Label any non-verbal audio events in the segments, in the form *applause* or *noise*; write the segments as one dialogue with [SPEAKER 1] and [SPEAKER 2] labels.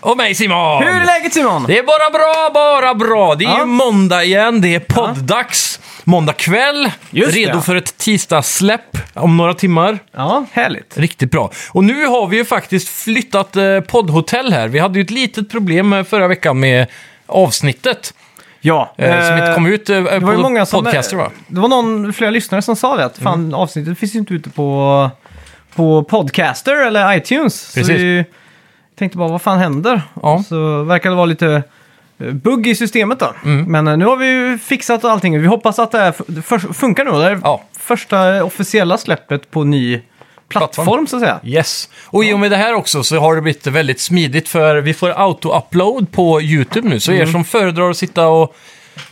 [SPEAKER 1] Och mig Simon!
[SPEAKER 2] Hur är läget Simon?
[SPEAKER 1] Det är bara bra, bara bra. Det är
[SPEAKER 2] Ja.
[SPEAKER 1] ju måndag igen, det är podd-dags. Måndag kväll,
[SPEAKER 2] Just det,
[SPEAKER 1] redo
[SPEAKER 2] ja.
[SPEAKER 1] för ett tisdagssläpp om några timmar.
[SPEAKER 2] Ja, härligt.
[SPEAKER 1] Riktigt bra. Och nu har vi ju faktiskt flyttat eh, poddhotell här. Vi hade ju ett litet problem eh, förra veckan med avsnittet
[SPEAKER 2] Ja.
[SPEAKER 1] eh, som inte kom ut eh,
[SPEAKER 2] Det var ju
[SPEAKER 1] på
[SPEAKER 2] många som... eh,
[SPEAKER 1] podcaster va? Mm.
[SPEAKER 2] Det var någon, flera lyssnare som sa det att fan, avsnittet finns ju inte ute på, på Podcaster eller iTunes. Så
[SPEAKER 1] Precis.
[SPEAKER 2] vi tänkte bara, vad fan händer?
[SPEAKER 1] Ja.
[SPEAKER 2] Så verkar det vara lite eh, bugg i systemet då.
[SPEAKER 1] Mm.
[SPEAKER 2] Men eh, nu har vi ju fixat allting. Vi hoppas att det här f- för, funkar nu. Det här är
[SPEAKER 1] Ja.
[SPEAKER 2] första eh, officiella släppet på ny plattform,
[SPEAKER 1] Plattform.
[SPEAKER 2] så att säga.
[SPEAKER 1] Yes. Och i och med det här också så har det blivit väldigt smidigt för vi får auto-upload på YouTube nu. Så
[SPEAKER 2] Mm.
[SPEAKER 1] er som föredrar att sitta och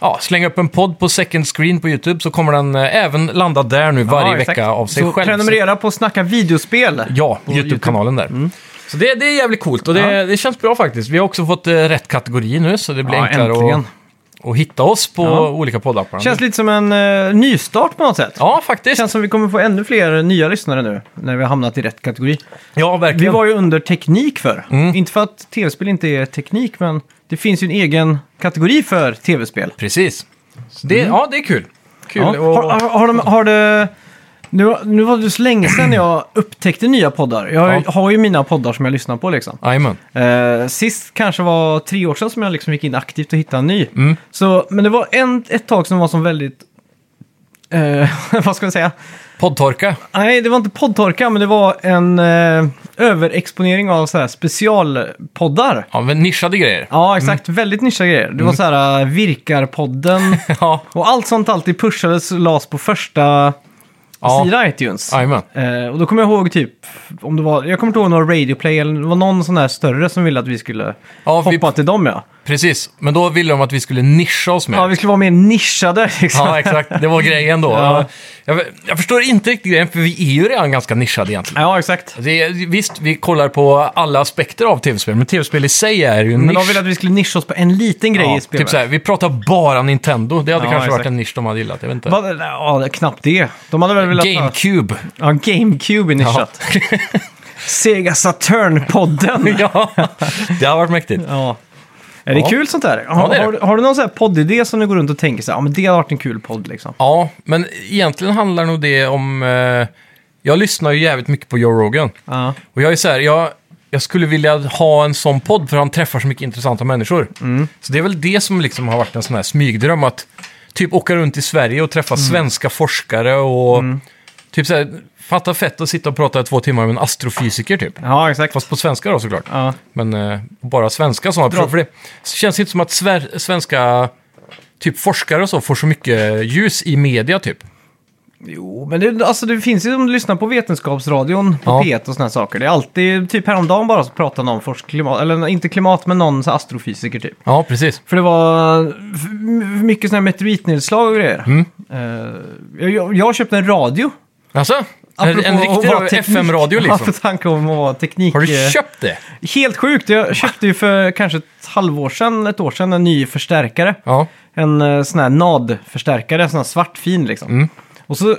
[SPEAKER 1] ja, slänga upp en podd på second screen på YouTube så kommer den eh, även landa där nu varje
[SPEAKER 2] Ja, exakt.
[SPEAKER 1] vecka av sig
[SPEAKER 2] så
[SPEAKER 1] själv.
[SPEAKER 2] prenumerera på Snacka videospel.
[SPEAKER 1] Ja,
[SPEAKER 2] på Mm.
[SPEAKER 1] YouTube-kanalen där. Så det, det är jävligt coolt och det,
[SPEAKER 2] Ja.
[SPEAKER 1] det känns bra faktiskt. Vi har också fått eh, rätt kategori nu så det blir
[SPEAKER 2] Ja,
[SPEAKER 1] enklare
[SPEAKER 2] äntligen.
[SPEAKER 1] att, att hitta oss på
[SPEAKER 2] Ja.
[SPEAKER 1] olika poddappar.
[SPEAKER 2] Känns lite som en eh, nystart på något sätt.
[SPEAKER 1] Ja, faktiskt.
[SPEAKER 2] Känns som vi kommer få ännu fler nya lyssnare nu när vi har hamnat i rätt kategori.
[SPEAKER 1] Ja, verkligen.
[SPEAKER 2] Vi var ju under teknik för.
[SPEAKER 1] Mm.
[SPEAKER 2] Inte för att tv-spel inte är teknik, men det finns ju en egen kategori för tv-spel.
[SPEAKER 1] Precis. Så det, Ja, det är kul. Kul.
[SPEAKER 2] Mm. Ja.
[SPEAKER 1] och-
[SPEAKER 2] Har, har, har, de, har det... Nu, nu var det så länge sedan jag upptäckte nya poddar. Jag
[SPEAKER 1] Ja.
[SPEAKER 2] har ju mina poddar som jag lyssnar på liksom.
[SPEAKER 1] Jajamän.
[SPEAKER 2] Eh, sist kanske var tre år sedan som jag liksom gick in aktivt och hittade en ny.
[SPEAKER 1] Mm.
[SPEAKER 2] Så, men det var en, ett tag som var som väldigt... eh, *laughs* vad ska man säga?
[SPEAKER 1] Poddtorka.
[SPEAKER 2] Nej, det var inte poddtorka, men det var en eh, överexponering av så här specialpoddar.
[SPEAKER 1] Ja, men nischade grejer.
[SPEAKER 2] Ja, exakt. Väldigt nischiga grejer. Det
[SPEAKER 1] Mm.
[SPEAKER 2] var så här eh,
[SPEAKER 1] *laughs*
[SPEAKER 2] Virkarpodden
[SPEAKER 1] *laughs* Ja,
[SPEAKER 2] och allt sånt alltid pushades och las på första
[SPEAKER 1] Ja.
[SPEAKER 2] sida iTunes.
[SPEAKER 1] jajamän.
[SPEAKER 2] Eh, och då kommer jag ihåg typ, om det var, jag kommer inte ihåg några Radioplay eller det var någon sån här större som ville att vi skulle
[SPEAKER 1] Ja, vi-
[SPEAKER 2] hoppa till dem ja.
[SPEAKER 1] Precis, men då ville de att vi skulle nischa oss mer.
[SPEAKER 2] Ja, vi skulle vara mer nischade *laughs* liksom.
[SPEAKER 1] Ja, exakt. Det var grejen
[SPEAKER 2] *laughs*
[SPEAKER 1] då.
[SPEAKER 2] Ja.
[SPEAKER 1] Jag, jag förstår inte riktigt grejen, för vi är ju redan ganska nischade egentligen.
[SPEAKER 2] Ja, exakt.
[SPEAKER 1] Det, är- visst, vi kollar på alla aspekter av tv-spel, men tv-spel i sig är ju en
[SPEAKER 2] Men
[SPEAKER 1] nisch.
[SPEAKER 2] de ville att vi skulle nischa oss på en liten grej
[SPEAKER 1] ja,
[SPEAKER 2] i spelet.
[SPEAKER 1] typ såhär, vi pratar bara Nintendo. Det hade
[SPEAKER 2] Ja,
[SPEAKER 1] kanske varit
[SPEAKER 2] exakt.
[SPEAKER 1] en nisch de hade gillat, jag vet inte.
[SPEAKER 2] Vad- Ja, knappt det. De hade väl velat ha- *laughs*
[SPEAKER 1] GameCube.
[SPEAKER 2] Ja, GameCube är
[SPEAKER 1] *laughs*
[SPEAKER 2] nischat. Sega Saturn-podden.
[SPEAKER 1] ja, det har varit mäktigt.
[SPEAKER 2] ja. Är det
[SPEAKER 1] Ja.
[SPEAKER 2] kul sånt där? Har,
[SPEAKER 1] det är det.
[SPEAKER 2] har, du- har du någon sån här poddidé som du går runt och tänker så här, ja men det har varit en kul podd liksom?
[SPEAKER 1] Ja, men egentligen handlar nog det om... Eh, jag lyssnar ju jävligt mycket på Joe Rogan.
[SPEAKER 2] Ja.
[SPEAKER 1] Och jag är så här, jag, jag skulle vilja ha en sån podd för han träffar så mycket intressanta människor.
[SPEAKER 2] Mm.
[SPEAKER 1] Så det är väl det som liksom har varit en sån här smygdröm, att typ åka runt i Sverige och träffa
[SPEAKER 2] Mm.
[SPEAKER 1] svenska forskare och typ så här, fatta fett att sitta och prata i två timmar med en astrofysiker typ.
[SPEAKER 2] Ja, exakt.
[SPEAKER 1] Fast på svenska då såklart.
[SPEAKER 2] Ja.
[SPEAKER 1] Men eh, bara svenska som har
[SPEAKER 2] Bra.
[SPEAKER 1] för det känns inte som att sver- svenska typ forskare och så får så mycket ljus i media typ.
[SPEAKER 2] Jo, men det, alltså, det finns ju om du lyssnar på Vetenskapsradion, på
[SPEAKER 1] Ja.
[SPEAKER 2] P1 och såna här saker. Det är alltid, typ häromdagen bara så pratade någon forskare, klimat, eller inte klimat, men någon så här astrofysiker typ.
[SPEAKER 1] Ja, precis.
[SPEAKER 2] För det var f- mycket sådana här meteoritnedslag och grejer.
[SPEAKER 1] Mm.
[SPEAKER 2] Eh, jag- jag, jag köpte en radio.
[SPEAKER 1] Alltså, en,
[SPEAKER 2] apropå
[SPEAKER 1] en
[SPEAKER 2] att vara
[SPEAKER 1] riktig
[SPEAKER 2] teknik-
[SPEAKER 1] FM-radio
[SPEAKER 2] *laughs* Ja, på
[SPEAKER 1] liksom.
[SPEAKER 2] tanke om att vara teknik...
[SPEAKER 1] Har du
[SPEAKER 2] eh,
[SPEAKER 1] köpt det?
[SPEAKER 2] Helt sjukt. Jag köpte ju för kanske ett halvår sedan, ett år sedan, en ny förstärkare.
[SPEAKER 1] Ja.
[SPEAKER 2] En eh, sån här NAD-förstärkare, sån här svartfin liksom.
[SPEAKER 1] Mm.
[SPEAKER 2] Och så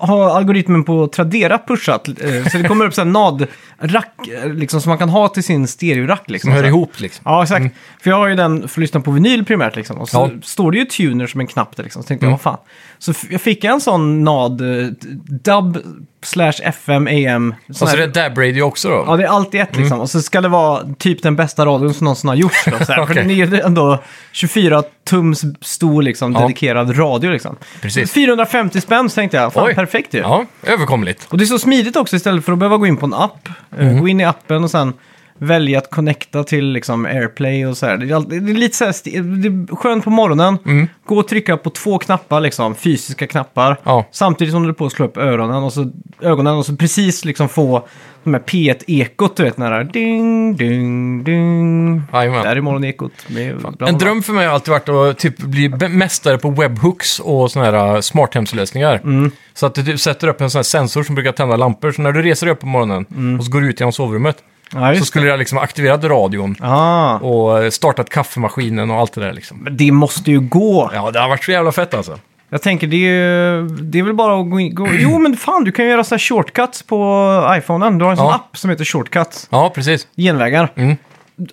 [SPEAKER 2] har algoritmen på Tradera pushat, eh, så det kommer upp sån här NAD-rack eh, liksom, som man kan ha till sin stereorack. Liksom,
[SPEAKER 1] Som hör
[SPEAKER 2] Så här.
[SPEAKER 1] ihop liksom.
[SPEAKER 2] Ja, exakt. För jag har ju den för att lyssna på vinyl primärt liksom. Och så
[SPEAKER 1] Ja. Mm.
[SPEAKER 2] står det ju tuner som en knapp där liksom. Så tänkte jag, vad fan. Så f- jag fick en sån NAD, eh, dub slash FM, AM. sån
[SPEAKER 1] Och så
[SPEAKER 2] här-
[SPEAKER 1] är Alltså, det Dab Radio också då?
[SPEAKER 2] Ja, det är allt i ett liksom.
[SPEAKER 1] Mm.
[SPEAKER 2] Och så ska det vara typ den bästa radion som någonsin har gjorts. Då,
[SPEAKER 1] *laughs*
[SPEAKER 2] så här. För
[SPEAKER 1] Okej.
[SPEAKER 2] den är ju ändå 24 tums stor liksom,
[SPEAKER 1] Ja.
[SPEAKER 2] dedikerad radio liksom.
[SPEAKER 1] Precis.
[SPEAKER 2] 450 spänn så tänkte jag, fan
[SPEAKER 1] Oj.
[SPEAKER 2] perfekt ju.
[SPEAKER 1] Ja, överkomligt.
[SPEAKER 2] Och det är så smidigt också istället för att behöva gå in på en app. eh,
[SPEAKER 1] Mm-hmm.
[SPEAKER 2] Gå in i appen och sen välja att connecta till liksom AirPlay och så här. Det är, alltid, det är lite så här, sti- det är skönt på morgonen.
[SPEAKER 1] Mm.
[SPEAKER 2] Gå och trycka på två knappar, liksom, fysiska knappar.
[SPEAKER 1] Ja.
[SPEAKER 2] Samtidigt som du är på att slå upp öronen och så, ögonen och så precis liksom få de här P1-ekot, du vet, när det är ding, ding, ding. Där
[SPEAKER 1] Jajamän.
[SPEAKER 2] är morgonekot. Med bla, bla, bla.
[SPEAKER 1] En dröm för mig har alltid varit att typ bli be- mästare på webhooks och såna här uh, smarthemslösningar.
[SPEAKER 2] Mm.
[SPEAKER 1] Så att du typ sätter upp en sån här sensor som brukar tända lampor. Så när du reser dig upp på morgonen och så går du ut genom sovrummet
[SPEAKER 2] Mm. Ja,
[SPEAKER 1] så
[SPEAKER 2] just
[SPEAKER 1] skulle jag liksom aktiverat radion
[SPEAKER 2] det. Ah,
[SPEAKER 1] och eh, startat kaffemaskinen och allt det där liksom.
[SPEAKER 2] men det måste ju gå.
[SPEAKER 1] Ja, det har varit så jävla fett alltså.
[SPEAKER 2] Jag tänker, det är, ju- det är väl bara att gå in... Gå,
[SPEAKER 1] *clears throat*
[SPEAKER 2] jo, men fan, du kan ju göra så här shortcuts på iPhonen. Du har en sån
[SPEAKER 1] Ja.
[SPEAKER 2] app som heter shortcuts.
[SPEAKER 1] Ja, precis.
[SPEAKER 2] Genvägar.
[SPEAKER 1] Mm.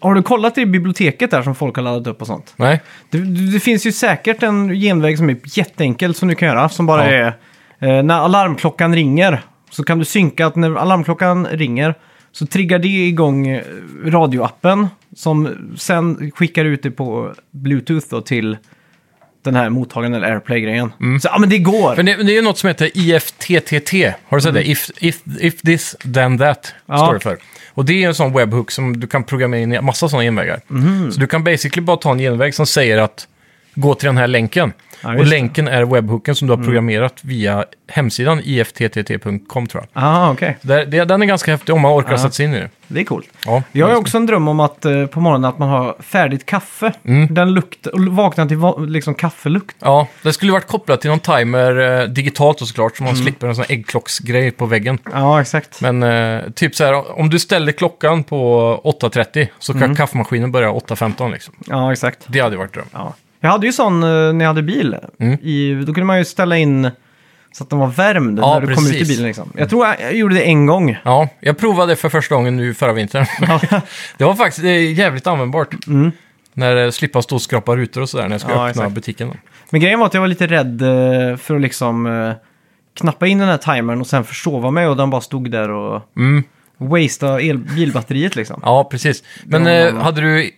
[SPEAKER 2] Har du kollat i biblioteket där som folk har laddat upp och sånt?
[SPEAKER 1] Nej?
[SPEAKER 2] Det, det finns ju säkert en genväg som är jätteenkel som du kan göra. Som bara
[SPEAKER 1] Ja.
[SPEAKER 2] är... Eh, när alarmklockan ringer så kan du synka att när alarmklockan ringer så triggar det igång eh, radioappen som sen skickar ut det på bluetooth då till den här mottagaren eller airplay-grejen. Så ja, men det går!
[SPEAKER 1] För det, det är ju något som heter IFTTT. Har du sett det? If, if, if this, then
[SPEAKER 2] Mm.
[SPEAKER 1] that.
[SPEAKER 2] Ja.
[SPEAKER 1] Står det för. Och det är ju en sån webhook som du kan programmera in i massa sådana genvägar.
[SPEAKER 2] Mhm.
[SPEAKER 1] Så du kan basically bara ta en genväg som säger att gå till den här länken.
[SPEAKER 2] Ja,
[SPEAKER 1] och
[SPEAKER 2] just det. Mm.
[SPEAKER 1] länken är webhooken som du har programmerat via hemsidan ifttt.com tror jag.
[SPEAKER 2] Ah, okej.
[SPEAKER 1] Där, det, den är ganska häftig om man orkar
[SPEAKER 2] Ja.
[SPEAKER 1] sätta sig in i det.
[SPEAKER 2] Det är coolt.
[SPEAKER 1] Ja,
[SPEAKER 2] Jag har också en dröm om att eh, på morgonen att man har färdigt kaffe. Den luktar, och vaknar till va- liksom kaffelukt.
[SPEAKER 1] Ja, det skulle varit kopplat till någon timer eh, digitalt och såklart, så
[SPEAKER 2] Mm.
[SPEAKER 1] man slipper en sån här äggklocksgrej på väggen.
[SPEAKER 2] Ja, exakt.
[SPEAKER 1] Men eh, typ så här, om du ställer klockan på 8.30 så kan
[SPEAKER 2] Mm.
[SPEAKER 1] kaffemaskinen börja 8.15 liksom.
[SPEAKER 2] Ja, exakt.
[SPEAKER 1] Det hade ju varit dröm.
[SPEAKER 2] Ja. Jag hade ju sån eh, när jag hade bil.
[SPEAKER 1] Mm.
[SPEAKER 2] I, då kunde man ju ställa in så att den var värmd
[SPEAKER 1] Ja,
[SPEAKER 2] när du kom ut i
[SPEAKER 1] precis. Mm.
[SPEAKER 2] bilen. Liksom. Jag tror jag, jag gjorde det en gång.
[SPEAKER 1] Ja, jag provade det för första gången nu förra vintern. *laughs* det var faktiskt det är jävligt användbart. När eh, slippa stå och skrapa rutor och sådär när jag ska
[SPEAKER 2] Mm. Ja,
[SPEAKER 1] öppna
[SPEAKER 2] exakt.
[SPEAKER 1] butiken. då.
[SPEAKER 2] Men grejen var att jag var lite rädd eh, för att liksom eh, knappa in den här timern och sen försova mig och den bara stod där och
[SPEAKER 1] Mm.
[SPEAKER 2] wastea el- bilbatteriet liksom.
[SPEAKER 1] Ja, precis. Men
[SPEAKER 2] Ja,
[SPEAKER 1] eh,
[SPEAKER 2] men-
[SPEAKER 1] hade du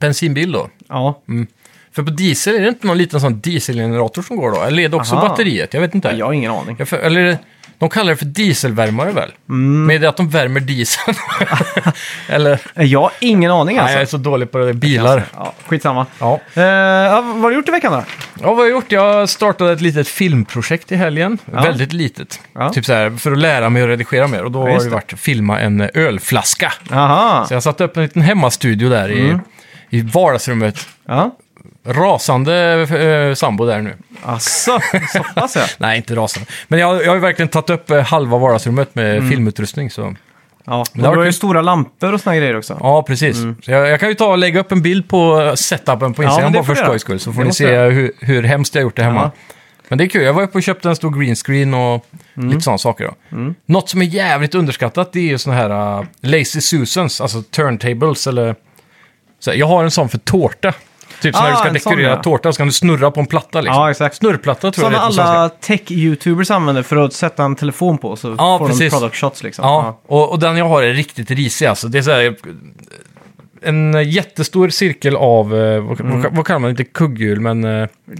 [SPEAKER 1] bensinbil då?
[SPEAKER 2] Ja.
[SPEAKER 1] För på diesel, är det inte någon liten sån dieselgenerator som går då? Eller är det också
[SPEAKER 2] Aha.
[SPEAKER 1] batteriet? Jag vet inte.
[SPEAKER 2] Jag har ingen aning.
[SPEAKER 1] Jag för, eller de kallar det för dieselvärmare väl?
[SPEAKER 2] Mm.
[SPEAKER 1] Men är det att de värmer dieseln?
[SPEAKER 2] *laughs*
[SPEAKER 1] eller?
[SPEAKER 2] Eh, Jag har ingen aning
[SPEAKER 1] Nej,
[SPEAKER 2] alltså.
[SPEAKER 1] jag är så dålig på det där, bilar.
[SPEAKER 2] Ja, skitsamma.
[SPEAKER 1] Ja.
[SPEAKER 2] Eh, ja, vad har du gjort i veckan då?
[SPEAKER 1] ja, vad har jag gjort? Jag startade ett litet filmprojekt i helgen. Väldigt litet.
[SPEAKER 2] Ja.
[SPEAKER 1] Typ så här, för att lära mig att redigera mer. Och då
[SPEAKER 2] Ja,
[SPEAKER 1] har
[SPEAKER 2] just
[SPEAKER 1] det
[SPEAKER 2] det.
[SPEAKER 1] varit att filma en eh, ölflaska.
[SPEAKER 2] Aha.
[SPEAKER 1] Så jag satte upp en liten hemmastudio där
[SPEAKER 2] Mm.
[SPEAKER 1] i, i vardagsrummet.
[SPEAKER 2] Ja.
[SPEAKER 1] Rasande eh, sambo där nu.
[SPEAKER 2] Asså, så pass ja.
[SPEAKER 1] Nej, inte rasande. Men jag, jag har ju verkligen tagit upp eh, halva vardagsrummet med
[SPEAKER 2] Mm.
[SPEAKER 1] filmutrustning. Så.
[SPEAKER 2] ja.
[SPEAKER 1] det har
[SPEAKER 2] Men du har ju
[SPEAKER 1] varit-
[SPEAKER 2] stora lampor och såna grejer också.
[SPEAKER 1] Ja, liksom. precis. Så jag, jag kan ju ta och lägga upp en bild på eh, setupen på Instagram
[SPEAKER 2] Mm. men det
[SPEAKER 1] bara för
[SPEAKER 2] får du göra.
[SPEAKER 1] skojs skull, så får
[SPEAKER 2] Det
[SPEAKER 1] ni
[SPEAKER 2] måste
[SPEAKER 1] se
[SPEAKER 2] jag.
[SPEAKER 1] hur, hur hemskt jag gjort det hemma. Men det är kul. Jag var uppe och köpte en stor green screen och
[SPEAKER 2] Mm.
[SPEAKER 1] lite sådana saker. Då. Något som är jävligt underskattat det är ju sådana här uh, Lazy Susans, alltså turntables eller... Så här, jag har en sån för tårta. Typ så när
[SPEAKER 2] Ah,
[SPEAKER 1] du ska
[SPEAKER 2] en sån,
[SPEAKER 1] dekorera
[SPEAKER 2] ja.
[SPEAKER 1] tårta så kan du snurra på en platta liksom.
[SPEAKER 2] Ja, exakt.
[SPEAKER 1] Snurrplatta tror jag
[SPEAKER 2] Sådana
[SPEAKER 1] det heter på svenska.
[SPEAKER 2] alla tech-youtubers använder för att sätta en telefon på så
[SPEAKER 1] Ja,
[SPEAKER 2] får
[SPEAKER 1] precis.
[SPEAKER 2] de product shots liksom.
[SPEAKER 1] Ja, och, och den jag har är riktigt risig alltså. Det är så här, en jättestor cirkel av, eh, vad, vad, vad kallar man det, inte kugghjul men... eh,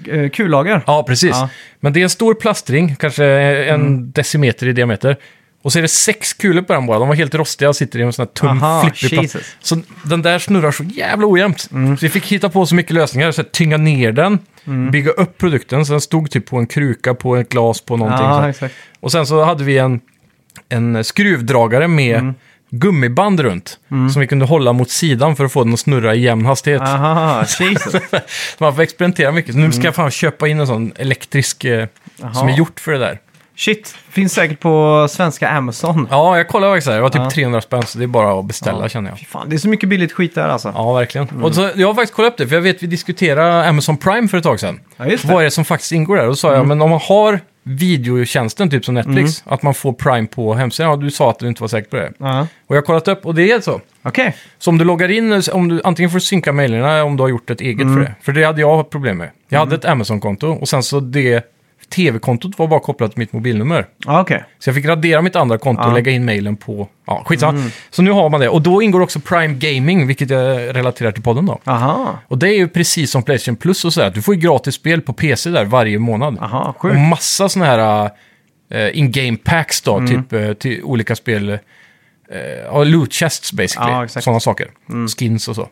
[SPEAKER 2] Ja. Eh, Kullager.
[SPEAKER 1] Ja, precis. Mm.
[SPEAKER 2] Ja.
[SPEAKER 1] Men det är en stor plastring, kanske en decimeter i diameter. Och så är det sex kulor på den bara. De var helt rostiga och sitter i en sån här tunn
[SPEAKER 2] Aha,
[SPEAKER 1] flippig plast.
[SPEAKER 2] Jesus.
[SPEAKER 1] Så den där snurrar så jävla ojämnt. Så vi fick hitta på så mycket lösningar. Så här, tynga ner den, bygga upp produkten. Så den stod typ på en kruka, på ett glas, på någonting. så
[SPEAKER 2] ja
[SPEAKER 1] här.
[SPEAKER 2] exakt.
[SPEAKER 1] Och sen så hade vi en, en skruvdragare med
[SPEAKER 2] Mm.
[SPEAKER 1] gummiband runt. Som vi kunde hålla mot sidan för att få den att snurra i jämn hastighet.
[SPEAKER 2] Aha, Jesus.
[SPEAKER 1] Så *laughs* man får experimentera mycket. Så nu ska jag fan köpa in en sån elektrisk eh, som
[SPEAKER 2] Mm. Jaha.
[SPEAKER 1] är gjort för det där.
[SPEAKER 2] Shit, finns säkert på svenska Amazon.
[SPEAKER 1] Ja, jag kollade faktiskt. här. Det var typ
[SPEAKER 2] Ja.
[SPEAKER 1] 300 spänn, så det är bara att beställa
[SPEAKER 2] Ja.
[SPEAKER 1] känner jag.
[SPEAKER 2] Fy fan, det är så mycket billigt skit där alltså.
[SPEAKER 1] Ja, verkligen. Och så, jag har faktiskt kollat upp det, för jag vet vi diskuterade Amazon Prime för ett tag sedan.
[SPEAKER 2] Ja, Mm. just det.
[SPEAKER 1] Vad är det som faktiskt ingår där? Och då sa jag, men om man har videotjänsten, typ som Netflix,
[SPEAKER 2] Mm.
[SPEAKER 1] att man får Prime på hemsidan. Och du sa att du inte var säker på det.
[SPEAKER 2] Ja.
[SPEAKER 1] Och jag har kollat upp, och det är så.
[SPEAKER 2] Okej.
[SPEAKER 1] Så om du loggar in, om du, antingen får du synka mejlerna om du har gjort ett eget
[SPEAKER 2] Mm.
[SPEAKER 1] för det. För det hade jag haft problem med. Jag hade ett Amazon-konto och sen så det tv-kontot var bara kopplat till mitt mobilnummer.
[SPEAKER 2] Ja, okej.
[SPEAKER 1] Så jag fick radera mitt andra konto och
[SPEAKER 2] Ja. Mm.
[SPEAKER 1] lägga in mejlen på... Ja, skitsamma. Så nu har man det. Och då ingår också Prime Gaming, vilket jag relaterar till podden då.
[SPEAKER 2] Aha.
[SPEAKER 1] Och det är ju precis som Playstation Plus och sådär. Du får ju gratis spel på PC där varje månad.
[SPEAKER 2] Aha,
[SPEAKER 1] Och
[SPEAKER 2] sjukt.
[SPEAKER 1] massa sådana här eh, in-game packs då,
[SPEAKER 2] Mm.
[SPEAKER 1] typ eh, till olika spel. eh, Ja, loot chests
[SPEAKER 2] Ja,
[SPEAKER 1] basically.
[SPEAKER 2] exakt. Mm.
[SPEAKER 1] sådana saker. Skins och så.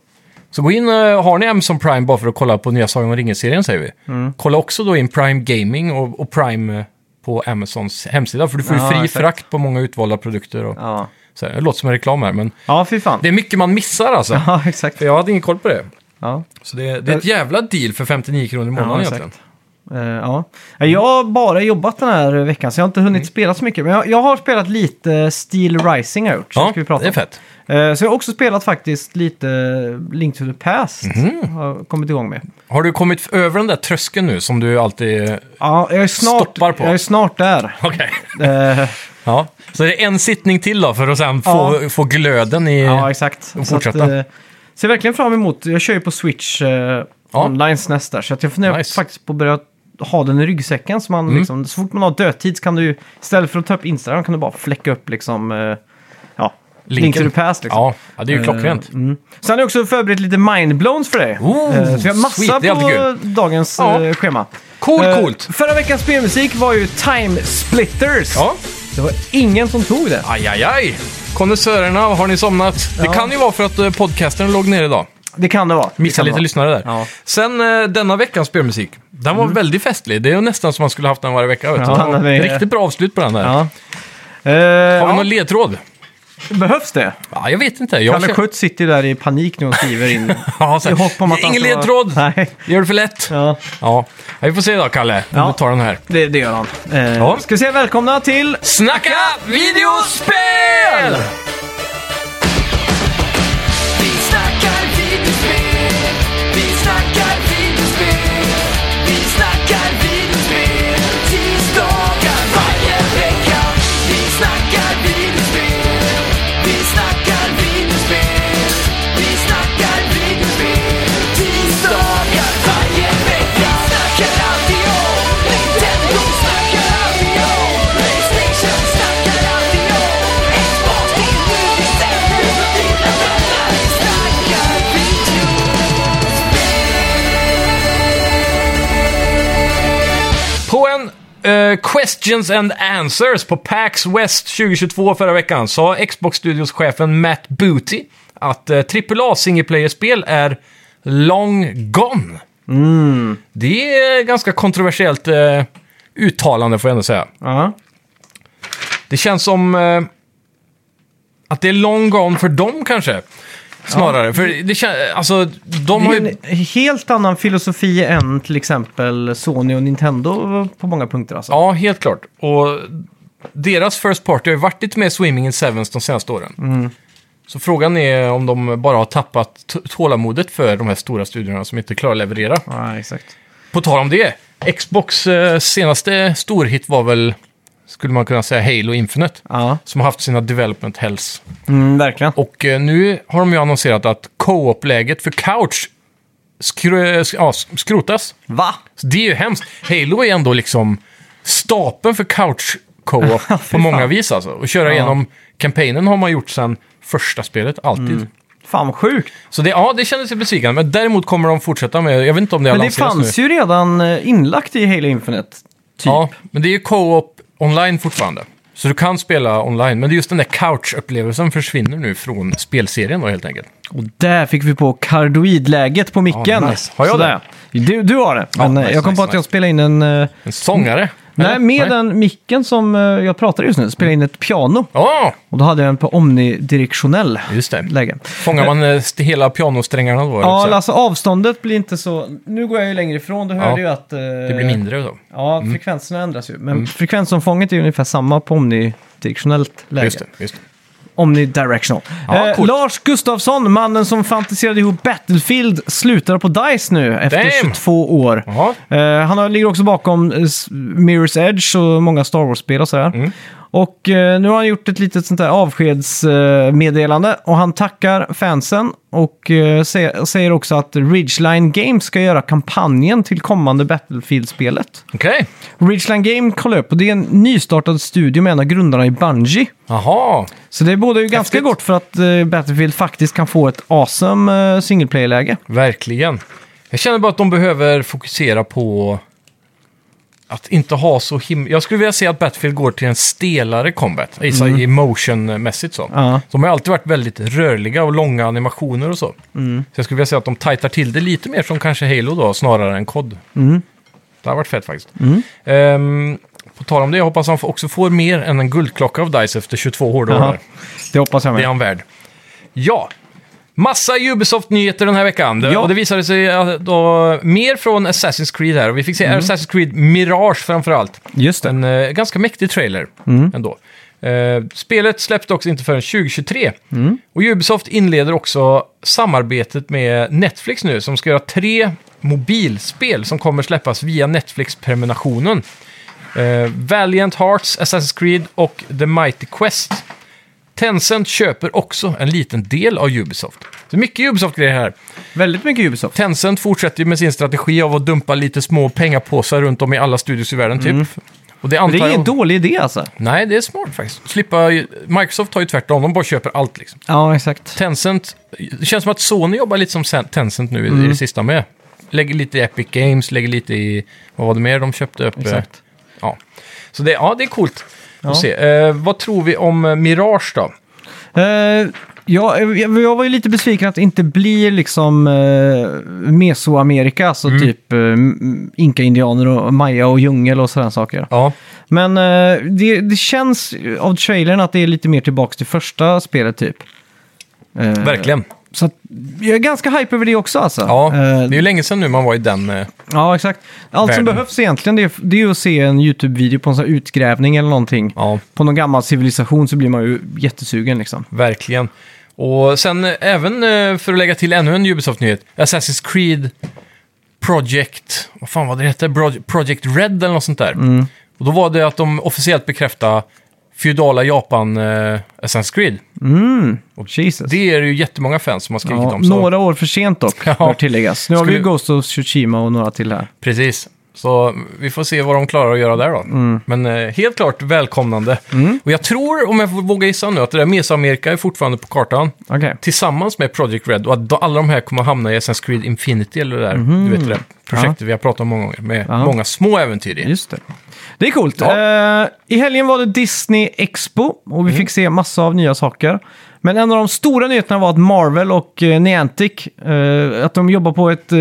[SPEAKER 1] Så gå in, eh, har ni Amazon Prime bara för att kolla på nya Sagan om ringen-serien säger vi.
[SPEAKER 2] Mm.
[SPEAKER 1] Kolla också då in Prime Gaming och, och Prime eh, på Amazons hemsida. För du får ju
[SPEAKER 2] Ja,
[SPEAKER 1] fri
[SPEAKER 2] exakt.
[SPEAKER 1] frakt på många utvalda produkter. Och,
[SPEAKER 2] Ja.
[SPEAKER 1] så här. Det låter som en reklam här, men
[SPEAKER 2] ja, fy fan.
[SPEAKER 1] det är mycket man missar alltså.
[SPEAKER 2] *laughs* Ja, exakt.
[SPEAKER 1] För jag hade ingen koll på det.
[SPEAKER 2] Ja.
[SPEAKER 1] Så det, det är ett jävla deal för 59 kronor i månaden
[SPEAKER 2] Ja, exakt.
[SPEAKER 1] egentligen.
[SPEAKER 2] Eh, ja. Jag har bara jobbat den här veckan så jag har inte
[SPEAKER 1] Mm.
[SPEAKER 2] hunnit spela så mycket. Men jag, jag har spelat lite Steel Rising har jag gjort. så
[SPEAKER 1] Ja,
[SPEAKER 2] ska vi prata
[SPEAKER 1] det är
[SPEAKER 2] om.
[SPEAKER 1] fett.
[SPEAKER 2] Eh, så jag har också spelat faktiskt lite Link to the Past.
[SPEAKER 1] Mhm.
[SPEAKER 2] Har jag kommit igång med.
[SPEAKER 1] Har du kommit över den där tröskeln nu som du alltid...
[SPEAKER 2] Ja, jag är snart,
[SPEAKER 1] Stoppar på.
[SPEAKER 2] Jag är snart där.
[SPEAKER 1] Okej.
[SPEAKER 2] Eh,
[SPEAKER 1] *laughs* Ja. Så det är en sittning till då för att sen få, få glöden i...
[SPEAKER 2] ja, exakt.
[SPEAKER 1] Och
[SPEAKER 2] Så
[SPEAKER 1] fortsätta.
[SPEAKER 2] eh, Ser verkligen fram emot, jag kör ju på Switch eh, online SNES där, så att jag funderar
[SPEAKER 1] Nice. Mm.
[SPEAKER 2] faktiskt på att börja ha den i ryggsäcken. Så, man, liksom, så fort man har dödtid så kan du ju, istället för att ta upp Instagram kan du bara fläcka upp liksom, eh, ja, Link to the past. Liksom.
[SPEAKER 1] Ja, ja, det är ju klockrent.
[SPEAKER 2] Mm. Sen har jag också förberett lite mindblowns för dig.
[SPEAKER 1] Oh,
[SPEAKER 2] Eh, så vi har massa
[SPEAKER 1] sweet, det är alltid
[SPEAKER 2] på dagens
[SPEAKER 1] Ja.
[SPEAKER 2] eh, schema.
[SPEAKER 1] Coolt,
[SPEAKER 2] Eh,
[SPEAKER 1] coolt!
[SPEAKER 2] Förra veckans spelmusik var ju Time Splitters.
[SPEAKER 1] Ja.
[SPEAKER 2] Det var ingen som tog det.
[SPEAKER 1] Aj, aj, aj! Kondensörerna, har ni somnat? Det
[SPEAKER 2] Ja.
[SPEAKER 1] kan ju vara för att eh, podcasten låg ner idag.
[SPEAKER 2] Det kan det vara. Det
[SPEAKER 1] Missade
[SPEAKER 2] kan
[SPEAKER 1] lite
[SPEAKER 2] det vara.
[SPEAKER 1] lyssnare där.
[SPEAKER 2] Ja. Mm.
[SPEAKER 1] Sen eh, denna veckans spelmusik. Den var väldigt festlig. Det är ju nästan som man skulle haft den varje vecka. Vet du?
[SPEAKER 2] Ja, den är-
[SPEAKER 1] Riktigt bra avslut på den där.
[SPEAKER 2] Ja. Eh,
[SPEAKER 1] Har vi
[SPEAKER 2] ja.
[SPEAKER 1] någon ledtråd?
[SPEAKER 2] Behövs det?
[SPEAKER 1] Ja, jag vet inte. Jag
[SPEAKER 2] Kalle
[SPEAKER 1] känner-
[SPEAKER 2] Schutt sitter ju där i panik nu och skriver in.
[SPEAKER 1] *laughs* Ja, så här,
[SPEAKER 2] I hopp om att han
[SPEAKER 1] Ingen
[SPEAKER 2] ska vara-
[SPEAKER 1] ledtråd!
[SPEAKER 2] Nej.
[SPEAKER 1] Gör det för lätt. Ja.
[SPEAKER 2] Ja,
[SPEAKER 1] Vi får se då, Kalle, om
[SPEAKER 2] Ja.
[SPEAKER 1] du tar den här.
[SPEAKER 2] det, det gör han. Eh,
[SPEAKER 1] Ja.
[SPEAKER 2] Ska vi säga välkomna till...
[SPEAKER 1] Snacka videospel!
[SPEAKER 3] Vi snackar videospel, vi snackar videospel, vi snackar videospel tisdagar varje vecka. Vi snackar videospel, vi snackar videospel, vi snackar videospel tisdagar varje vecka. Snackar alltid om Nintendo, snackar alltid om Playstation, snackar alltid om Xbox, nu december, dina vänner, vi snackar video.
[SPEAKER 1] På en eh, Questions and Answers på PAX West 2022 förra veckan sa Xbox Studios-chefen Matt Booty att eh, AAA singleplayer-spel är long gone.
[SPEAKER 2] Mm.
[SPEAKER 1] Det är ganska kontroversiellt eh, uttalande får jag ändå säga.
[SPEAKER 2] Ja.
[SPEAKER 1] Det känns som eh, att det är long gone för dem kanske. Snarare. För det känns, alltså de har
[SPEAKER 2] Det är
[SPEAKER 1] ju...
[SPEAKER 2] en helt annan filosofi än till exempel Sony och Nintendo på många punkter alltså.
[SPEAKER 1] Ja, helt klart. Och deras first party har ju varit lite mer swimming in sevens de senaste åren.
[SPEAKER 2] Mm.
[SPEAKER 1] Så frågan är om de bara har tappat t- tålamodet för de här stora studierna som inte klarar att leverera.
[SPEAKER 2] Ja, exakt.
[SPEAKER 1] På tal om det, Xbox eh, senaste storhit var väl, skulle man kunna säga, Halo Infinite.
[SPEAKER 2] Ja,
[SPEAKER 1] Som har haft sina development hells.
[SPEAKER 2] mm, verkligen.
[SPEAKER 1] Och eh, nu har de ju annonserat att co-op-läget för Couch skro- sk- ja, sk- skrotas.
[SPEAKER 2] Va?
[SPEAKER 1] Så det är ju hemskt. Halo är ändå liksom stapeln för couch
[SPEAKER 2] *laughs*
[SPEAKER 1] co-op på många vis alltså. Och köra igenom kampanjen har man gjort sedan första spelet, alltid.
[SPEAKER 2] Mm. Fan vad sjukt.
[SPEAKER 1] Så det, ja, det kändes ju besvikande. Men däremot kommer de fortsätta med, jag vet inte om det har
[SPEAKER 2] Men det
[SPEAKER 1] lanserats
[SPEAKER 2] fanns
[SPEAKER 1] alltså, nu.
[SPEAKER 2] ju redan eh, inlagt i Halo Infinite. Typ.
[SPEAKER 1] Ja, men det är ju co-op online fortfarande. Så du kan spela online, men det är just den där couch-upplevelsen försvinner nu från spelserien då helt enkelt.
[SPEAKER 2] Och där fick vi på kardoidläget på micken.
[SPEAKER 1] Ja, nice. Har jag
[SPEAKER 2] Sådär. Du, du har det. Men eh,
[SPEAKER 1] nice,
[SPEAKER 2] jag kom
[SPEAKER 1] nice,
[SPEAKER 2] på att jag
[SPEAKER 1] nice.
[SPEAKER 2] spelade in en... eh,
[SPEAKER 1] En sångare?
[SPEAKER 2] Nej,
[SPEAKER 1] Eller?
[SPEAKER 2] med den micken som eh, jag pratar just nu spelade jag in ett piano.
[SPEAKER 1] Ja,
[SPEAKER 2] Och då hade jag den på omnidirektionell
[SPEAKER 1] just det.
[SPEAKER 2] läge.
[SPEAKER 1] Fångar man eh, st- hela pianosträngarna då? eller
[SPEAKER 2] Ja,
[SPEAKER 1] så?
[SPEAKER 2] alltså avståndet blir inte så... Nu går jag ju längre ifrån, du hörde ju att... eh,
[SPEAKER 1] det blir Mm. mindre då.
[SPEAKER 2] Ja, frekvenserna ändras ju. Men frekvensomfånget är ju ungefär samma på omnidirektionellt läge.
[SPEAKER 1] Just det, just det.
[SPEAKER 2] Omnidirectional.
[SPEAKER 1] Ja,
[SPEAKER 2] eh,
[SPEAKER 1] coolt.
[SPEAKER 2] Lars Gustafsson, mannen som fantiserade ihop Battlefield, slutar på DICE nu efter
[SPEAKER 1] Damn!
[SPEAKER 2] 22 år.
[SPEAKER 1] Jaha.
[SPEAKER 2] Eh, han har, ligger också bakom eh, s- Mirror's Edge och många Star Wars-spel och sådär.
[SPEAKER 1] Mm.
[SPEAKER 2] Och eh, nu har han gjort ett litet sånt där avskedsmeddelande eh, meddelande och han tackar fansen och eh, sä- säger också att Ridgeline Games ska göra kampanjen till kommande Battlefield-spelet.
[SPEAKER 1] Okej.
[SPEAKER 2] Ridgeline Game kollar jag upp och det är en nystartad studio med en av grundarna i Bungie.
[SPEAKER 1] Jaha.
[SPEAKER 2] Så det borde ju ganska
[SPEAKER 1] Häftigt.
[SPEAKER 2] gott för att eh, Battlefield faktiskt kan få ett awesome eh, single player-läge.
[SPEAKER 1] Verkligen. Jag känner bara att de behöver fokusera på att inte ha så himla... Jag skulle vilja se att Battlefield går till en stelare combat, i mm. emotion-mässigt så.
[SPEAKER 2] Ja.
[SPEAKER 1] De har alltid varit väldigt rörliga och långa animationer och så.
[SPEAKER 2] Mm.
[SPEAKER 1] Så jag skulle vilja se att de tajtar till det lite mer som kanske Halo då, snarare än COD.
[SPEAKER 2] Mm.
[SPEAKER 1] Det har varit fett faktiskt. Ehm, på tal om det, jag hoppas han också får mer än en guldklocka av DICE efter 22 hårdare.
[SPEAKER 2] Jaha. Det hoppas jag
[SPEAKER 1] Det är
[SPEAKER 2] med.
[SPEAKER 1] han värd. Ja. Massa Ubisoft-nyheter den här veckan.
[SPEAKER 2] Ja.
[SPEAKER 1] Och det visade sig att då, mer från Assassin's Creed här. Och vi fick se Assassin's Creed Mirage framförallt.
[SPEAKER 2] Just det.
[SPEAKER 1] En eh, ganska mäktig trailer
[SPEAKER 2] Mm.
[SPEAKER 1] ändå. Eh, spelet släpps också inte förrän 2023.
[SPEAKER 2] Mm.
[SPEAKER 1] Och Ubisoft inleder också samarbetet med Netflix nu som ska göra tre mobilspel som kommer släppas via Netflix-prenumerationen. Eh, Valiant Hearts, Assassin's Creed och The Mighty Quest. Tencent köper också en liten del av Ubisoft. Så mycket Ubisoft-grejer här.
[SPEAKER 2] Väldigt mycket Ubisoft.
[SPEAKER 1] Tencent fortsätter ju med sin strategi av att dumpa lite små pengapåsar runt om i alla studios i världen, typ. Och det,
[SPEAKER 2] Mm. Det
[SPEAKER 1] antar
[SPEAKER 2] är ingen
[SPEAKER 1] jag...
[SPEAKER 2] dålig idé alltså.
[SPEAKER 1] Nej, det är smart faktiskt. Slippa... Microsoft har ju tvärtom, de bara köper allt liksom.
[SPEAKER 2] Ja, exakt.
[SPEAKER 1] Tencent, det känns som att Sony jobbar lite som Sen- Tencent nu i- i
[SPEAKER 2] Mm.
[SPEAKER 1] det sista med. Lägger lite i Epic Games, lägger lite i, vad var det mer de köpte upp?
[SPEAKER 2] Exakt.
[SPEAKER 1] Ja. Så det, ja, det är coolt
[SPEAKER 2] Ja.
[SPEAKER 1] att se. Eh, vad tror vi om eh, Mirage då?
[SPEAKER 2] Eh, ja, jag, jag var ju lite besviken att det inte blir liksom eh, Mesoamerika, alltså
[SPEAKER 1] Mm.
[SPEAKER 2] typ eh, m- inka-indianer och maya och djungel och sådana saker.
[SPEAKER 1] Ja,
[SPEAKER 2] Men eh, det, det känns av trailern att det är lite mer tillbaks till första spelet typ. Eh,
[SPEAKER 1] verkligen.
[SPEAKER 2] Så att, jag är ganska hype över det också alltså.
[SPEAKER 1] Ja,
[SPEAKER 2] Eh,
[SPEAKER 1] det är ju länge sedan nu man var i den. eh,
[SPEAKER 2] ja exakt. Allt som
[SPEAKER 1] Världen.
[SPEAKER 2] behövs egentligen det är, det är ju att se en YouTube-video på en sån här utgrävning eller någonting.
[SPEAKER 1] ja,
[SPEAKER 2] På någon gammal civilisation så blir man ju jättesugen liksom.
[SPEAKER 1] verkligen. Och sen eh, även eh, för att lägga till ännu en Ubisoft-nyhet. Assassin's Creed Project, vad fan var det hette? Proj- Project Red eller något sånt där.
[SPEAKER 2] Mm.
[SPEAKER 1] Och då var det att de officiellt bekräftade feudala Japan eh, Assassin's Creed.
[SPEAKER 2] Jesus.
[SPEAKER 1] Det är det ju jättemånga fans som har skrivit
[SPEAKER 2] Ja,
[SPEAKER 1] om. Så.
[SPEAKER 2] Några år för sent dock,
[SPEAKER 1] *laughs* Ja.
[SPEAKER 2] bör tilläggas. Nu har vi ju
[SPEAKER 1] Skulle-
[SPEAKER 2] Ghost of Tsushima och några till här.
[SPEAKER 1] Precis. Så vi får se vad de klarar att göra där då.
[SPEAKER 2] Mm.
[SPEAKER 1] Men eh, helt klart välkomnande. Och jag tror, om jag får våga gissa nu, att det där Mesoamerika är fortfarande på kartan.
[SPEAKER 2] Okej.
[SPEAKER 1] Tillsammans med Project Red och att de- alla de här kommer att hamna i Assassin's Creed Infinity eller det där, du vet det där projektet vi har pratat om många gånger med
[SPEAKER 2] Mhm. Ja.
[SPEAKER 1] många små äventyr i.
[SPEAKER 2] Just det. Det är coolt.
[SPEAKER 1] Ja. Mm.
[SPEAKER 2] Eh, I helgen var det Disney Expo och vi fick se massa av nya saker. Men en av de stora nyheterna var att Marvel och eh, Niantic, eh, att de jobbar på ett eh,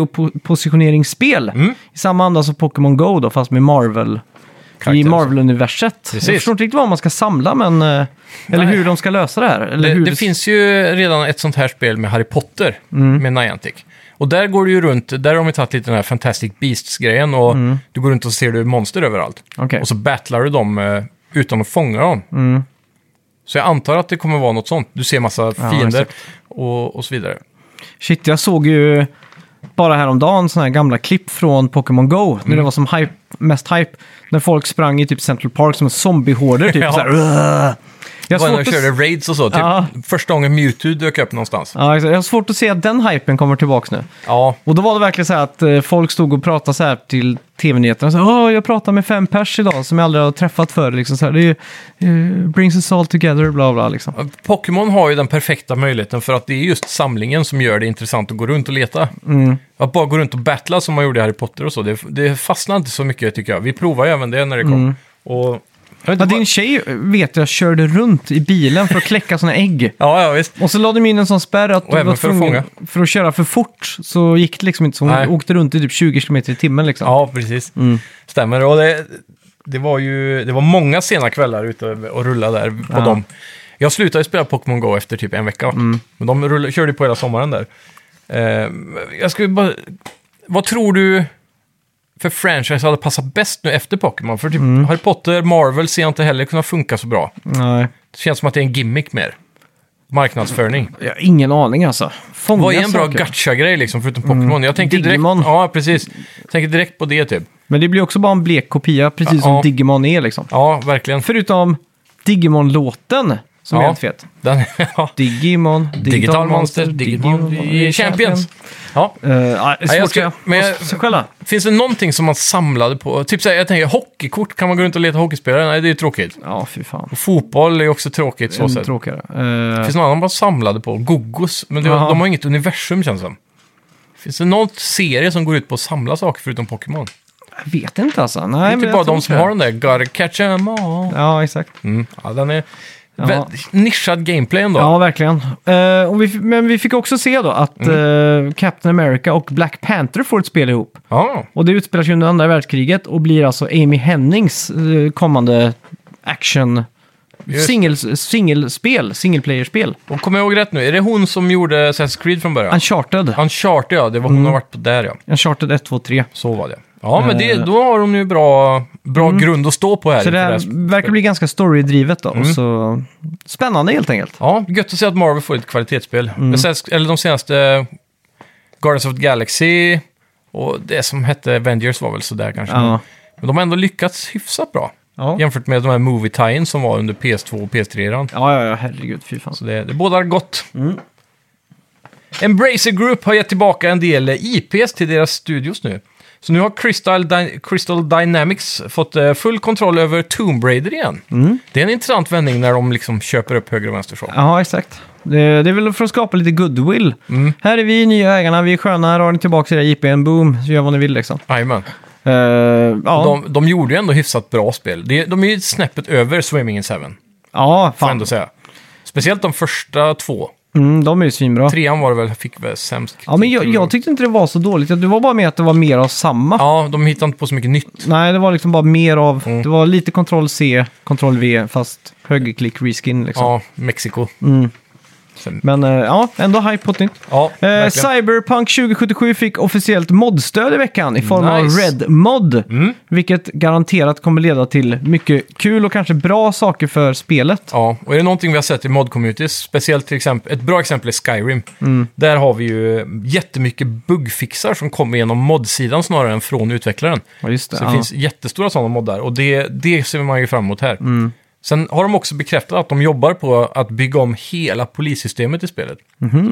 [SPEAKER 2] geopositioneringsspel
[SPEAKER 1] Mm.
[SPEAKER 2] i samma anda som Pokémon Go då, fast med Marvel. I
[SPEAKER 1] Karaktärer.
[SPEAKER 2] Marvel-universet. Jag
[SPEAKER 1] Precis.
[SPEAKER 2] förstår inte riktigt vad man ska samla, men... eh, Eller
[SPEAKER 1] Nej.
[SPEAKER 2] hur de ska lösa det här. Eller
[SPEAKER 1] Det,
[SPEAKER 2] hur
[SPEAKER 1] det finns ju redan ett sånt här spel med Harry Potter,
[SPEAKER 2] Mm.
[SPEAKER 1] med Niantic. Och där går du ju runt, där har de tagit lite den här Fantastic Beasts-grejen och du går runt och ser du monster överallt.
[SPEAKER 2] Mm. Okej. Mm.
[SPEAKER 1] Och så battlar du dem eh, utan att fånga dem. Så jag antar att det kommer vara något sånt. Du ser massa
[SPEAKER 2] Ja,
[SPEAKER 1] fiender
[SPEAKER 2] exakt.
[SPEAKER 1] och, och så vidare.
[SPEAKER 2] Shit, jag såg ju bara häromdagen sådana här gamla klipp från Pokémon Go, när
[SPEAKER 1] Mm.
[SPEAKER 2] det var som hype, mest hype. När folk sprang i typ Central Park som zombiehorder, typ
[SPEAKER 1] *laughs* Ja.
[SPEAKER 2] såhär. "Ugh." Jag
[SPEAKER 1] Jag var
[SPEAKER 2] har,
[SPEAKER 1] när de
[SPEAKER 2] svårt att,
[SPEAKER 1] körde
[SPEAKER 2] s-
[SPEAKER 1] raids och så, typ.
[SPEAKER 2] Ja.
[SPEAKER 1] Första gången Mewtwo dök upp någonstans.
[SPEAKER 2] ja, exakt. jag har svårt att se att den hypen kommer tillbaka nu.
[SPEAKER 1] Ja,
[SPEAKER 2] Och då var det verkligen så här att eh, folk stod och pratade så här till tv-nyheterna. Så, här, Åh, jag pratade med fem pers idag som jag aldrig har träffat förr. Liksom, så här, det är, ju, eh, brings us all together, bla bla. Liksom.
[SPEAKER 1] Pokémon har ju den perfekta möjligheten för att det är just samlingen som gör det intressant att gå runt och leta. Att bara gå runt och battla som man gjorde i Harry Potter och så, det, det fastnar inte så mycket tycker jag. Vi provade ju även det när det kom. Och, jag vet
[SPEAKER 2] Ja,
[SPEAKER 1] inte,
[SPEAKER 2] din
[SPEAKER 1] vad-
[SPEAKER 2] tjej eh, vet jag körde runt i bilen för att kläcka sådana ägg.
[SPEAKER 1] ja, ja, visst.
[SPEAKER 2] Och så lade de in en sån spärr att
[SPEAKER 1] Och även för att
[SPEAKER 2] för att köra för fort så gick det liksom inte. Så hon
[SPEAKER 1] Nej.
[SPEAKER 2] åkte runt i typ 20 km i timmen liksom.
[SPEAKER 1] Ja, precis. Stämmer. Och det, det var ju det var många sena kvällar ute och rulla där på
[SPEAKER 2] Ja. Mm.
[SPEAKER 1] dem. Jag slutade ju spela Pokémon Go efter typ en vecka. Men de rullade, körde ju på hela sommaren där. Eh, jag skulle bara... Vad tror du för franchise hade passat bäst nu efter Pokémon? För typ
[SPEAKER 2] Mm.
[SPEAKER 1] Harry Potter, Marvel ser jag inte heller kunna funka så bra.
[SPEAKER 2] Nej.
[SPEAKER 1] Det känns som att det är en gimmick mer. Marknadsföring.
[SPEAKER 2] Jag har ingen aning alltså. Fånga
[SPEAKER 1] Vad är en bra
[SPEAKER 2] saker. Mm.
[SPEAKER 1] gacha-grej liksom, förutom Pokémon? Jag tänker direkt,
[SPEAKER 2] Digimon.
[SPEAKER 1] ja, precis. Jag tänker direkt på det typ.
[SPEAKER 2] Men det blir också bara en blek kopia, precis som
[SPEAKER 1] Ja.
[SPEAKER 2] Digimon är liksom.
[SPEAKER 1] Ja, verkligen.
[SPEAKER 2] Förutom Digimon-låten som är
[SPEAKER 1] Ja.
[SPEAKER 2] helt fet.
[SPEAKER 1] Den, *laughs* ja.
[SPEAKER 2] Digimon, Digital,
[SPEAKER 1] Digital Monster, Digimon, Champions. Ja.
[SPEAKER 2] Uh, ja, det är
[SPEAKER 1] Nej, jag
[SPEAKER 2] svårt ska,
[SPEAKER 1] ska- men jag-
[SPEAKER 2] Kolla.
[SPEAKER 1] Finns det någonting som man samlade på? Typ såhär, jag tänker hockeykort, kan man gå runt och leta hockeyspelare? Nej, det är ju tråkigt.
[SPEAKER 2] Ja, fy fan.
[SPEAKER 1] Och fotboll är ju också tråkigt så
[SPEAKER 2] Ännu
[SPEAKER 1] sätt.
[SPEAKER 2] tråkigare. Eh,
[SPEAKER 1] Finns det någon annan man samlade på? Gogos? Men det,
[SPEAKER 2] Jaha.
[SPEAKER 1] de har inget universum känns det som. Finns det någon serie som går ut på att samla saker förutom Pokémon?
[SPEAKER 2] jag vet inte alltså. Nej,
[SPEAKER 1] Det är
[SPEAKER 2] men
[SPEAKER 1] typ
[SPEAKER 2] jag
[SPEAKER 1] bara
[SPEAKER 2] tror
[SPEAKER 1] de som
[SPEAKER 2] inte.
[SPEAKER 1] har den där Gotta catch 'em all.
[SPEAKER 2] Ja, exakt.
[SPEAKER 1] Mm. Ja, den är
[SPEAKER 2] Ja.
[SPEAKER 1] väldigt nischad gameplay ändå.
[SPEAKER 2] Ja, verkligen. Eh, och vi, f- men vi fick också se då att
[SPEAKER 1] Mm.
[SPEAKER 2] eh, Captain America och Black Panther får ett spel ihop.
[SPEAKER 1] Ja.
[SPEAKER 2] Och det utspelar sig under andra världskriget och blir alltså Amy Hennings eh, kommande action
[SPEAKER 1] Just.
[SPEAKER 2] singels- singelspel, singleplayerspel.
[SPEAKER 1] Och kommer jag ihåg rätt nu? Är det hon som gjorde Assassin's Creed från början?
[SPEAKER 2] Uncharted.
[SPEAKER 1] Uncharted, ja. Det var hon
[SPEAKER 2] Mm.
[SPEAKER 1] har varit på där, ja.
[SPEAKER 2] Uncharted 1, 2, 3.
[SPEAKER 1] Så var det. Ja, men det, då har de ju bra, bra grund att stå på här.
[SPEAKER 2] Eh. Mm. Så det
[SPEAKER 1] inför
[SPEAKER 2] här
[SPEAKER 1] sp-
[SPEAKER 2] verkar bli ganska storydrivet då. Och
[SPEAKER 1] Mm.
[SPEAKER 2] så... Spännande helt enkelt.
[SPEAKER 1] Ja, gött att se att Marvel får ett kvalitetsspel.
[SPEAKER 2] Mm.
[SPEAKER 1] Men sen, eller de senaste Guardians of the Galaxy och det som hette Avengers var väl sådär kanske.
[SPEAKER 2] Ja.
[SPEAKER 1] Men de har ändå lyckats hyfsat bra.
[SPEAKER 2] Ja, ja,
[SPEAKER 1] Jämfört med de här movie tie som var under PS2 och PS3-eran.
[SPEAKER 2] ja, ja herregud, fy fan.
[SPEAKER 1] Så det, det bådar gott. Embracer Group har gett tillbaka en del eh, IPs till deras studios nu. Så nu har Crystal, Dy- Crystal Dynamics fått eh, full kontroll över Tomb Raider igen. Det är en intressant vändning när de liksom köper upp höger och vänster så.
[SPEAKER 2] Ja, exakt. Det, det är väl för att skapa lite goodwill.
[SPEAKER 1] Mm.
[SPEAKER 2] Här är vi nya ägarna, vi är sköna, här har ni tillbaka era IPn, boom, så gör vad ni vill liksom.
[SPEAKER 1] Jajamän.
[SPEAKER 2] Eh, ja.
[SPEAKER 1] De, de gjorde ju ändå hyfsat bra spel. De, de är ju snäppet över Swimming in Seven,
[SPEAKER 2] ja,
[SPEAKER 1] får jag
[SPEAKER 2] fan.
[SPEAKER 1] ändå säga. Speciellt de första två.
[SPEAKER 2] Mm, de är ju svinbra.
[SPEAKER 1] Trean var det väl, fick väl sämst
[SPEAKER 2] Ja, men jag, jag tyckte inte det var så dåligt. Det var bara mer att det var mer av samma.
[SPEAKER 1] Ja, Mm. de hittade inte på så mycket nytt.
[SPEAKER 2] Nej, det var liksom bara mer av... Det var lite kontroll C, kontroll V, fast högerklick reskin liksom.
[SPEAKER 1] Ja, Mexiko.
[SPEAKER 2] Men eh, ja, ändå hype på ett nytt.
[SPEAKER 1] Ja,
[SPEAKER 2] Mm. Eh,
[SPEAKER 1] verkligen.
[SPEAKER 2] Cyberpunk 2077 fick officiellt modstöd i veckan i form av
[SPEAKER 1] Nice. Mm.
[SPEAKER 2] Red Mod. Vilket garanterat kommer leda till mycket kul och kanske bra saker för spelet.
[SPEAKER 1] Ja, och är det någonting vi har sett i mod-communities, speciellt till exempel, ett bra exempel är Skyrim.
[SPEAKER 2] Mm.
[SPEAKER 1] Där har vi ju jättemycket bugfixar som kommer genom mod-sidan snarare än från utvecklaren.
[SPEAKER 2] Ja, just det.
[SPEAKER 1] Så det
[SPEAKER 2] ja.
[SPEAKER 1] finns jättestora sådana moddar och det, det ser man ju fram emot här.
[SPEAKER 2] Mm.
[SPEAKER 1] Sen har de också bekräftat att de jobbar på att bygga om hela polissystemet i spelet.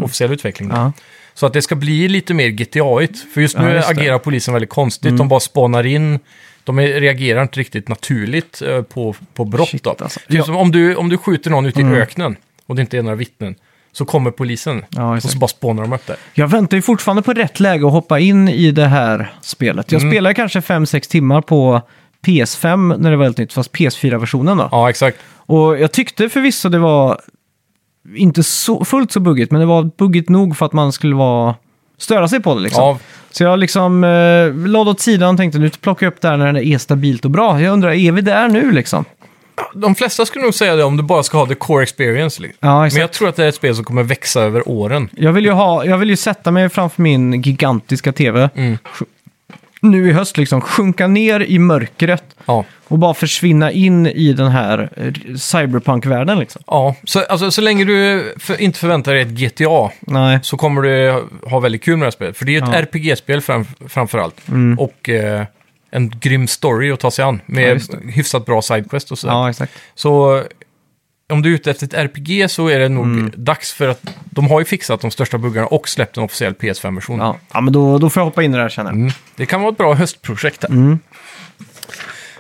[SPEAKER 1] Officiell utveckling. då.
[SPEAKER 2] Mhm. Ja.
[SPEAKER 1] Så att det ska bli lite mer GTA-igt. För just nu
[SPEAKER 2] Ja, just det. Mm.
[SPEAKER 1] agerar polisen väldigt konstigt. De bara spanar in. De är- reagerar inte riktigt naturligt eh, på, på brott.
[SPEAKER 2] Shit,
[SPEAKER 1] då.
[SPEAKER 2] alltså.
[SPEAKER 1] Typ
[SPEAKER 2] Ja. Mm.
[SPEAKER 1] som om, du, om du skjuter någon ute i öknen och det inte är några vittnen. Så kommer polisen
[SPEAKER 2] Ja,
[SPEAKER 1] och
[SPEAKER 2] just
[SPEAKER 1] så
[SPEAKER 2] det.
[SPEAKER 1] bara spånar de upp det.
[SPEAKER 2] Jag väntar ju fortfarande på rätt läge att hoppa in i det här spelet.
[SPEAKER 1] Mm.
[SPEAKER 2] Jag spelade kanske 5-6 timmar på PS5 när det var helt nytt, fast PS4-versionen då.
[SPEAKER 1] Ja, exakt.
[SPEAKER 2] Och jag tyckte förvisso det var inte så, fullt så buggigt, men det var buggigt nog för att man skulle vara, störa sig på det liksom.
[SPEAKER 1] Ja,
[SPEAKER 2] Så jag liksom eh, lade åt sidan och tänkte nu plockar jag upp det här när det är stabilt och bra. Jag undrar, är vi där nu liksom?
[SPEAKER 1] de flesta skulle nog säga det om du bara ska ha the core experience. Liksom.
[SPEAKER 2] Ja, exakt.
[SPEAKER 1] Men jag tror att det är ett spel som kommer växa över åren.
[SPEAKER 2] Jag vill ju, ha, jag vill ju sätta mig framför min gigantiska tv sj- nu i höst, liksom sjunka ner i mörkret
[SPEAKER 1] Ja.
[SPEAKER 2] och bara försvinna in i den här eh, cyberpunk-världen. Liksom.
[SPEAKER 1] Ja, så, alltså, så länge du för, inte förväntar dig ett GTA
[SPEAKER 2] Nej.
[SPEAKER 1] så kommer du ha väldigt kul med det här spelet. För det är ju ett
[SPEAKER 2] Ja. Mm.
[SPEAKER 1] RPG-spel fram, framför allt. Och eh, en grym story att ta sig an
[SPEAKER 2] Ja,
[SPEAKER 1] med
[SPEAKER 2] just
[SPEAKER 1] hyfsat bra sidequest och sådär.
[SPEAKER 2] Ja, exakt.
[SPEAKER 1] Så eh, om du är ute efter ett RPG så är det nog
[SPEAKER 2] Mm.
[SPEAKER 1] dags för att de har ju fixat de största buggarna och släppt en officiell PS5-version.
[SPEAKER 2] Ja, ja men då, då får jag hoppa in i det här känner jag.
[SPEAKER 1] Mm. Det kan vara ett bra höstprojekt. Här.
[SPEAKER 2] Mm.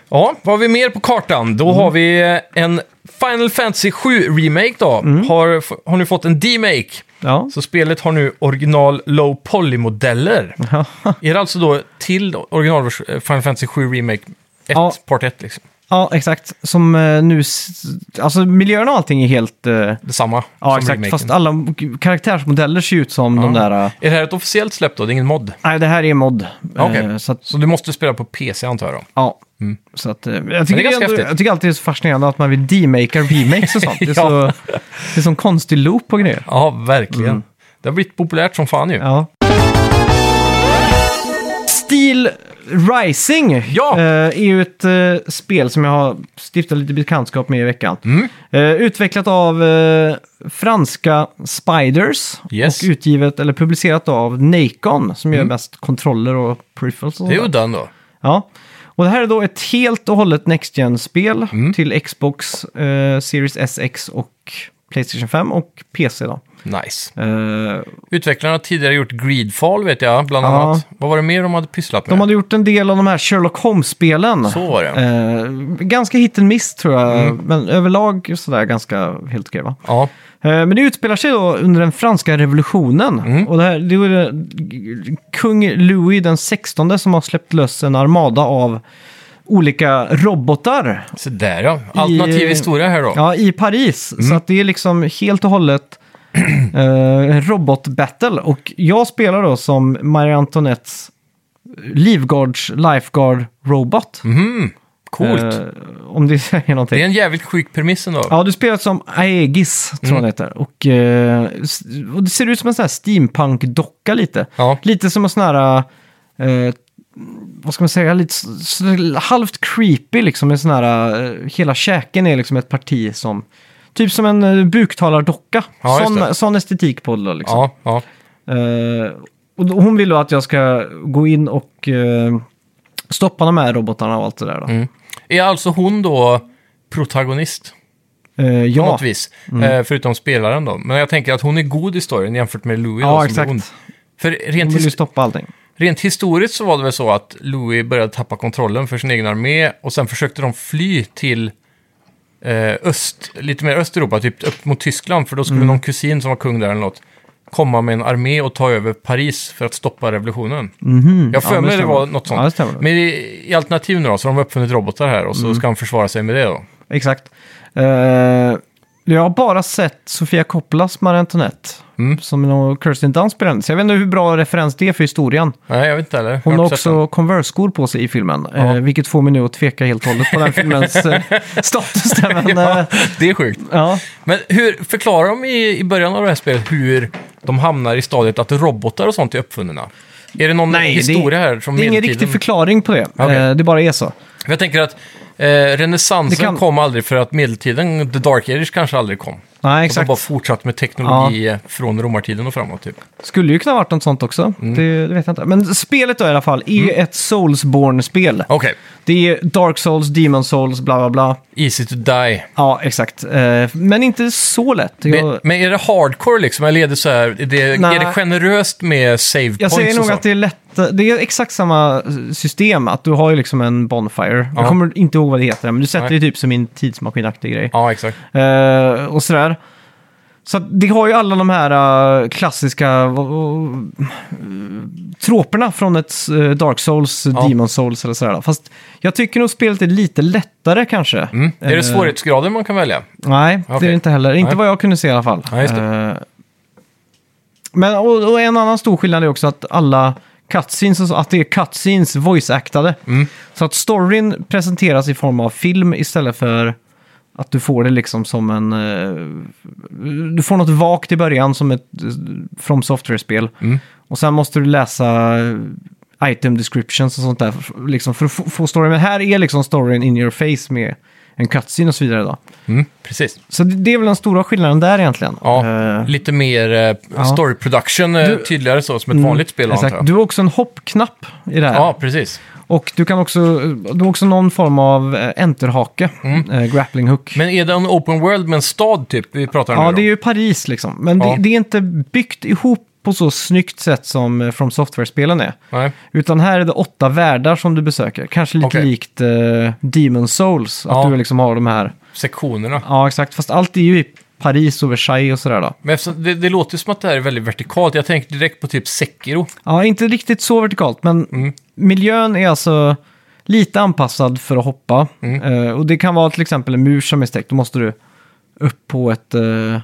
[SPEAKER 1] Ja, vad har vi mer på kartan?
[SPEAKER 2] Mm.
[SPEAKER 1] Då har vi en Final Fantasy 7-remake då.
[SPEAKER 2] Mm.
[SPEAKER 1] Har, har nu fått en demake.
[SPEAKER 2] Ja.
[SPEAKER 1] Så spelet har nu original low poly-modeller. Är det alltså då till original eh, Final Fantasy 7 Remake 1,
[SPEAKER 2] Ja.
[SPEAKER 1] part 1 liksom?
[SPEAKER 2] ja, exakt. Som eh, nu... s- Alltså miljön och allting är helt... eh,
[SPEAKER 1] Detsamma
[SPEAKER 2] ja, exakt. Fast alla karaktärsmodeller ser ju ut som de där... eh,
[SPEAKER 1] Är det här ett officiellt släpp då? Det är ingen mod?
[SPEAKER 2] Nej, det här är mod.
[SPEAKER 1] Okej.
[SPEAKER 2] Eh, Så att
[SPEAKER 1] Så du måste spela på PC antar jag då?
[SPEAKER 2] Ja. Så att, eh, jag,
[SPEAKER 1] det är
[SPEAKER 2] tycker det är
[SPEAKER 1] ganska
[SPEAKER 2] ändå,
[SPEAKER 1] häftigt.
[SPEAKER 2] jag tycker alltid det är så fascinerande att man vill demaka remakes och sånt. Det är,
[SPEAKER 1] *laughs*
[SPEAKER 2] så,
[SPEAKER 1] Ja.
[SPEAKER 2] det är sån konstig loop på grejer.
[SPEAKER 1] Ja, verkligen. Det har blivit populärt som fan ju.
[SPEAKER 2] Mm. Ja. Steel Rising
[SPEAKER 1] Ja.
[SPEAKER 2] eh, är ju ett eh, spel som jag har stiftat lite bekantskap med i veckan.
[SPEAKER 1] Mm.
[SPEAKER 2] Eh, utvecklat av eh, franska Spiders
[SPEAKER 1] Yes. Mm.
[SPEAKER 2] och utgivet eller publicerat av Nacon som gör mest kontroller och peripherals. och
[SPEAKER 1] Det är
[SPEAKER 2] sånt där.
[SPEAKER 1] uddan då.
[SPEAKER 2] Ja. Och det här är då ett helt och hållet Next Gen-spel
[SPEAKER 1] Mm.
[SPEAKER 2] till Xbox eh, Series SX och Playstation 5 och PC då.
[SPEAKER 1] Nice.
[SPEAKER 2] Eh,
[SPEAKER 1] Utvecklarna har tidigare gjort Greedfall vet jag, bland
[SPEAKER 2] Ja.
[SPEAKER 1] annat. Vad var det mer de hade pysslat med?
[SPEAKER 2] de hade gjort en del av de här Sherlock Holmes-spelen.
[SPEAKER 1] Så var det. Mm.
[SPEAKER 2] Eh, ganska hit and miss tror jag, men överlag sådär ganska helt okej va?
[SPEAKER 1] Ja,
[SPEAKER 2] Eh, Men det utspelar sig då under den franska revolutionen.
[SPEAKER 1] Mm.
[SPEAKER 2] Och det här, det är ju, eh, kung Louis den 16 som har släppt lös en armada av olika robotar.
[SPEAKER 1] så där ja. Alternativ
[SPEAKER 2] I-
[SPEAKER 1] historia här då.
[SPEAKER 2] Ja, i Paris. Så
[SPEAKER 1] Mm.
[SPEAKER 2] att det är liksom helt och hållet eh, en robotbattle. Och jag spelar då som Marie Antoinettes livgards, lifeguard robot.
[SPEAKER 1] Mhm. Coolt.
[SPEAKER 2] Eh, om det *laughs* säger någonting.
[SPEAKER 1] Det är en jävligt sjuk premiss ändå.
[SPEAKER 2] Ja, du spelar som Aegis, tror jag
[SPEAKER 1] Mm.
[SPEAKER 2] det heter. Och, eh, s- och det ser ut som en sån här steampunk-docka lite.
[SPEAKER 1] Ja.
[SPEAKER 2] Lite som en sån här, eh, vad ska man säga, lite s- s- halvt creepy liksom. En sån här, eh, hela käken är liksom ett parti som, typ som en eh, buktalardocka.
[SPEAKER 1] Ja, just det.
[SPEAKER 2] sån, sån estetik på det då, liksom.
[SPEAKER 1] Ja, ja.
[SPEAKER 2] Eh, och då, hon vill då att jag ska gå in och eh, stoppa de här robotarna och allt det där då.
[SPEAKER 1] Är alltså hon då protagonist
[SPEAKER 2] Eh,
[SPEAKER 1] på
[SPEAKER 2] ja, Mm.
[SPEAKER 1] något vis? Eh, förutom spelaren då. Men jag tänker att hon är god i storyn jämfört med Louis
[SPEAKER 2] Ja,
[SPEAKER 1] då, som
[SPEAKER 2] exakt.
[SPEAKER 1] Är ond. För
[SPEAKER 2] hon
[SPEAKER 1] rent,
[SPEAKER 2] vill ju
[SPEAKER 1] his-
[SPEAKER 2] stoppa allting.
[SPEAKER 1] rent historiskt så var det väl så att Louis började tappa kontrollen för sin egen armé och sen försökte de fly till eh, öst, lite mer Östeuropa, typ upp mot Tyskland, för då
[SPEAKER 2] Mm.
[SPEAKER 1] skulle någon kusin som var kung där eller något komma med en armé och ta över Paris för att stoppa revolutionen.
[SPEAKER 2] Mhm.
[SPEAKER 1] Jag har för
[SPEAKER 2] men
[SPEAKER 1] mig det
[SPEAKER 2] stämmer.
[SPEAKER 1] var något
[SPEAKER 2] Ja, det
[SPEAKER 1] sånt.
[SPEAKER 2] stämmer. Mm.
[SPEAKER 1] men i, i alternativ nu då, så har de uppfunnit robotar här och så ska han försvara sig med det då.
[SPEAKER 2] Exakt. Eh, jag har bara sett Sofia Coppolas Marie Antoinette.
[SPEAKER 1] Mm.
[SPEAKER 2] Som någon Kirsten Dunst spelade. Så jag vet inte hur bra referens det är för historien.
[SPEAKER 1] Nej, jag vet inte heller.
[SPEAKER 2] Hon
[SPEAKER 1] Jag
[SPEAKER 2] har
[SPEAKER 1] inte sett den. *laughs*
[SPEAKER 2] också Converse-skor på sig i filmen. eh, vilket får mig nu att tveka helt och hållet på den
[SPEAKER 1] *laughs*
[SPEAKER 2] filmens eh, status. Där, men, ja.
[SPEAKER 1] ja, det är sjukt.
[SPEAKER 2] ja.
[SPEAKER 1] Men hur förklarar de i, i början av det här spelet hur de hamnar i stadiet att robotar och sånt är uppfunna? Är det någon historia här som
[SPEAKER 2] det är ingen
[SPEAKER 1] medeltiden-
[SPEAKER 2] riktig förklaring på det.
[SPEAKER 1] Okej.
[SPEAKER 2] Eh, det bara är så.
[SPEAKER 1] För Jag tänker att eh, renässansen
[SPEAKER 2] Det kan-
[SPEAKER 1] kom aldrig för att medeltiden, the dark age kanske aldrig kom.
[SPEAKER 2] Nej,
[SPEAKER 1] Att de
[SPEAKER 2] exakt.
[SPEAKER 1] bara fortsatt med teknologi eh, från romartiden och framåt typ.
[SPEAKER 2] Skulle ju kunna varit något sånt också.
[SPEAKER 1] Mm.
[SPEAKER 2] Det, det vet jag inte. Men spelet då i alla fall är ju ett Soulsborne-spel.
[SPEAKER 1] Okej,
[SPEAKER 2] Det är Dark Souls, Demon Souls, bla bla bla.
[SPEAKER 1] easy to die.
[SPEAKER 2] Ja, exakt. Eh, Men inte så lätt.
[SPEAKER 1] Men,
[SPEAKER 2] Jag,
[SPEAKER 1] men är det hardcore liksom, eller är det så här, är det,
[SPEAKER 2] Nej.
[SPEAKER 1] är det generöst med save
[SPEAKER 2] jag
[SPEAKER 1] points
[SPEAKER 2] säger
[SPEAKER 1] och
[SPEAKER 2] nog
[SPEAKER 1] så?
[SPEAKER 2] att det är lätt. Det är exakt samma system, att du har ju liksom en Bonfire.
[SPEAKER 1] Ja.
[SPEAKER 2] Jag kommer inte ihåg vad det heter, men du sätter
[SPEAKER 1] Nej.
[SPEAKER 2] det typ som i en tidsmaskinaktig grej.
[SPEAKER 1] Ja, exakt.
[SPEAKER 2] Eh, och sådär. Så att det har ju alla de här eh, klassiska vad- vad- eh, tråperna från ett eh, Dark Souls,
[SPEAKER 1] Ja.
[SPEAKER 2] Demon Souls eller sådär. Fast jag tycker nog spelet är lite lättare kanske.
[SPEAKER 1] Mm. Är
[SPEAKER 2] Eh,
[SPEAKER 1] det svårighetsgrader man kan välja?
[SPEAKER 2] Nej, det är
[SPEAKER 1] Okej.
[SPEAKER 2] det inte heller. Inte
[SPEAKER 1] Nej.
[SPEAKER 2] vad jag kunde se i alla fall.
[SPEAKER 1] Nej, just det.
[SPEAKER 2] Eh, Men och, och en annan stor skillnad är också att alla cutscenes, och så- att det är cutscenes voice-actade.
[SPEAKER 1] Mm.
[SPEAKER 2] Så att storyn presenteras i form av film istället för att du får det liksom som en... eh, du får något vagt i början som ett eh, From Software-spel.
[SPEAKER 1] Mm.
[SPEAKER 2] Och sen måste du läsa item descriptions och sånt där för- liksom för att få- få storyn. Men här är liksom storyn in your face med en cutscene och så vidare. Då.
[SPEAKER 1] Mm, precis.
[SPEAKER 2] Så det det är väl den stora skillnaden där egentligen.
[SPEAKER 1] Ja,
[SPEAKER 2] Eh,
[SPEAKER 1] lite mer eh, story production, eh, tydligare så, som ett vanligt spel antar
[SPEAKER 2] Mm, Exakt.
[SPEAKER 1] jag.
[SPEAKER 2] Du har också en hoppknapp i det här.
[SPEAKER 1] Ja, precis.
[SPEAKER 2] Och du kan också, du har också någon form av eh, enterhake,
[SPEAKER 1] Mm.
[SPEAKER 2] eh, grappling hook.
[SPEAKER 1] Men är det en open world med en stad typ vi pratar om
[SPEAKER 2] ja,
[SPEAKER 1] nu
[SPEAKER 2] det
[SPEAKER 1] då?
[SPEAKER 2] är ju Paris liksom. Men
[SPEAKER 1] Ja.
[SPEAKER 2] det, det är inte byggt ihop på så snyggt sätt som eh, From Software-spelen är.
[SPEAKER 1] Nej.
[SPEAKER 2] Utan här är det åtta världar som du besöker. Kanske lite
[SPEAKER 1] Okej.
[SPEAKER 2] likt eh, Demon Souls, att
[SPEAKER 1] Ja.
[SPEAKER 2] du liksom har de här.
[SPEAKER 1] Sektionerna.
[SPEAKER 2] Ja, exakt. Fast allt är ju i Paris och Versailles och sådär då.
[SPEAKER 1] Men eftersom, det, det låter ju som att det här är väldigt vertikalt. Jag tänker direkt på typ Sekiro.
[SPEAKER 2] Ja, inte riktigt så vertikalt, men
[SPEAKER 1] Mm.
[SPEAKER 2] miljön är alltså lite anpassad för att hoppa.
[SPEAKER 1] Mm.
[SPEAKER 2] Eh, och det kan vara till exempel en mur som är stäckt, då måste du upp på ett... eh,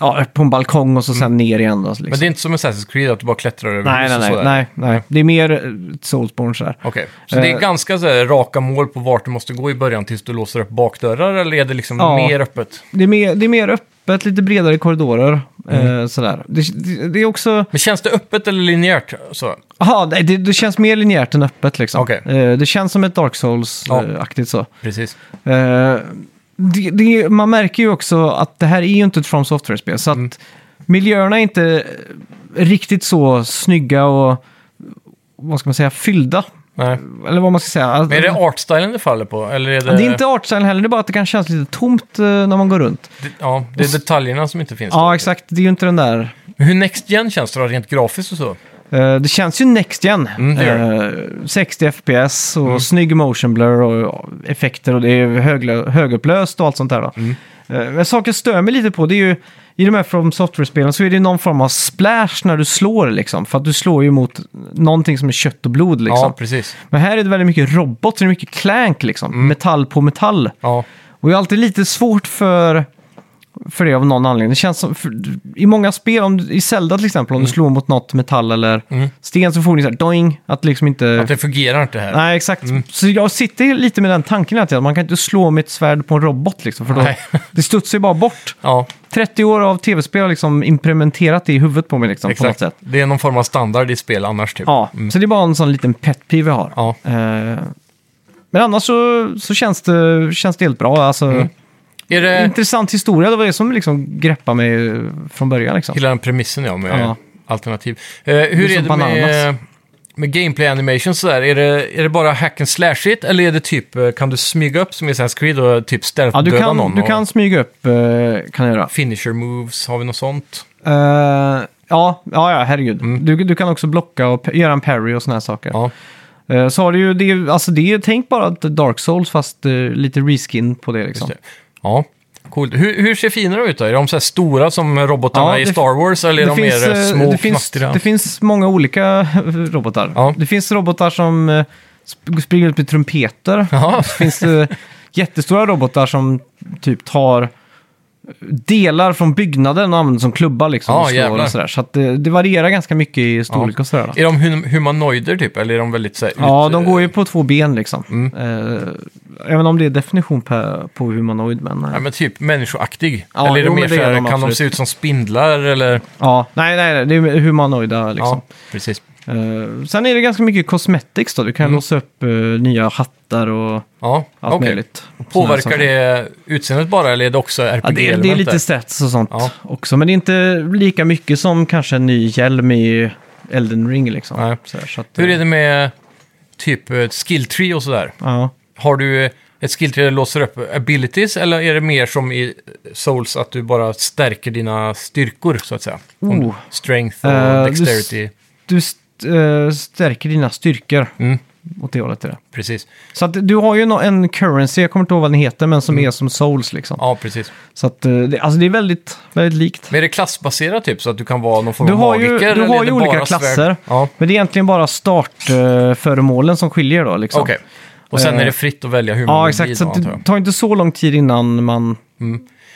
[SPEAKER 2] ja, upp på en balkong och så sen ner igen. Då, liksom.
[SPEAKER 1] Mm. Men det är inte som Assassin's Creed att du bara klättrar över
[SPEAKER 2] nej,
[SPEAKER 1] hus
[SPEAKER 2] nej,
[SPEAKER 1] och
[SPEAKER 2] nej,
[SPEAKER 1] sådär.
[SPEAKER 2] nej, nej. Det är mer eh, Soulsborne sådär.
[SPEAKER 1] Okej, så det är
[SPEAKER 2] Eh.
[SPEAKER 1] ganska så här, raka mål på vart du måste gå i början tills du låser upp bakdörrar eller är det liksom
[SPEAKER 2] Ja.
[SPEAKER 1] mer öppet?
[SPEAKER 2] Det är mer, det är mer öppet, lite bredare korridorer.
[SPEAKER 1] Mm.
[SPEAKER 2] eh, sådär. Det, det, det är också...
[SPEAKER 1] Men känns det öppet eller linjärt? Så,
[SPEAKER 2] Aha, nej, det, det känns mer linjärt än öppet liksom.
[SPEAKER 1] Okej.
[SPEAKER 2] Eh, det känns som ett Dark
[SPEAKER 1] Ja.
[SPEAKER 2] Souls-aktigt så.
[SPEAKER 1] precis.
[SPEAKER 2] Eh, det, det, man märker ju också att det här är ju inte ett From Software-spel. Så att
[SPEAKER 1] Mm.
[SPEAKER 2] miljöerna är inte riktigt så snygga och vad ska man säga, fyllda.
[SPEAKER 1] Nej.
[SPEAKER 2] Eller vad man ska säga. Alltså,
[SPEAKER 1] Men är det artstylen det faller på? Eller är det,
[SPEAKER 2] Mm. det är inte artstyle heller, det är bara att det kan kännas lite tomt eh, när man går runt.
[SPEAKER 1] det- ja, det är detaljerna som inte finns.
[SPEAKER 2] Ja,
[SPEAKER 1] då.
[SPEAKER 2] exakt. Det är ju inte den där...
[SPEAKER 1] Men hur Next Gen känns det då, rent grafiskt och så?
[SPEAKER 2] eh, det känns ju next gen.
[SPEAKER 1] Mm, det Mm.
[SPEAKER 2] Eh, 60 FPS och snygg motion blur och ja, effekter och det är höglö- högupplöst och allt sånt där. Då.
[SPEAKER 1] Mm.
[SPEAKER 2] Eh, Men saker jag stör mig lite på det är ju i de här From Software-spelen så är det någon form av splash när du slår liksom. För att du slår ju mot någonting som är kött och blod liksom.
[SPEAKER 1] Ja, precis.
[SPEAKER 2] Men här är det väldigt mycket robot, så det är mycket clank liksom.
[SPEAKER 1] Mm.
[SPEAKER 2] Metall på metall.
[SPEAKER 1] Ja.
[SPEAKER 2] Och jag är alltid lite svårt för, för det av någon anledning. Det känns som, för, i många spel, om, du- i Zelda till exempel,
[SPEAKER 1] Mm.
[SPEAKER 2] om du slår mot något metall eller sten så får du så här doing, att liksom inte...
[SPEAKER 1] Att det Mm. fungerar inte här.
[SPEAKER 2] Nej, exakt. Så jag sitter lite med den tanken att man kan inte slå med ett svärd på en robot liksom, för då,
[SPEAKER 1] Nej.
[SPEAKER 2] *laughs* det studsar ju bara bort.
[SPEAKER 1] Ja,
[SPEAKER 2] 30 år av tv-spel har liksom implementerat det i huvudet på mig liksom, på något
[SPEAKER 1] exakt.
[SPEAKER 2] sätt.
[SPEAKER 1] Det är någon form av standard i spel annars typ.
[SPEAKER 2] Ja, så det är bara en sån liten pet peeve jag har.
[SPEAKER 1] Ja.
[SPEAKER 2] Eh, men annars så, så känns, det, känns det helt bra. Alltså,
[SPEAKER 1] Mm. Är det
[SPEAKER 2] Intressant historia, det var det som liksom greppade mig eh, från början. Liksom.
[SPEAKER 1] hela den premissen ja, med
[SPEAKER 2] Ja.
[SPEAKER 1] alternativ? Eh, hur
[SPEAKER 2] är som
[SPEAKER 1] är, det med,
[SPEAKER 2] bananas.
[SPEAKER 1] med gameplay animations sådär, är det, är det bara hack and slash it eller är det typ, eh, kan du smyga upp som i Assassin's Creed och typ stealth
[SPEAKER 2] Ja, du
[SPEAKER 1] döda
[SPEAKER 2] kan,
[SPEAKER 1] någon?
[SPEAKER 2] du
[SPEAKER 1] och
[SPEAKER 2] kan smyga upp, eh, kan jag göra.
[SPEAKER 1] Finisher moves, har vi något sånt?
[SPEAKER 2] Eh, ja, ja, ja, herregud. Du, du kan också blocka och pe- göra en parry och såna här saker.
[SPEAKER 1] Mm. Ja.
[SPEAKER 2] Eh, så har du ju, det, är- alltså det är, tänk bara att Dark Souls fast eh, lite reskin på det liksom.
[SPEAKER 1] Just det. Ja, coolt. Hur, hur ser finerna ut då? Är de så här stora som robotarna
[SPEAKER 2] Ja, det
[SPEAKER 1] i
[SPEAKER 2] fin-
[SPEAKER 1] Star Wars eller är de mer eh,
[SPEAKER 2] eh,
[SPEAKER 1] små
[SPEAKER 2] det,
[SPEAKER 1] och
[SPEAKER 2] finns,
[SPEAKER 1] fnattriga?
[SPEAKER 2] det finns många olika eh, robotar.
[SPEAKER 1] Ja.
[SPEAKER 2] Det finns robotar som eh, sp- springer ut med trumpeter.
[SPEAKER 1] *laughs* Ja,
[SPEAKER 2] Det finns det jättestora robotar som typ tar delar från byggnaden och använder som klubbar liksom.
[SPEAKER 1] Ja,
[SPEAKER 2] och slår
[SPEAKER 1] jävlar.
[SPEAKER 2] och sådär. Så att det, det varierar ganska mycket i storlek och sådär. då.
[SPEAKER 1] Är de hum- humanoider typ, eller är de väldigt så här, ut-
[SPEAKER 2] Ja, de går ju på två ben liksom.
[SPEAKER 1] Mm.
[SPEAKER 2] Eh, även om det är definition på, på humanoid. Men, eh,
[SPEAKER 1] Ja, men typ människoaktig?
[SPEAKER 2] Ja,
[SPEAKER 1] eller är
[SPEAKER 2] jo,
[SPEAKER 1] de mer
[SPEAKER 2] men det
[SPEAKER 1] så här,
[SPEAKER 2] är de
[SPEAKER 1] kan de
[SPEAKER 2] absolut.
[SPEAKER 1] se ut som spindlar eller?
[SPEAKER 2] ja, nej, nej, nej, det är humanoida liksom.
[SPEAKER 1] Ja, precis.
[SPEAKER 2] Eh, sen är det ganska mycket cosmetics då. Du kan låsa upp eh, nya hattar och
[SPEAKER 1] Ja,
[SPEAKER 2] allt
[SPEAKER 1] Mm. okej.
[SPEAKER 2] möjligt. Såna
[SPEAKER 1] Påverkar
[SPEAKER 2] här saker.
[SPEAKER 1] det utseendet bara eller är det också
[SPEAKER 2] Ja, det, är- det är
[SPEAKER 1] RPG-element?
[SPEAKER 2] lite stats och sånt
[SPEAKER 1] Ja.
[SPEAKER 2] också. Men det är inte lika mycket som kanske en ny hjälm i Elden Ring liksom.
[SPEAKER 1] Nej.
[SPEAKER 2] Så här, så att,
[SPEAKER 1] Hur är det med typ eh, skill tree och sådär?
[SPEAKER 2] Ja.
[SPEAKER 1] Har du eh, ett skill tree där du låser upp abilities eller är det mer som i Souls att du bara stärker dina styrkor så att säga? Om
[SPEAKER 2] Oh.
[SPEAKER 1] Strength och
[SPEAKER 2] Eh, du s-
[SPEAKER 1] dexterity.
[SPEAKER 2] Du st- eh, stärker dina styrkor
[SPEAKER 1] Mm,
[SPEAKER 2] åt det hållet. Är det.
[SPEAKER 1] precis.
[SPEAKER 2] Så att du har ju nå- en currency, jag kommer inte ihåg vad den heter, men som är som souls liksom.
[SPEAKER 1] Mm. Ja, precis.
[SPEAKER 2] Så att eh, det, alltså det är väldigt, väldigt likt.
[SPEAKER 1] Men är det klassbaserat typ så att du kan vara någon form
[SPEAKER 2] Du
[SPEAKER 1] av
[SPEAKER 2] har ju-
[SPEAKER 1] magiker?
[SPEAKER 2] du
[SPEAKER 1] eller
[SPEAKER 2] har
[SPEAKER 1] är
[SPEAKER 2] ju
[SPEAKER 1] det
[SPEAKER 2] olika
[SPEAKER 1] bara svärd?
[SPEAKER 2] klasser.
[SPEAKER 1] Ja,
[SPEAKER 2] Men det är egentligen bara startföremålen som skiljer då liksom.
[SPEAKER 1] okej. Och sen
[SPEAKER 2] Eh,
[SPEAKER 1] är det fritt att välja hur man
[SPEAKER 2] Ja,
[SPEAKER 1] vill
[SPEAKER 2] exakt.
[SPEAKER 1] bli
[SPEAKER 2] Så
[SPEAKER 1] då,
[SPEAKER 2] att
[SPEAKER 1] antar jag.
[SPEAKER 2] det tar inte så lång tid innan man...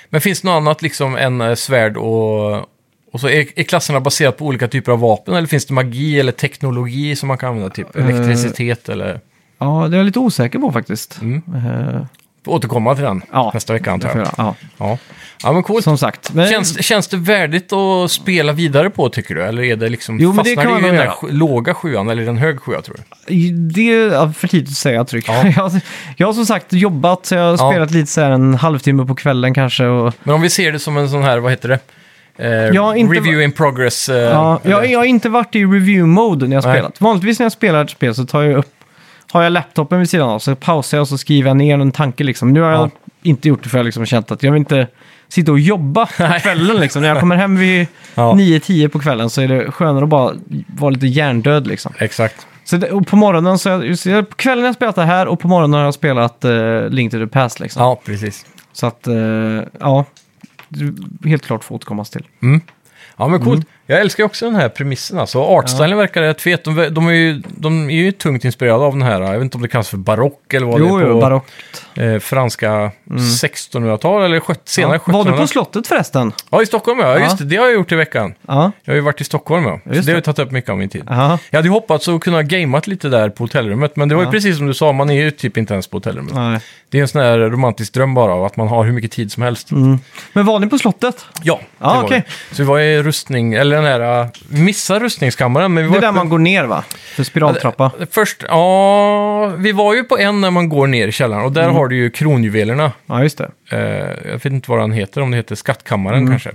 [SPEAKER 1] Men finns det något annat liksom än eh, svärd och... Och så är, är klasserna baserat på olika typer av vapen eller finns det magi eller teknologi som man kan använda? Typ
[SPEAKER 2] Eh,
[SPEAKER 1] elektricitet eller...
[SPEAKER 2] Ja, det är jag lite osäker på faktiskt.
[SPEAKER 1] Mm.
[SPEAKER 2] Eh,
[SPEAKER 1] Får återkomma till den
[SPEAKER 2] Ja,
[SPEAKER 1] nästa vecka
[SPEAKER 2] det
[SPEAKER 1] antar
[SPEAKER 2] får
[SPEAKER 1] jag.
[SPEAKER 2] jag. Ja,
[SPEAKER 1] Ja. ja, men coolt.
[SPEAKER 2] som sagt. Men,
[SPEAKER 1] Känns, känns det värdigt att spela vidare på tycker du? Eller är det liksom...
[SPEAKER 2] Jo, men det
[SPEAKER 1] fastnar
[SPEAKER 2] kan
[SPEAKER 1] du i
[SPEAKER 2] man nog
[SPEAKER 1] den där sj- låga sjuan eller den hög sjua tror du?
[SPEAKER 2] Det är ja, för tidigt att säga tror jag.
[SPEAKER 1] Ja.
[SPEAKER 2] *laughs* Jag, jag har som sagt jobbat, så jag har
[SPEAKER 1] Ja.
[SPEAKER 2] spelat lite så här en halvtimme på kvällen kanske. Och,
[SPEAKER 1] Men om vi ser det som en sån här, vad heter det? Eh,
[SPEAKER 2] Ja, inte-
[SPEAKER 1] Review in progress. Eh,
[SPEAKER 2] Ja, jag,
[SPEAKER 1] eller-
[SPEAKER 2] jag har inte varit i review-mode när jag
[SPEAKER 1] Nej.
[SPEAKER 2] spelat. Vanligtvis när jag spelar ett spel så tar jag upp, har jag laptopen vid sidan av så pausar jag och så skriver jag ner en tanke liksom. Men Nu har jag
[SPEAKER 1] Ja.
[SPEAKER 2] inte gjort det för jag har liksom känt att jag vill inte sitta och jobba på kvällen liksom. När jag kommer hem vid
[SPEAKER 1] *laughs* Ja.
[SPEAKER 2] 9-10 på kvällen så är det skönare att bara vara lite hjärndöd liksom.
[SPEAKER 1] Exakt.
[SPEAKER 2] Så det, och på morgonen så, har jag, just, jag- på kvällen har jag spelat det här och på morgonen har jag spelat eh, Link to the Past liksom.
[SPEAKER 1] Ja, precis.
[SPEAKER 2] Så att, eh, ja, du- helt klart får återkommas till.
[SPEAKER 1] Ja, men
[SPEAKER 2] Mm.
[SPEAKER 1] coolt. Jag älskar ju också den här premissen. Alltså, artstylen verkar rätt fet. De, de, är ju, de är ju tungt inspirerade av den här, jag vet inte om det kallas för barock eller vad
[SPEAKER 2] Jo,
[SPEAKER 1] det är på
[SPEAKER 2] jo, barockt.
[SPEAKER 1] eh, franska 1600-tal eller sjut- senare
[SPEAKER 2] Ja. Var du
[SPEAKER 1] 1700-tal.
[SPEAKER 2] på slottet förresten?
[SPEAKER 1] Ja, i Stockholm ja. Just det, det har jag gjort i veckan.
[SPEAKER 2] Ja.
[SPEAKER 1] Jag har ju varit i Stockholm ja. Så det
[SPEAKER 2] Just
[SPEAKER 1] har ju
[SPEAKER 2] det.
[SPEAKER 1] tagit upp mycket av min tid.
[SPEAKER 2] Ja.
[SPEAKER 1] Jag hade ju hoppats att kunna ha gameat lite där på hotellrummet, men det var ju
[SPEAKER 2] Ja.
[SPEAKER 1] precis som du sa, man är ju typ inte ens på hotellrummet.
[SPEAKER 2] Nej.
[SPEAKER 1] Det är en sån här romantisk dröm bara av att man har hur mycket tid som helst.
[SPEAKER 2] Men var ni på slottet?
[SPEAKER 1] Ja, det
[SPEAKER 2] Mm. Ja,
[SPEAKER 1] var
[SPEAKER 2] okej.
[SPEAKER 1] vi. Så vi var i rustning, eller den här, äh, missar rustningskammaren, men vi
[SPEAKER 2] Det
[SPEAKER 1] var
[SPEAKER 2] är där
[SPEAKER 1] uppe-
[SPEAKER 2] man går ner va? För spiraltrappa.
[SPEAKER 1] Först, ja, vi var ju på en när man går ner i källaren och där
[SPEAKER 2] Mm.
[SPEAKER 1] har du ju kronjuvelerna.
[SPEAKER 2] Ja, just det.
[SPEAKER 1] Eh, jag vet inte vad den heter, om det heter skattkammaren
[SPEAKER 2] Mm.
[SPEAKER 1] kanske.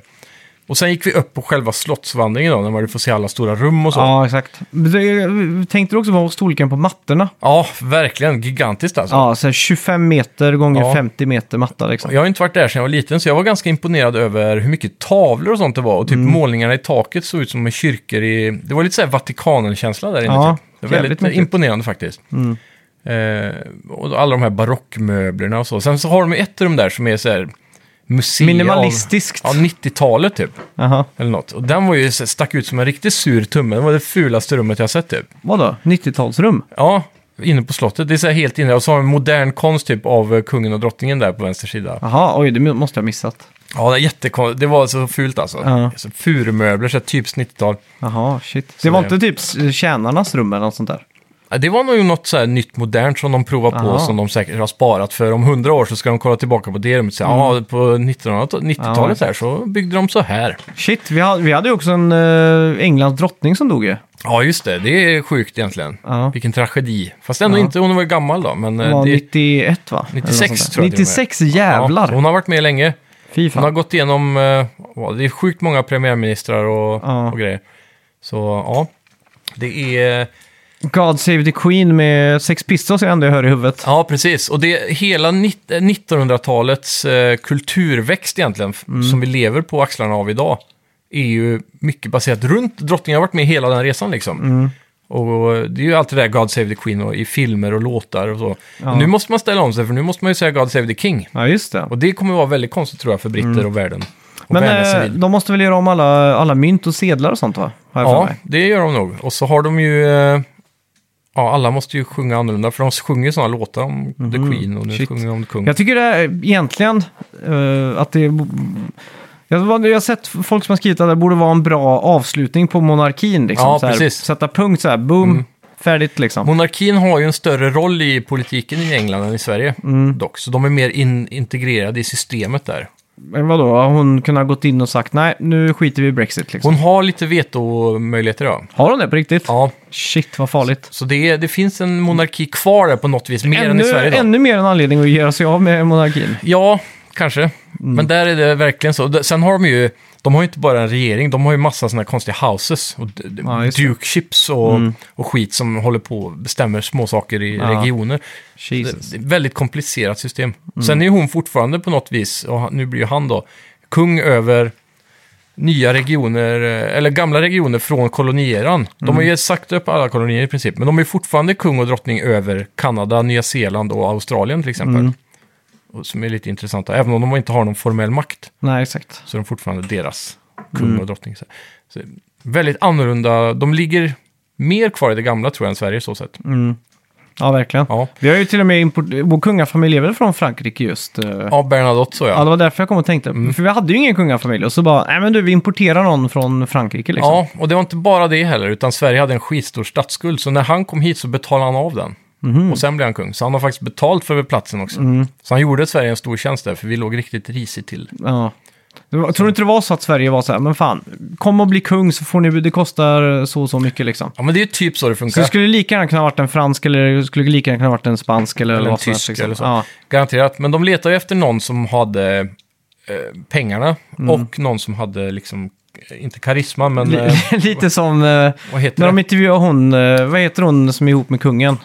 [SPEAKER 1] Och sen gick vi upp på själva slottsvandringen då, när du får se alla stora rum och så. Ja,
[SPEAKER 2] Ja, exakt. Men det- Tänkte du också på storleken på mattorna?
[SPEAKER 1] verkligen gigantiskt alltså.
[SPEAKER 2] Ja, så här 25 meter gånger
[SPEAKER 1] Ja.
[SPEAKER 2] 50 meter matta liksom.
[SPEAKER 1] Jag har inte varit där sedan jag var liten, så jag var ganska imponerad över hur mycket tavlor och sånt det var. Och typ
[SPEAKER 2] Mm.
[SPEAKER 1] målningarna i taket såg ut som med kyrkor i... Det var lite så här Vatikanen-känsla där inne.
[SPEAKER 2] Ja,
[SPEAKER 1] typ. Det
[SPEAKER 2] jävligt
[SPEAKER 1] var
[SPEAKER 2] Mm.
[SPEAKER 1] väldigt
[SPEAKER 2] mäktigt.
[SPEAKER 1] imponerande faktiskt. Eh, och alla de här barockmöblerna och så. Sen så har de ju ett rum där som är så här museum
[SPEAKER 2] Minimalistiskt.
[SPEAKER 1] Av, ja, 90-talet typ.
[SPEAKER 2] Aha.
[SPEAKER 1] Eller något. Och den var ju, så- stack ut som en riktigt sur tumme. Det var det fulaste rummet jag sett typ.
[SPEAKER 2] Vadå? 90-talsrum?
[SPEAKER 1] Ja, inne på slottet. Det är så här helt inne. Och så har de modern konst typ av eh, kungen och drottningen där på vänster sida.
[SPEAKER 2] Jaha, oj, det måste jag ha missat.
[SPEAKER 1] Ja, det, är jättekon- det var så fult alltså.
[SPEAKER 2] Ja.
[SPEAKER 1] Så furumöbler, så här typ 90-tal.
[SPEAKER 2] Jaha, shit. det var
[SPEAKER 1] det-
[SPEAKER 2] inte typ s- tjänarnas rum eller något sånt där?
[SPEAKER 1] Ja, Det var nog något så här nytt modernt som de provar på
[SPEAKER 2] Aha.
[SPEAKER 1] som de säkert har sparat för. Om hundra år så ska de kolla tillbaka på det rummet och säga
[SPEAKER 2] Mm.
[SPEAKER 1] ja, på 1900-talet- 90-talet här så byggde de så här.
[SPEAKER 2] Shit, vi hade, vi hade ju också en eh, Englands drottning som dog ju.
[SPEAKER 1] Ja, just det. Det är sjukt egentligen.
[SPEAKER 2] Ja.
[SPEAKER 1] Vilken tragedi. Fast ändå
[SPEAKER 2] Ja.
[SPEAKER 1] inte, hon var ju gammal då. Men
[SPEAKER 2] Hon
[SPEAKER 1] eh,
[SPEAKER 2] var
[SPEAKER 1] det,
[SPEAKER 2] 91 va? Eller något
[SPEAKER 1] 96
[SPEAKER 2] sånt där.
[SPEAKER 1] tror jag till och med.
[SPEAKER 2] 96,
[SPEAKER 1] ja,
[SPEAKER 2] jävlar!
[SPEAKER 1] hon har varit med länge.
[SPEAKER 2] Fy
[SPEAKER 1] Hon har
[SPEAKER 2] fan.
[SPEAKER 1] gått igenom, eh, ja, det är sjukt många premiärministrar och,
[SPEAKER 2] Ja.
[SPEAKER 1] och grejer. Så ja, det är,
[SPEAKER 2] God Save the Queen med Sex Pistols är det enda jag hör i huvudet.
[SPEAKER 1] Ja, precis. Och det hela nitt- eh, 1900-talets eh, kulturväxt egentligen, f-
[SPEAKER 2] Mm.
[SPEAKER 1] som vi lever på axlarna av idag, är ju mycket baserat runt. Drottningen har varit med hela den resan liksom.
[SPEAKER 2] Mm.
[SPEAKER 1] Och eh, det är ju alltid det där God Save the Queen och, i filmer och låtar och så.
[SPEAKER 2] Ja.
[SPEAKER 1] Och nu måste man ställa om sig, för nu måste man ju säga God Save the King.
[SPEAKER 2] Ja, just det.
[SPEAKER 1] Och det kommer vara väldigt konstigt tror jag för britter och världen. Och
[SPEAKER 2] Mm. Men
[SPEAKER 1] världen
[SPEAKER 2] eh,
[SPEAKER 1] civil.
[SPEAKER 2] de måste väl göra om alla, alla mynt och sedlar och sånt va? Har jag för
[SPEAKER 1] Ja,
[SPEAKER 2] mig.
[SPEAKER 1] det gör de nog. Och så har de ju... eh, Ja, alla måste ju sjunga annorlunda, för de sjunger sådana låtar om The Queen och nu
[SPEAKER 2] Mm-hmm. Shit.
[SPEAKER 1] sjunger de om kung.
[SPEAKER 2] Jag tycker det är egentligen eh, att det... Jag, jag har sett folk som har skrivit att det borde vara en bra avslutning på monarkin. Liksom.
[SPEAKER 1] Ja,
[SPEAKER 2] så här,
[SPEAKER 1] precis. Mm.
[SPEAKER 2] Sätta punkt så här, boom, färdigt liksom.
[SPEAKER 1] Monarkin har ju en större roll i politiken i England än i Sverige
[SPEAKER 2] Mm.
[SPEAKER 1] dock, så de är mer in integrerade i systemet där.
[SPEAKER 2] Men vadå, har hon kunnat gått in och sagt nej, nu skiter vi i Brexit liksom.
[SPEAKER 1] Hon har lite vetomöjligheter ja.
[SPEAKER 2] Har hon det på riktigt?
[SPEAKER 1] Ja,
[SPEAKER 2] Shit, vad farligt.
[SPEAKER 1] så det, är- det finns en monarki kvar där på något vis, mer än i
[SPEAKER 2] Ännu,
[SPEAKER 1] Sverige då.
[SPEAKER 2] ännu mer en anledning att göra sig av med monarkin.
[SPEAKER 1] Ja, kanske.
[SPEAKER 2] Mm.
[SPEAKER 1] Men där är det verkligen så. D- Sen har de ju, de har ju inte bara en regering, de har ju massa sådana här konstiga houses och d- d-
[SPEAKER 2] Ja, just det. Mm.
[SPEAKER 1] dukeships och, och skit som håller på och bestämmer små saker i
[SPEAKER 2] Ja.
[SPEAKER 1] regioner.
[SPEAKER 2] Jesus.
[SPEAKER 1] Det är ett väldigt komplicerat system. Sen är hon fortfarande på något vis, och han- nu blir ju han då, kung över nya regioner, eh, eller gamla regioner från kolonieran. De har ju sagt upp alla kolonier i princip, men de är fortfarande kung och drottning över Kanada, Nya Zeeland och Australien till exempel. Och som är lite intressanta, även om de inte har någon formell makt,
[SPEAKER 2] Nej, exakt.
[SPEAKER 1] så är de fortfarande deras kung och drottning. Så, så väldigt annorlunda, de ligger mer kvar i det gamla tror jag än Sverige så sett.
[SPEAKER 2] Ja, verkligen.
[SPEAKER 1] Ja.
[SPEAKER 2] Vi har ju till och med import- vår kungafamilj är väl från Frankrike just. eh.
[SPEAKER 1] ja, Mm. Bernadotte så
[SPEAKER 2] Ja, det var därför jag kom och tänkte. För vi hade ju ingen kungafamilj och så bara, nej men du, vi importerar någon från Frankrike liksom.
[SPEAKER 1] Ja, och det var inte bara det heller, utan Sverige hade en skitstor statsskuld. Så när han kom hit så betalade han av den.
[SPEAKER 2] Mhm.
[SPEAKER 1] Och sen blev han kung. Så han har faktiskt betalt för platsen också.
[SPEAKER 2] Mm.
[SPEAKER 1] Så han gjorde Sverige en stor tjänst där, för vi låg riktigt risigt till.
[SPEAKER 2] Ja. Det var- Tror du inte det var så att Sverige var så här, men fan, kom och bli kung så får ni, det kostar så och så mycket liksom.
[SPEAKER 1] Ja, men det är ju typ så det funkar.
[SPEAKER 2] Så det skulle lika gärna kunna varit en fransk eller det skulle lika gärna kunna varit en spansk eller,
[SPEAKER 1] Eller en
[SPEAKER 2] vad som helst,
[SPEAKER 1] tysk
[SPEAKER 2] liksom.
[SPEAKER 1] eller så.
[SPEAKER 2] Ja.
[SPEAKER 1] Garanterat. Men de letade ju efter någon som hade eh, pengarna
[SPEAKER 2] Mm.
[SPEAKER 1] och någon som hade liksom, eh, inte karisma, men eh,
[SPEAKER 2] Li- *laughs* Lite som eh,
[SPEAKER 1] vad
[SPEAKER 2] *laughs*
[SPEAKER 1] heter
[SPEAKER 2] när
[SPEAKER 1] det?
[SPEAKER 2] de intervjuar hon, eh, vad heter hon som är ihop med kungen?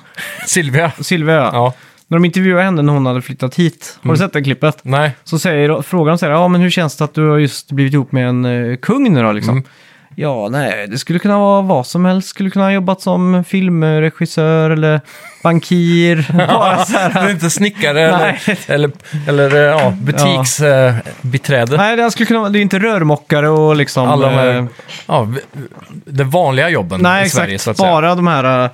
[SPEAKER 1] Silvia.
[SPEAKER 2] Silvia ja.
[SPEAKER 1] Ja,
[SPEAKER 2] När
[SPEAKER 1] Mm.
[SPEAKER 2] de intervjuar henne när hon hade flyttat hit. Har du sett det klippet?
[SPEAKER 1] nej.
[SPEAKER 2] Så säger, frågar de så här, ja men hur känns det att du har just blivit ihop med en eh, kung nu då liksom?
[SPEAKER 1] Mm.
[SPEAKER 2] Ja, nej, det skulle kunna vara vad som helst. Skulle kunna ha jobbat som filmregissör eller bankir.
[SPEAKER 1] *laughs*
[SPEAKER 2] Bara så
[SPEAKER 1] Du är
[SPEAKER 2] här.
[SPEAKER 1] inte snickare
[SPEAKER 2] Nej.
[SPEAKER 1] eller, eller, eller eh, ja, eh, butiksbiträde.
[SPEAKER 2] Nej, det skulle kunna vara, det är inte rörmokare och liksom...
[SPEAKER 1] Alla de
[SPEAKER 2] eh,
[SPEAKER 1] här, ja, v- de vanliga jobben
[SPEAKER 2] nej,
[SPEAKER 1] i
[SPEAKER 2] exakt.
[SPEAKER 1] Sverige så att säga.
[SPEAKER 2] bara de här eh,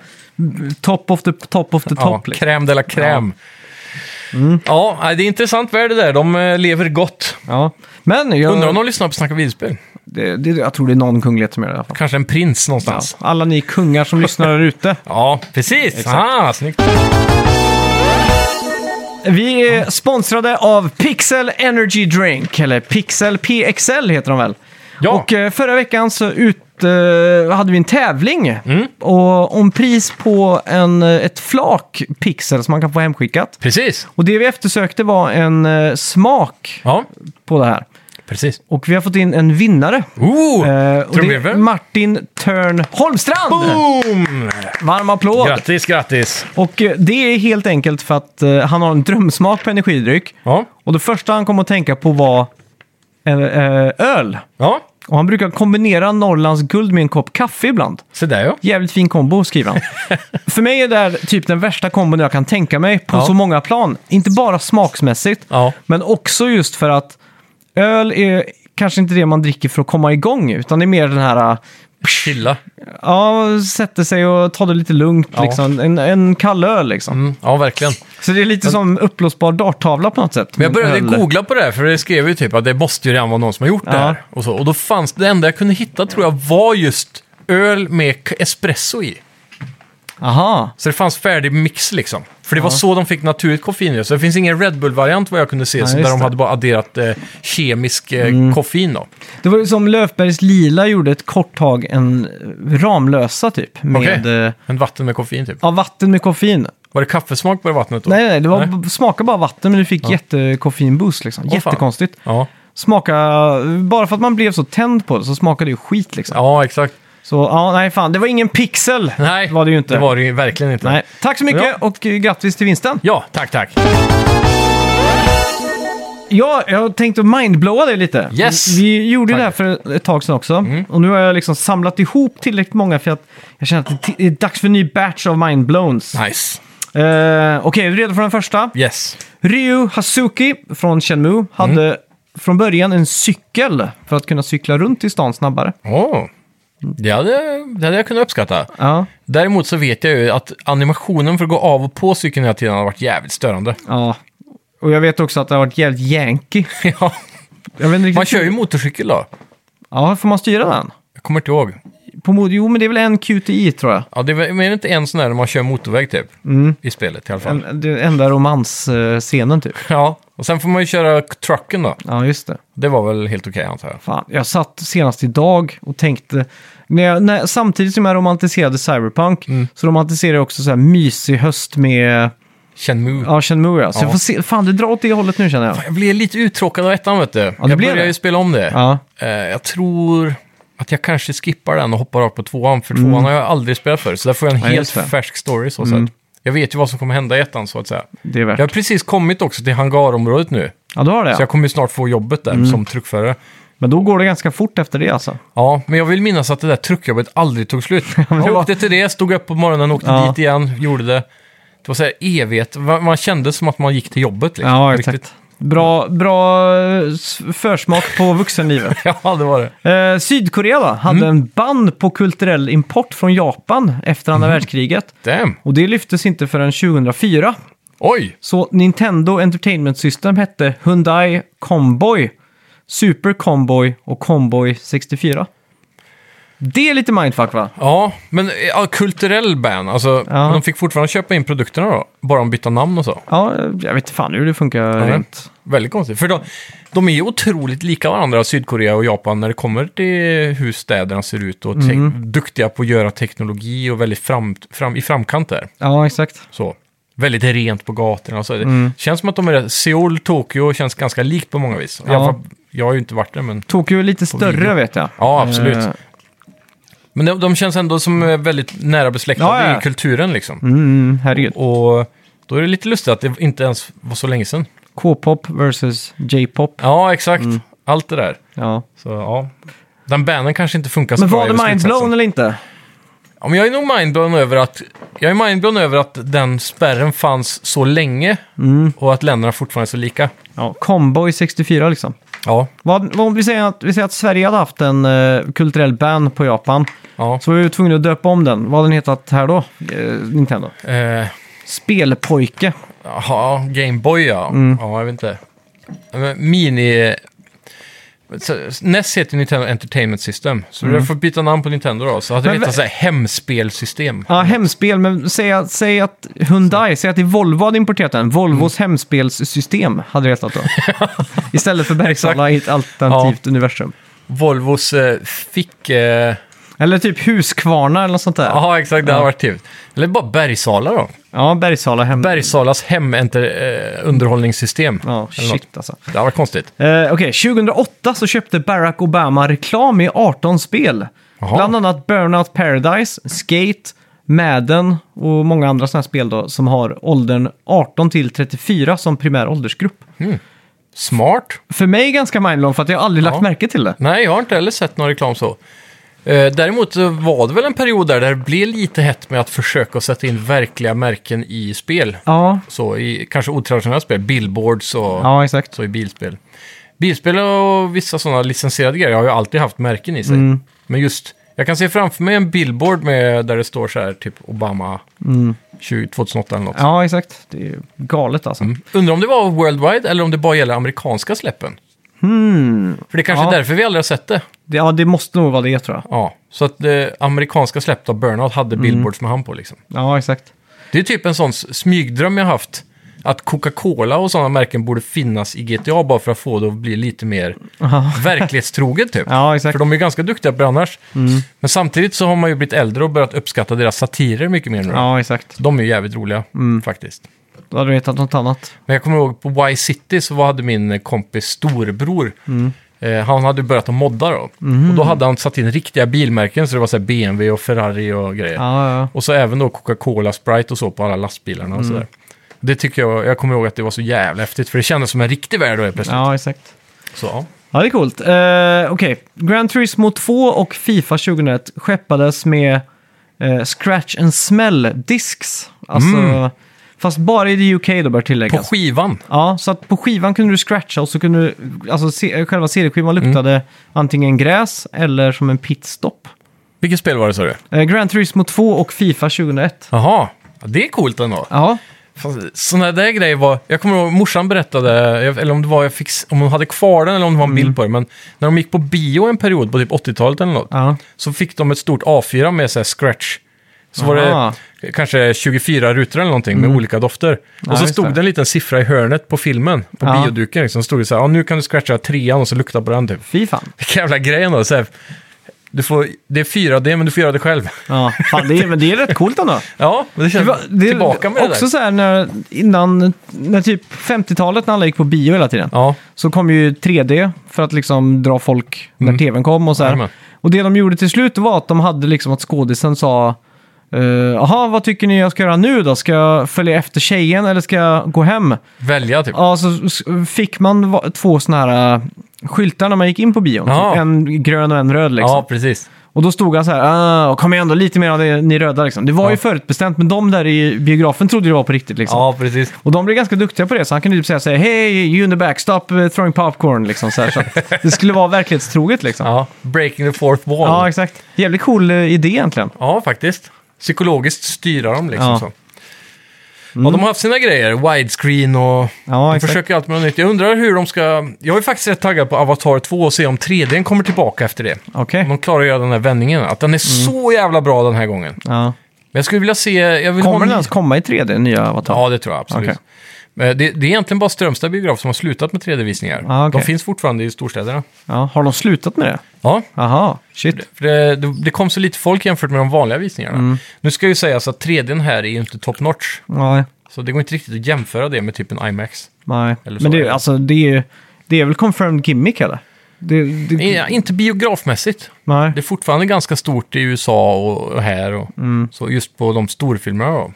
[SPEAKER 2] top of the top of the
[SPEAKER 1] Ja,
[SPEAKER 2] top. liksom.
[SPEAKER 1] crème de la crème.
[SPEAKER 2] Mm.
[SPEAKER 1] Ja, nej, det är intressant värld det där. De eh, lever gott.
[SPEAKER 2] Ja. Men jag,
[SPEAKER 1] Undrar om de lyssnar på Snacka videospel.
[SPEAKER 2] det, det, jag tror det är någon kunglighet som gör det i alla fall.
[SPEAKER 1] Kanske en prins
[SPEAKER 2] Ja.
[SPEAKER 1] någonstans.
[SPEAKER 2] Alla ni kungar som lyssnar där ute.
[SPEAKER 1] Ja, precis. Ah, snyggt.
[SPEAKER 2] Vi är sponsrade av Pixel Energy Drink, eller Pixel PXL heter de väl.
[SPEAKER 1] Ja.
[SPEAKER 2] Och eh, förra veckan så ut, eh, hade vi en tävling och, om pris på en, eh, ett flak Pixel som man kan få hemskickat.
[SPEAKER 1] Precis.
[SPEAKER 2] Och det vi eftersökte var en eh, smak
[SPEAKER 1] Ja,
[SPEAKER 2] på det här.
[SPEAKER 1] precis.
[SPEAKER 2] Och vi har fått in en vinnare.
[SPEAKER 1] Ooh,
[SPEAKER 2] Eh, och det är
[SPEAKER 1] trumvirvel.
[SPEAKER 2] Martin Törn Holmstrand!
[SPEAKER 1] Boom!
[SPEAKER 2] Varm applåd!
[SPEAKER 1] Grattis, grattis.
[SPEAKER 2] Och eh, det är helt enkelt för att eh, han har en drömsmak på energidryck.
[SPEAKER 1] Ja,
[SPEAKER 2] Och det första han kom att tänka på var eh, eh, öl.
[SPEAKER 1] ja.
[SPEAKER 2] Och han brukar kombinera Norrlands guld med en kopp kaffe ibland.
[SPEAKER 1] se där ja.
[SPEAKER 2] Jävligt fin kombo, skriver
[SPEAKER 1] *laughs*
[SPEAKER 2] han. För mig är det här typ den värsta kombon jag kan tänka mig på
[SPEAKER 1] Ja.
[SPEAKER 2] så många plan. Inte bara smaksmässigt,
[SPEAKER 1] Ja.
[SPEAKER 2] men också just för att öl är kanske inte det man dricker för att komma igång, utan det är mer den här, eh,
[SPEAKER 1] Chilla.
[SPEAKER 2] ja, sätta sig och ta det lite lugnt,
[SPEAKER 1] Ja.
[SPEAKER 2] liksom. En, en kall öl liksom.
[SPEAKER 1] Mm, ja, verkligen.
[SPEAKER 2] Så det är lite som uppblåsbar darttavla på något sätt.
[SPEAKER 1] Men jag började
[SPEAKER 2] Öl.
[SPEAKER 1] googla på det här, för det skrev ju typ att det måste ju redan vara någon som har gjort det
[SPEAKER 2] Ja.
[SPEAKER 1] här. Och, så. och då fanns det enda jag kunde hitta, tror jag, var just öl med k- espresso i.
[SPEAKER 2] Aha.
[SPEAKER 1] Så det fanns färdig mix liksom. För det var så de fick naturligt koffein. i det. Så det finns ingen Red Bull-variant vad jag kunde se, så där
[SPEAKER 2] just
[SPEAKER 1] de
[SPEAKER 2] det. Mm.
[SPEAKER 1] hade bara adderat eh, kemisk eh, koffein. Då.
[SPEAKER 2] Det var ju som Löfbergs Lila gjorde ett kort tag en Ramlösa typ. Med
[SPEAKER 1] Okej.
[SPEAKER 2] eh,
[SPEAKER 1] En vatten med koffein typ.
[SPEAKER 2] ja, vatten med koffein.
[SPEAKER 1] Var det kaffesmak på det vattnet då?
[SPEAKER 2] Nej, nej, det var,
[SPEAKER 1] Nej.
[SPEAKER 2] smakade bara vatten men du fick jättekoffeinboost liksom.
[SPEAKER 1] fan.
[SPEAKER 2] Jättekonstigt.
[SPEAKER 1] Ja.
[SPEAKER 2] Smaka, bara för att man blev så tänd på det så smakade det ju skit liksom.
[SPEAKER 1] ja, exakt.
[SPEAKER 2] Så ja, nej fan, det var ingen pixel.
[SPEAKER 1] Nej,
[SPEAKER 2] var det ju inte.
[SPEAKER 1] det var det ju verkligen inte.
[SPEAKER 2] Nej. Tack så mycket och eh, grattis till vinsten.
[SPEAKER 1] Ja, tack, tack.
[SPEAKER 2] Ja, jag tänkte mindblowa dig lite.
[SPEAKER 1] Yes.
[SPEAKER 2] Vi, vi gjorde
[SPEAKER 1] Tack. Mm.
[SPEAKER 2] det här för ett tag sedan också. Och nu har jag liksom samlat ihop tillräckligt många för att jag känner att det är dags för en ny batch av mindblowns. Eh,
[SPEAKER 1] Nice.
[SPEAKER 2] Okej, är du redo för den första?
[SPEAKER 1] Yes.
[SPEAKER 2] Ryu Hazuki från Shenmue hade
[SPEAKER 1] Mm.
[SPEAKER 2] från början en cykel för att kunna cykla runt i stan snabbare.
[SPEAKER 1] Åh. Det hade, det hade jag kunnat uppskatta.
[SPEAKER 2] Ja,
[SPEAKER 1] Däremot så vet jag ju att animationen för att gå av och på cykeln hela tiden har varit
[SPEAKER 2] *laughs*
[SPEAKER 1] jävligt störande.
[SPEAKER 2] ja. Och jag vet också att det har varit jävligt janky.
[SPEAKER 1] ja.
[SPEAKER 2] Jag vet inte riktigt-
[SPEAKER 1] Man kör ju motorcykel då.
[SPEAKER 2] Ja, får man styra den?
[SPEAKER 1] Jag kommer inte ihåg.
[SPEAKER 2] På mod... Jo, men det är väl en QTI tror jag.
[SPEAKER 1] Ja, det är väl men är det inte en sån där när man kör motorväg typ. I spelet i alla fall.
[SPEAKER 2] Mm. En, den enda romansscenen typ.
[SPEAKER 1] Ja, och sen får man ju köra trucken då.
[SPEAKER 2] Ja, just det.
[SPEAKER 1] Det var väl helt okej antar jag.
[SPEAKER 2] Fan, jag satt senast idag och tänkte, när jag, när, samtidigt som jag romantiserade Cyberpunk,
[SPEAKER 1] Mm.
[SPEAKER 2] så romantiserade jag också så här mysig höst med,
[SPEAKER 1] Shenmue.
[SPEAKER 2] ja, Shenmue. ja. Så jag
[SPEAKER 1] Ja.
[SPEAKER 2] får se, fan det drar åt det hållet nu känner jag.
[SPEAKER 1] Jag blev lite uttråkad av ettan vet du.
[SPEAKER 2] det
[SPEAKER 1] jag
[SPEAKER 2] blev
[SPEAKER 1] började
[SPEAKER 2] det.
[SPEAKER 1] ju spela om det.
[SPEAKER 2] Ja,
[SPEAKER 1] Eh, jag tror att jag kanske skippar den och hoppar av på tvåan, för tvåan har jag aldrig spelat för. Så där får jag en
[SPEAKER 2] Nej,
[SPEAKER 1] helt
[SPEAKER 2] Mm. just det. Mm.
[SPEAKER 1] färsk story så sätt. Jag vet ju vad som kommer hända i ettan så att säga.
[SPEAKER 2] det är värt.
[SPEAKER 1] Jag har precis kommit också till hangarområdet nu.
[SPEAKER 2] Ja, du har det
[SPEAKER 1] Så jag
[SPEAKER 2] ja. Mm.
[SPEAKER 1] kommer ju snart få jobbet där som truckförare.
[SPEAKER 2] Men då går det ganska fort efter det alltså.
[SPEAKER 1] Ja, men jag vill minnas att det där truckjobbet aldrig tog
[SPEAKER 2] *laughs*
[SPEAKER 1] slut. Jag åkte till det, stod upp på morgonen, åkte
[SPEAKER 2] Ja.
[SPEAKER 1] dit igen, gjorde det. Det var så här evigt. Man man kände som att man gick till jobbet. Liksom.
[SPEAKER 2] Ja,
[SPEAKER 1] Riktigt. *laughs*
[SPEAKER 2] exakt. Bra, bra eh, s- försmak på
[SPEAKER 1] *laughs*
[SPEAKER 2] vuxenlivet.
[SPEAKER 1] Ja, det var det.
[SPEAKER 2] Eh, Sydkorea då, hade
[SPEAKER 1] Mm.
[SPEAKER 2] en ban på kulturell import från Japan efter
[SPEAKER 1] Mm.
[SPEAKER 2] andra världskriget.
[SPEAKER 1] Damn.
[SPEAKER 2] Och det lyftes inte förrän 2004.
[SPEAKER 1] Oj!
[SPEAKER 2] Så Nintendo Entertainment System hette Hyundai Comboy, Super Comboy och Comboy 64. Det är lite mindfuck va?
[SPEAKER 1] Ja, men eh, ja, kulturell ban. Alltså,
[SPEAKER 2] Ja.
[SPEAKER 1] men de fick fortfarande köpa in produkterna då. Bara de bytte namn och så.
[SPEAKER 2] Ja, jag vet inte fan hur det funkar rent.
[SPEAKER 1] Väldigt konstigt. För de, de är ju otroligt lika varandra, Sydkorea och Japan, när det kommer till hur städerna ser ut. Och te-
[SPEAKER 2] Mm.
[SPEAKER 1] duktiga på att göra teknologi och väldigt fram, fram, i framkant där.
[SPEAKER 2] Ja, exakt.
[SPEAKER 1] Så. Väldigt rent på gatorna och så.
[SPEAKER 2] Mm.
[SPEAKER 1] Det känns som att de är rätt- Seoul, Tokyo känns ganska likt på många vis. I
[SPEAKER 2] Ja.
[SPEAKER 1] alla fall, jag har ju inte varit där, men...
[SPEAKER 2] Tokyo är lite större
[SPEAKER 1] video.
[SPEAKER 2] vet jag.
[SPEAKER 1] Ja, absolut.
[SPEAKER 2] Eh,
[SPEAKER 1] Men de, de känns ändå som eh, väldigt nära besläktade
[SPEAKER 2] Ja, ja.
[SPEAKER 1] i kulturen liksom.
[SPEAKER 2] mm, herregud.
[SPEAKER 1] Och då är det lite lustigt att det inte ens var så länge sedan.
[SPEAKER 2] K-pop versus J-pop.
[SPEAKER 1] Ja, exakt.
[SPEAKER 2] Mm.
[SPEAKER 1] Allt det där.
[SPEAKER 2] Ja.
[SPEAKER 1] Så ja. Den banen kanske inte funkar så
[SPEAKER 2] Men
[SPEAKER 1] bra.
[SPEAKER 2] var
[SPEAKER 1] i
[SPEAKER 2] det mindblown
[SPEAKER 1] beslutsprocessen.
[SPEAKER 2] eller inte?
[SPEAKER 1] Ja, men jag är nog mindblown över att... Jag är mindblown över att den spärren fanns så länge
[SPEAKER 2] Mm.
[SPEAKER 1] och att länderna fortfarande är så lika.
[SPEAKER 2] Ja, Comboy 64 liksom.
[SPEAKER 1] Ja,
[SPEAKER 2] Vad, vad om vi säger att, vi säger att Sverige hade haft en eh, kulturell ban på Japan.
[SPEAKER 1] ja.
[SPEAKER 2] Så var vi ju tvungna att döpa om den. Vad hade den hetat här då? Eh, Nintendo.
[SPEAKER 1] Eh,
[SPEAKER 2] Spelpojke.
[SPEAKER 1] Jaha, Gameboy ja.
[SPEAKER 2] Mm.
[SPEAKER 1] Ja, jag vet inte. Men Mini... så- NES heter ju Nintendo Entertainment System, så du får byta namn på Nintendo då. Så hade det
[SPEAKER 2] Mm. Men
[SPEAKER 1] hetat
[SPEAKER 2] vä-
[SPEAKER 1] så här hemspelsystem.
[SPEAKER 2] Ja, hemspel, men säg att, säg att Hyundai, säg att det är Volvo hade importerat den. Volvos hemspelssystem hade det hetat då. Istället för Bergsala i ett alternativt universum.
[SPEAKER 1] Volvos eh, fick... eh,
[SPEAKER 2] Eller typ Huskvarna eller något sånt där.
[SPEAKER 1] Jaha, exakt. Det hade varit trevligt. Eller bara Bergsala då.
[SPEAKER 2] Ja, Bergsala hem.
[SPEAKER 1] Bergsalas hemunderhållningssystem.
[SPEAKER 2] ja, shit alltså.
[SPEAKER 1] Det hade varit konstigt.
[SPEAKER 2] Eh, Okej, 2008 så köpte Barack Obama reklam i 18 spel.
[SPEAKER 1] Jaha.
[SPEAKER 2] Bland annat Burnout Paradise, Skate, Madden och många andra sådana spel då, som har åldern 18 till 34 som primär åldersgrupp.
[SPEAKER 1] Smart.
[SPEAKER 2] För mig ganska mindblown för att jag aldrig lagt märke till det.
[SPEAKER 1] Nej, jag har inte heller sett någon reklam så. Eh, Däremot så var det väl en period där det blev lite hett med att försöka sätta in verkliga märken i spel.
[SPEAKER 2] Ja,
[SPEAKER 1] Så i kanske otraditionella spel, billboards och
[SPEAKER 2] ja exakt.
[SPEAKER 1] så i bilspel. Bilspel och vissa sådana licensierade grejer har ju alltid haft märken i sig.
[SPEAKER 2] Mm.
[SPEAKER 1] Men just, jag kan se framför mig en billboard med, där det står så här typ Obama
[SPEAKER 2] Mm.
[SPEAKER 1] 20, 2008 eller något.
[SPEAKER 2] Ja, exakt. Det är ju galet alltså.
[SPEAKER 1] Undrar om det var worldwide eller om det bara gäller amerikanska släppen. För det kanske
[SPEAKER 2] Hmm. Ja.
[SPEAKER 1] är därför vi aldrig har sett det.
[SPEAKER 2] Det, ja, det måste nog vara det tror jag.
[SPEAKER 1] Ja, så att det amerikanska släppet av Burnout hade
[SPEAKER 2] Mm.
[SPEAKER 1] billboards med han på liksom.
[SPEAKER 2] Ja, exakt.
[SPEAKER 1] Det är typ en sån s- smygdröm jag haft. Att Coca-Cola och sådana märken borde finnas i GTA bara för att få det att bli lite mer
[SPEAKER 2] Ja.
[SPEAKER 1] verklighetstroget typ.
[SPEAKER 2] *laughs* Ja, exakt. Mm.
[SPEAKER 1] För de är ju ganska duktiga på det annars. Men samtidigt så har man ju blivit äldre och börjat uppskatta deras satirer mycket mer nu.
[SPEAKER 2] Ja, Mm. exakt.
[SPEAKER 1] De är ju jävligt roliga faktiskt.
[SPEAKER 2] Då hade du vetat något annat.
[SPEAKER 1] Men jag kommer ihåg på Y City så var- hade min kompis storbror Eh, han hade börjat att modda då. Och då hade han satt in riktiga bilmärken, så det var så här BMW och Ferrari och grejer.
[SPEAKER 2] Ja, ja.
[SPEAKER 1] Och så även då Coca-Cola, Sprite och så på alla lastbilarna och sådär. Det tycker jag, jag kommer ihåg att det var så jävla häftigt, för det kändes som en riktig värld då helt plötsligt.
[SPEAKER 2] ja, exakt.
[SPEAKER 1] Så, ja.
[SPEAKER 2] Ja, det är coolt. Eh, Okej, Gran Turismo 2 och Fifa 2001 skeppades med eh, Scratch and Smell-disks. Alltså, Fast bara i the UK då bör
[SPEAKER 1] Mm. På
[SPEAKER 2] tilläggas.
[SPEAKER 1] skivan.
[SPEAKER 2] ja, så att på skivan kunde du scratcha och så kunde du, alltså se, själva serieskivan luktade antingen gräs eller som en pitstop.
[SPEAKER 1] Vilket spel var det sa du?
[SPEAKER 2] Eh, Gran Turismo 2 och Fifa 2001.
[SPEAKER 1] Jaha, ja, det är coolt ändå.
[SPEAKER 2] Ja,
[SPEAKER 1] Fan, Såna där grejer var... Jag kommer ihåg, morsan berättade, jag- eller om det var jag fick, s- om hon hade kvar den eller om det var
[SPEAKER 2] Mm.
[SPEAKER 1] en bild på det, men när de gick på bio en period på typ 80-talet eller något,
[SPEAKER 2] ja.
[SPEAKER 1] så fick de ett stort A4 med så här scratch. Så var
[SPEAKER 2] Aha. Mm.
[SPEAKER 1] det kanske 24 rutor eller någonting med olika dofter.
[SPEAKER 2] Ja,
[SPEAKER 1] och så
[SPEAKER 2] just
[SPEAKER 1] stod
[SPEAKER 2] det.
[SPEAKER 1] det en liten siffra i hörnet på filmen, på
[SPEAKER 2] Ja.
[SPEAKER 1] bioduken. Liksom, stod det så här, ja, nu kan du scratcha trean och så lukta på den typ. *laughs*
[SPEAKER 2] Fy fan.
[SPEAKER 1] Vilken jävla grej ändå. Så här, du får, det är 4D, men du får göra det själv.
[SPEAKER 2] Ja, fan, det, är, men det är rätt coolt ändå.
[SPEAKER 1] Ja, men det känns
[SPEAKER 2] Det var, det är
[SPEAKER 1] tillbaka med
[SPEAKER 2] också
[SPEAKER 1] det där.
[SPEAKER 2] så här när, innan, när typ 50-talet när alla gick på bio hela tiden.
[SPEAKER 1] Ja,
[SPEAKER 2] Så kom ju 3D för att liksom dra folk när tvn kom och så här.
[SPEAKER 1] Mm. Jajamän.
[SPEAKER 2] Och det de gjorde till slut var att de hade liksom att skådisen sa Jaha, vad tycker ni jag ska göra nu då? Ska jag följa efter tjejen eller ska jag gå hem?
[SPEAKER 1] välja typ.
[SPEAKER 2] Ja, så s- fick man va- två såna här eh, skyltar när man gick in på bion.
[SPEAKER 1] Ja.
[SPEAKER 2] Typ en grön och en röd liksom.
[SPEAKER 1] Ja, precis.
[SPEAKER 2] Och då stod han så här, ah, kom igen då, lite mer av det, ni röda liksom. Det var
[SPEAKER 1] Ja.
[SPEAKER 2] ju förutbestämt, men de där i biografen trodde det var på riktigt liksom.
[SPEAKER 1] Ja, precis.
[SPEAKER 2] Och de blev ganska duktiga på det, så han kunde typ säga så här, hey, you in the back, stop eh, throwing popcorn liksom. Så här, så att det skulle vara verklighetstroget liksom. Ja,
[SPEAKER 1] Ja, breaking the fourth wall. Ja,
[SPEAKER 2] exakt. Jävligt cool eh, idé egentligen.
[SPEAKER 1] faktiskt. Psykologiskt styra dem liksom
[SPEAKER 2] Ja.
[SPEAKER 1] så. Ja,
[SPEAKER 2] Mm.
[SPEAKER 1] de har haft sina grejer. Widescreen och...
[SPEAKER 2] Ja,
[SPEAKER 1] de
[SPEAKER 2] exakt.
[SPEAKER 1] försöker alltid med något nytt. Jag undrar hur de ska... Jag är faktiskt rätt taggad på Avatar 2 och se om 3D kommer tillbaka efter det.
[SPEAKER 2] Okej.
[SPEAKER 1] Om de klarar att göra den här vändningen. Att
[SPEAKER 2] Mm.
[SPEAKER 1] den är så jävla bra den här gången.
[SPEAKER 2] Ja.
[SPEAKER 1] Men jag skulle vilja se... Jag vill ha
[SPEAKER 2] Kommer
[SPEAKER 1] en
[SPEAKER 2] den
[SPEAKER 1] ny-
[SPEAKER 2] ens komma i 3D, nya Avatar?
[SPEAKER 1] Ja, det tror jag absolut.
[SPEAKER 2] Okej.
[SPEAKER 1] Men Det, det är egentligen bara Strömstad biograf som har slutat med 3D-visningar.
[SPEAKER 2] Ah, okej.
[SPEAKER 1] De finns fortfarande i storstäderna.
[SPEAKER 2] Ja, Har de slutat med det?
[SPEAKER 1] Ja,
[SPEAKER 2] Aha, shit.
[SPEAKER 1] för det, det, det kom så lite folk jämfört med de vanliga visningarna.
[SPEAKER 2] Mm.
[SPEAKER 1] Nu ska jag ju sägas att 3D här är ju inte top notch.
[SPEAKER 2] Nej,
[SPEAKER 1] Så det går inte riktigt att jämföra det med typ en IMAX.
[SPEAKER 2] nej.
[SPEAKER 1] Eller
[SPEAKER 2] Men
[SPEAKER 1] så
[SPEAKER 2] det
[SPEAKER 1] är
[SPEAKER 2] är,
[SPEAKER 1] det.
[SPEAKER 2] alltså, det är ju, det är väl confirmed gimmick eller? Det, det,
[SPEAKER 1] Eh, inte biografmässigt.
[SPEAKER 2] nej.
[SPEAKER 1] Det är fortfarande ganska stort i USA och, och här. Och, Så just på de storfilmerna då.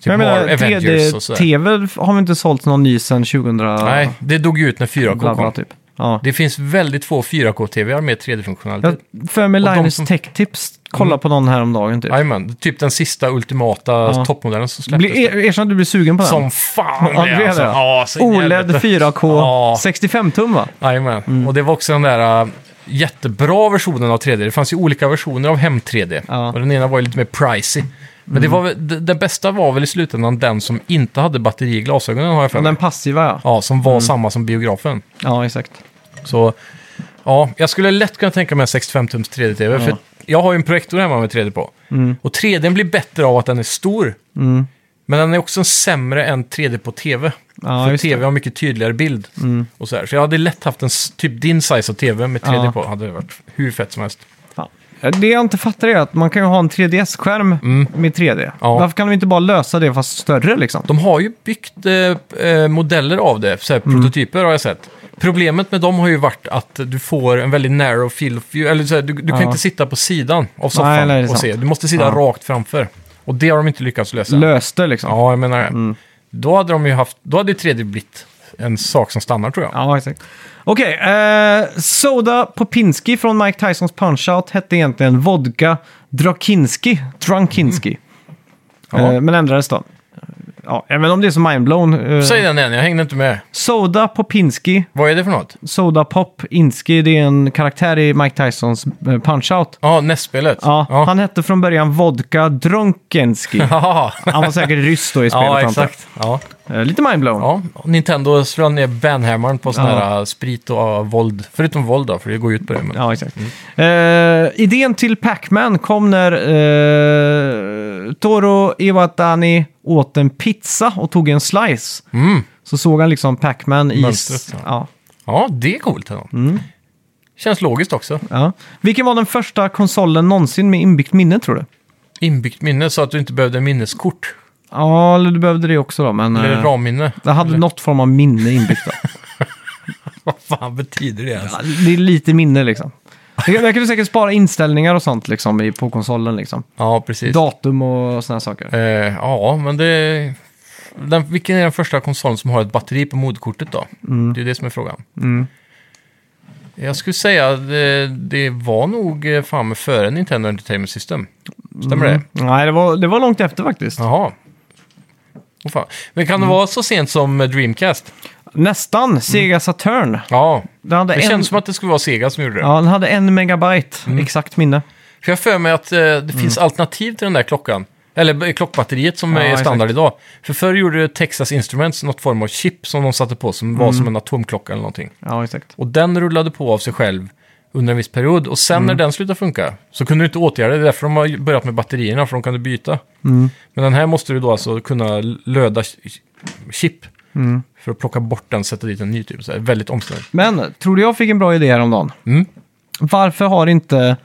[SPEAKER 1] Typ
[SPEAKER 2] Mm. jag
[SPEAKER 1] Marvel,
[SPEAKER 2] menar,
[SPEAKER 1] Avengers och sådär.
[SPEAKER 2] 3D-tv har vi inte sålt någon ny sedan 2000?
[SPEAKER 1] Nej, det dog ju ut när 4K
[SPEAKER 2] bla, bla,
[SPEAKER 1] kom.
[SPEAKER 2] typ. Ja.
[SPEAKER 1] Det finns väldigt få 4K-TVar med 3D-funktionalitet.
[SPEAKER 2] Jag för mig
[SPEAKER 1] Och de
[SPEAKER 2] Linus
[SPEAKER 1] som- Mm.
[SPEAKER 2] Tech Tips kolla på någon häromdagen typ.
[SPEAKER 1] Jajamän, typ den sista ultimata toppmodellen som släpptes.
[SPEAKER 2] Blir- er- Erkänn att du blir sugen på den.
[SPEAKER 1] Som fan! alltså.
[SPEAKER 2] Ja, det E är det.
[SPEAKER 1] Ja, så in i
[SPEAKER 2] OLED
[SPEAKER 1] helvete.
[SPEAKER 2] 4K
[SPEAKER 1] Ja.
[SPEAKER 2] 65 tum va?
[SPEAKER 1] Jajamän,
[SPEAKER 2] Mm.
[SPEAKER 1] och det var också den där äh, jättebra versionen av 3D. Det fanns ju olika versioner av Hem 3D.
[SPEAKER 2] Ja. Mm.
[SPEAKER 1] Och den ena var ju lite mer pricey. Men det, var, väl- det, det bästa var väl i slutändan den som inte hade batteri i glasögonen har jag för
[SPEAKER 2] Och
[SPEAKER 1] mig.
[SPEAKER 2] den Mm. passiva ja.
[SPEAKER 1] Ja, som var samma som biografen.
[SPEAKER 2] Ja, exakt.
[SPEAKER 1] Så ja, jag skulle lätt kunna tänka mig en 65-tums 3D-TV. För jag har ju en projektor hemma med 3D på.
[SPEAKER 2] Mm.
[SPEAKER 1] Och 3D blir bättre av att den är stor. Men den är också sämre än 3D på TV.
[SPEAKER 2] Ja,
[SPEAKER 1] för
[SPEAKER 2] just det. Mm.
[SPEAKER 1] TV har mycket tydligare bild. Och så, här. så jag hade lätt haft en s- typ din size av TV med 3D
[SPEAKER 2] Ja.
[SPEAKER 1] på. Hade det varit hur fett som helst.
[SPEAKER 2] Ja. Det jag inte fattar är att man kan ju ha en 3DS-skärm med 3D.
[SPEAKER 1] Mm. Ja.
[SPEAKER 2] Varför kan de inte bara lösa det fast större liksom?
[SPEAKER 1] De har ju byggt eh, eh, modeller av det, så här,
[SPEAKER 2] Mm.
[SPEAKER 1] prototyper har jag sett. Problemet med dem har ju varit att du får en väldigt narrow field of view, eller så här, du, du kan
[SPEAKER 2] Ja.
[SPEAKER 1] inte sitta på sidan av soffan
[SPEAKER 2] Nej, nej, det är
[SPEAKER 1] och se.
[SPEAKER 2] sant.
[SPEAKER 1] Du måste sitta
[SPEAKER 2] Ja.
[SPEAKER 1] rakt framför. Och det har de inte lyckats lösa.
[SPEAKER 2] Löste liksom.
[SPEAKER 1] ja, jag menar det. Då hade de ju haft, då hade ju 3D blivit en sak som stannar tror jag.
[SPEAKER 2] Ja, exakt. Okej, eh, Soda Popinski från Mike Tysons Punch-Out hette egentligen Vodka Drakinski. Drunkinski.
[SPEAKER 1] Mm. Ja.
[SPEAKER 2] Eh, men ändrades då. Ja, jag vet inte om det är så mindblown. Eh,
[SPEAKER 1] Säg den igen, jag hängde inte med.
[SPEAKER 2] Soda Popinski,
[SPEAKER 1] Vad är det för något?
[SPEAKER 2] Soda Pop Inski, det är en karaktär i Mike Tysons eh, Punch-Out.
[SPEAKER 1] Ja, nästspelet.
[SPEAKER 2] Ja, Han hette från början Vodka Drunkenski.
[SPEAKER 1] *laughs* ja.
[SPEAKER 2] Han var säkert ryss då i spelet.
[SPEAKER 1] ja,
[SPEAKER 2] antar jag.
[SPEAKER 1] exakt. Ja.
[SPEAKER 2] Eh, lite mindblown.
[SPEAKER 1] Ja, Nintendo slår ner Banhammaren på sån
[SPEAKER 2] Ja.
[SPEAKER 1] här äh, sprit och äh, våld. Förutom våld då, för det går ju ut på det. Men...
[SPEAKER 2] Ja, exakt.
[SPEAKER 1] Mm.
[SPEAKER 2] Eh, idén till Pac-Man kom när eh, Toro Iwatani åt en pizza och tog en slice.
[SPEAKER 1] Mm.
[SPEAKER 2] Så såg han liksom Pac-Man i...
[SPEAKER 1] Mönstret, ja.
[SPEAKER 2] Ja,
[SPEAKER 1] Ja, det är coolt ändå. Känns logiskt också.
[SPEAKER 2] ja. Vilken var den första konsolen någonsin med inbyggt minne tror du?
[SPEAKER 1] Inbyggt minne så att du inte behövde minneskort.
[SPEAKER 2] Ja, eller du behövde det också då, men...
[SPEAKER 1] *laughs* Eller
[SPEAKER 2] eh,
[SPEAKER 1] ramminne.
[SPEAKER 2] det hade något form av minne inbyggt då.
[SPEAKER 1] fan betyder det ens?
[SPEAKER 2] Ja, det är lite minne liksom. Där kan du säkert spara inställningar och sånt liksom i, på konsolen liksom.
[SPEAKER 1] Ja, precis.
[SPEAKER 2] Datum och sådana saker.
[SPEAKER 1] Eh, ja, men det... Den, vilken är den första konsolen som har ett batteri på moderkortet då? Det är det som är frågan. Jag skulle säga att det, det var nog eh, fan med före Nintendo Entertainment System. Stämmer det?
[SPEAKER 2] Nej, det var, det var långt efter faktiskt.
[SPEAKER 1] Jaha. Åh fan. Men
[SPEAKER 2] Mm.
[SPEAKER 1] kan det vara så sent som eh, Dreamcast?
[SPEAKER 2] Nästan, Sega Saturn.
[SPEAKER 1] Ja,
[SPEAKER 2] Den hade
[SPEAKER 1] Mm. det
[SPEAKER 2] en,
[SPEAKER 1] känns som Mm. att det skulle vara Sega som gjorde det.
[SPEAKER 2] ja, den hade en megabyte exakt minne.
[SPEAKER 1] För jag har för mig att eh, det
[SPEAKER 2] Mm.
[SPEAKER 1] finns alternativ till den där klockan. Eller eh, klockbatteriet som
[SPEAKER 2] Ja,
[SPEAKER 1] är
[SPEAKER 2] exakt.
[SPEAKER 1] standard idag. För förr gjorde Texas Instruments något form av chip som de satte på som
[SPEAKER 2] Mm.
[SPEAKER 1] var som en atomklocka eller någonting.
[SPEAKER 2] Ja, exakt.
[SPEAKER 1] Och den rullade på av sig själv under en viss period. Och sen när den slutade funka så kunde du inte åtgärda det. Det är därför de har börjat med batterierna, för de kan du byta. Men den här måste du då alltså kunna löda ch- chip för att plocka bort den, sätta dit en ny typ. Så här, väldigt omständigt.
[SPEAKER 2] Men, tror du jag fick en bra idé häromdagen?
[SPEAKER 1] Mm.
[SPEAKER 2] Varför har inte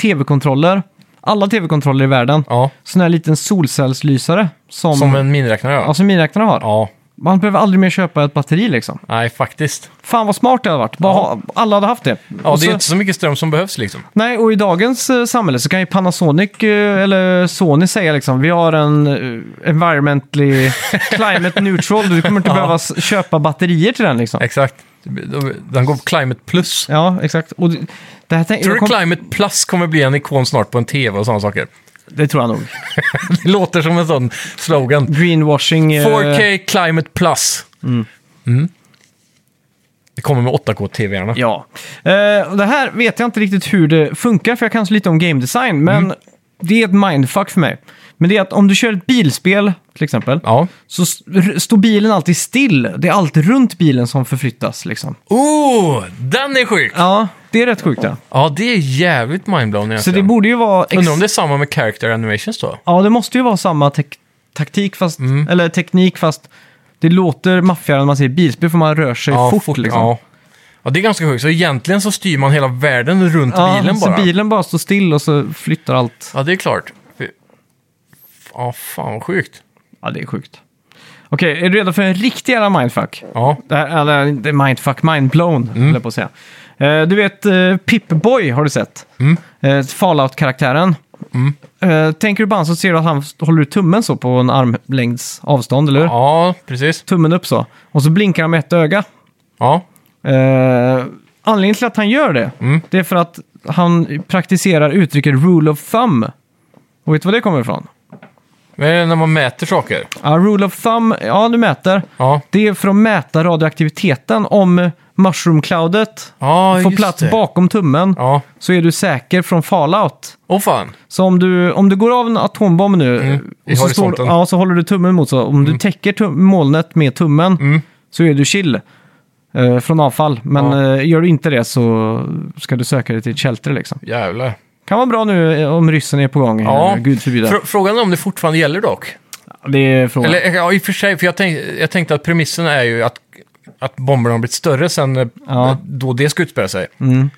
[SPEAKER 2] tv-kontroller, alla tv-kontroller i världen,
[SPEAKER 1] Ja,
[SPEAKER 2] sån här liten solcellslysare som,
[SPEAKER 1] som en miniräknare ja.
[SPEAKER 2] ja, som miniräknarna har?
[SPEAKER 1] Ja,
[SPEAKER 2] Man behöver aldrig mer köpa ett batteri liksom.
[SPEAKER 1] nej faktiskt.
[SPEAKER 2] Fan vad smart det hade varit. Bara ha, alla hade haft det.
[SPEAKER 1] Ja,
[SPEAKER 2] Och
[SPEAKER 1] det är
[SPEAKER 2] så-
[SPEAKER 1] inte så mycket ström som behövs liksom.
[SPEAKER 2] Nej, och i dagens eh, samhälle så kan ju Panasonic eh, eller Sony säga liksom vi har en eh, environmentally climate neutral, du
[SPEAKER 1] *laughs*
[SPEAKER 2] kommer inte behöva s- köpa batterier till den liksom.
[SPEAKER 1] Exakt. Den går på Climate Plus.
[SPEAKER 2] Ja, exakt. Och det, det, här tänk,
[SPEAKER 1] Tror du
[SPEAKER 2] jag kom,
[SPEAKER 1] Climate Plus kommer bli en ikon snart på en tv och sådana saker? *laughs*
[SPEAKER 2] det tror jag nog.
[SPEAKER 1] Det låter som en sån slogan.
[SPEAKER 2] Greenwashing. eh,
[SPEAKER 1] 4K Climate Plus. Mm. Det kommer med 8K-tv-arna.
[SPEAKER 2] Ja. Eh, och det här vet jag inte riktigt hur det funkar, för jag kan så lite om game design, men
[SPEAKER 1] Mm.
[SPEAKER 2] det är ett mindfuck för mig. Men det är att om du kör ett bilspel, till exempel,
[SPEAKER 1] Ja.
[SPEAKER 2] så s- r- står bilen alltid still. Det är allt runt bilen som förflyttas liksom.
[SPEAKER 1] Oh, den är sjuk!
[SPEAKER 2] Ja, det är rätt sjukt. Ja.
[SPEAKER 1] Ja, det är jävligt mindblown
[SPEAKER 2] Så det
[SPEAKER 1] egentligen.
[SPEAKER 2] borde ju vara... Ex-
[SPEAKER 1] Undrar om det är samma med character animations då?
[SPEAKER 2] Ja, det måste ju vara samma tek- taktik fast...
[SPEAKER 1] Mm.
[SPEAKER 2] Eller teknik fast... Det låter maffigare när man säger bilspel för man rör sig fort, liksom.
[SPEAKER 1] Ja. ja, det är ganska sjukt. Så egentligen så styr man hela världen runt
[SPEAKER 2] Ja,
[SPEAKER 1] bilen
[SPEAKER 2] så
[SPEAKER 1] bara.
[SPEAKER 2] bilen bara står still och så flyttar allt.
[SPEAKER 1] Ja, det är klart. Fy- Ja, fan vad sjukt.
[SPEAKER 2] Ja, det är sjukt. Okej, är du redo för en riktig jävla mindfuck?
[SPEAKER 1] Ja,
[SPEAKER 2] Det här, eller inte mindfuck, mindblown, höll jag på att säga. Eh, du vet, eh, Pip-Boy har du sett. Eh, Fallout-karaktären. Eh, tänker du på han så ser du att han håller ut tummen så på en armlängds avstånd, eller hur?
[SPEAKER 1] ja precis.
[SPEAKER 2] Tummen upp så. Och så blinkar han med ett öga.
[SPEAKER 1] Ja.
[SPEAKER 2] Eh, anledningen till att han gör det, det är för att han praktiserar uttrycket rule of thumb. Och vet du var det kommer ifrån?
[SPEAKER 1] Men är det när man mäter saker?
[SPEAKER 2] Ja, rule of thumb, ja du mäter.
[SPEAKER 1] Ja.
[SPEAKER 2] Det är för att mäta radioaktiviteten. Om eh, mushroom cloudet
[SPEAKER 1] Ja,
[SPEAKER 2] får
[SPEAKER 1] just
[SPEAKER 2] plats
[SPEAKER 1] det.
[SPEAKER 2] bakom tummen
[SPEAKER 1] Ja.
[SPEAKER 2] så är du säker från fallout.
[SPEAKER 1] Åh fan.
[SPEAKER 2] Så om du, om du går av en atombomb nu
[SPEAKER 1] Mm, i
[SPEAKER 2] och så, står,
[SPEAKER 1] horisonten. Mm.
[SPEAKER 2] ja, så håller du tummen mot så. Om du täcker tum- molnet med tummen så är du chill eh, från avfall. Men
[SPEAKER 1] Ja.
[SPEAKER 2] eh, gör du inte det så ska du söka dig till ett shelter liksom.
[SPEAKER 1] Jävlar.
[SPEAKER 2] Kan vara bra nu eh, om ryssen är på gång.
[SPEAKER 1] Ja.
[SPEAKER 2] eh, Gud förbjude.
[SPEAKER 1] Frå- frågan är om det fortfarande gäller dock.
[SPEAKER 2] det är frågan.
[SPEAKER 1] Eller eh, ja, i och för sig, för jag, tänk, jag tänkte att premissen är ju att, att bomberna har blivit större sen eh,
[SPEAKER 2] Ja.
[SPEAKER 1] då det ska utspela sig.
[SPEAKER 2] Mm.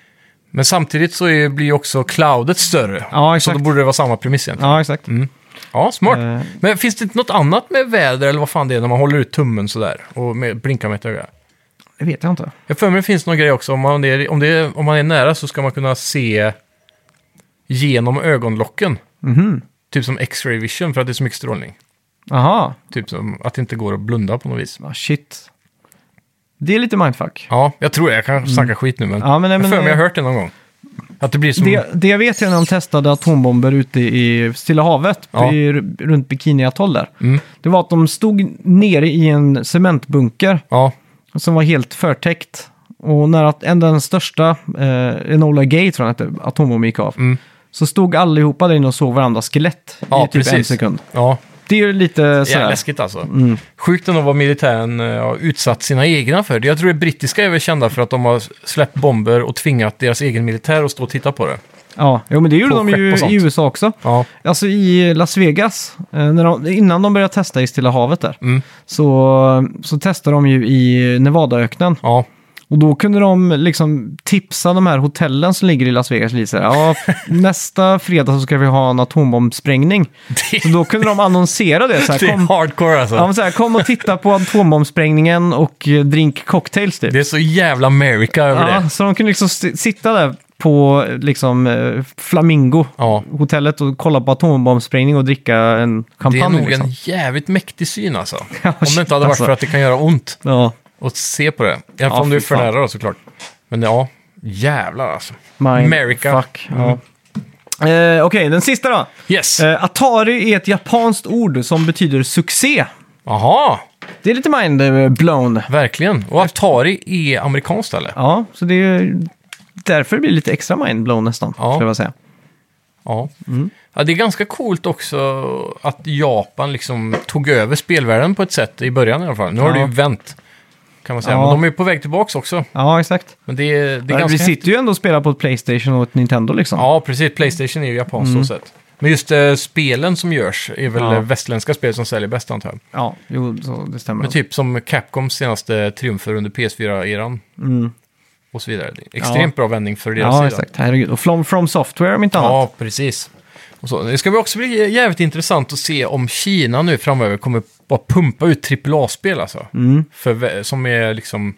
[SPEAKER 1] Men samtidigt så är, blir ju också cloudet större.
[SPEAKER 2] Ja,
[SPEAKER 1] så
[SPEAKER 2] exakt.
[SPEAKER 1] då borde det vara samma premiss egentligen.
[SPEAKER 2] Ja, exakt.
[SPEAKER 1] Ja, smart.
[SPEAKER 2] Eh.
[SPEAKER 1] Men finns det inte något annat med väder eller vad fan det är när man håller ut tummen sådär och med, blinkar med ett öga?
[SPEAKER 2] Det vet jag inte.
[SPEAKER 1] Jag för mig det finns någon grej också, om man, är, om, det är, om man är nära så ska man kunna se genom ögonlocken.
[SPEAKER 2] Mhm.
[SPEAKER 1] Typ som X-ray vision för att det är så mycket strålning.
[SPEAKER 2] Aha.
[SPEAKER 1] Typ som att det inte går att blunda på något vis.
[SPEAKER 2] Ah, shit. Det är lite mindfuck.
[SPEAKER 1] Ja, jag tror det. Jag kan snacka skit nu, men,
[SPEAKER 2] Mm. Ja, men-
[SPEAKER 1] jag
[SPEAKER 2] men-
[SPEAKER 1] för mig jag har hört det någon gång. Att det blir som...
[SPEAKER 2] Det, det jag vet är när de testade atombomber ute i Stilla havet,
[SPEAKER 1] Ja. Mm.
[SPEAKER 2] i, runt Bikiniatoll där. Det var att de stod nere i en cementbunker
[SPEAKER 1] Ja,
[SPEAKER 2] som var helt förtäckt. Och när att, en, den största, eh, Enola Gay tror jag att atombomben gick av, så stod allihopa där inne och såg varandras skelett
[SPEAKER 1] Mm. ja
[SPEAKER 2] i typ en sekund.
[SPEAKER 1] Ja,
[SPEAKER 2] Det är ju lite
[SPEAKER 1] jävla
[SPEAKER 2] sådär.
[SPEAKER 1] läskigt alltså.
[SPEAKER 2] Mm.
[SPEAKER 1] Sjukt ändå vad militären eh, har utsatt sina egna för. Jag tror det brittiska är väl kända för att de har släppt bomber och tvingat deras egen militär att stå och titta på det.
[SPEAKER 2] Ja, jo, men det gjorde
[SPEAKER 1] På
[SPEAKER 2] de
[SPEAKER 1] skepp
[SPEAKER 2] ju
[SPEAKER 1] och sånt.
[SPEAKER 2] i USA också.
[SPEAKER 1] Ja,
[SPEAKER 2] Alltså i Las Vegas, eh, när de, innan de började testa i Stilla havet där,
[SPEAKER 1] Mm.
[SPEAKER 2] så, så testade de ju i Nevadaöknen.
[SPEAKER 1] ja,
[SPEAKER 2] Och då kunde de liksom tipsa de här hotellen som ligger i Las Vegas lite så här,
[SPEAKER 1] *laughs*
[SPEAKER 2] ja, nästa fredag så ska vi ha en atombombsprängning. Så då kunde de annonsera det så här,
[SPEAKER 1] Det är
[SPEAKER 2] kom,
[SPEAKER 1] hardcore alltså.
[SPEAKER 2] ja, men så här, kom och titta på atombombsprängningen och eh, drink cocktails typ.
[SPEAKER 1] Det är så jävla America över
[SPEAKER 2] Ja,
[SPEAKER 1] det.
[SPEAKER 2] så de kunde liksom st- sitta där på eh, liksom eh, Flamingo.
[SPEAKER 1] Ja.
[SPEAKER 2] hotellet och kolla på atombombsprängning och dricka en
[SPEAKER 1] Det är
[SPEAKER 2] champagne.
[SPEAKER 1] nog
[SPEAKER 2] liksom.
[SPEAKER 1] en jävligt mäktig syn alltså.
[SPEAKER 2] *laughs* Ja,
[SPEAKER 1] Om det
[SPEAKER 2] shit,
[SPEAKER 1] inte hade varit
[SPEAKER 2] alltså.
[SPEAKER 1] för att det kan göra ont
[SPEAKER 2] Ja,
[SPEAKER 1] att se på det. I alla
[SPEAKER 2] Ja,
[SPEAKER 1] fall om du är
[SPEAKER 2] fy
[SPEAKER 1] för
[SPEAKER 2] fan.
[SPEAKER 1] nära då såklart. Men ja, jävlar alltså.
[SPEAKER 2] mind
[SPEAKER 1] America. Mm.
[SPEAKER 2] Fuck. Ja. Eh, Okej, den sista då.
[SPEAKER 1] Yes!
[SPEAKER 2] Eh, Atari är ett japanskt ord som betyder succé.
[SPEAKER 1] Jaha,
[SPEAKER 2] Det är lite eh, mind-blown.
[SPEAKER 1] verkligen. Och Atari är amerikanskt eller?
[SPEAKER 2] Ja, så det är därför det blir lite extra mind-blown nästan,
[SPEAKER 1] Ja.
[SPEAKER 2] skulle jag vilja säga.
[SPEAKER 1] Ja.
[SPEAKER 2] Mm.
[SPEAKER 1] ja. Det är ganska coolt också att Japan liksom tog över spelvärlden på ett sätt i början i alla fall. Nu har
[SPEAKER 2] Ja.
[SPEAKER 1] det ju vänt. Kan man säga.
[SPEAKER 2] Ja.
[SPEAKER 1] Men de är ju på väg tillbaka också.
[SPEAKER 2] Ja, exakt.
[SPEAKER 1] Men det är, det är
[SPEAKER 2] vi
[SPEAKER 1] ganska
[SPEAKER 2] sitter ju ändå och spelar på ett Playstation och ett Nintendo liksom.
[SPEAKER 1] Ja, precis. Playstation är ju japanskt så sett. Men just eh, spelen som görs är väl
[SPEAKER 2] Mm. Ja.
[SPEAKER 1] eh, västländska spel som säljer bäst antar jag.
[SPEAKER 2] ja jo, så det stämmer.
[SPEAKER 1] Men typ som Capcoms senaste triumfer under PS4-eran. Och så vidare. Det är Extremt bra vändning för deras
[SPEAKER 2] Mm. ja,
[SPEAKER 1] sida.
[SPEAKER 2] exakt. Herregud. Och From, from Software om inte annat.
[SPEAKER 1] Ja, precis. Och så. Det ska bli också bli jävligt intressant att se om Kina nu framöver kommer bara pumpa ut AAA-spel alltså.
[SPEAKER 2] Mm.
[SPEAKER 1] För, vä- som är liksom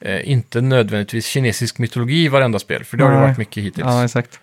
[SPEAKER 1] eh, inte nödvändigtvis kinesisk mytologi i varenda spel. För det har ju
[SPEAKER 2] Nej.
[SPEAKER 1] varit mycket hittills.
[SPEAKER 2] ja exakt.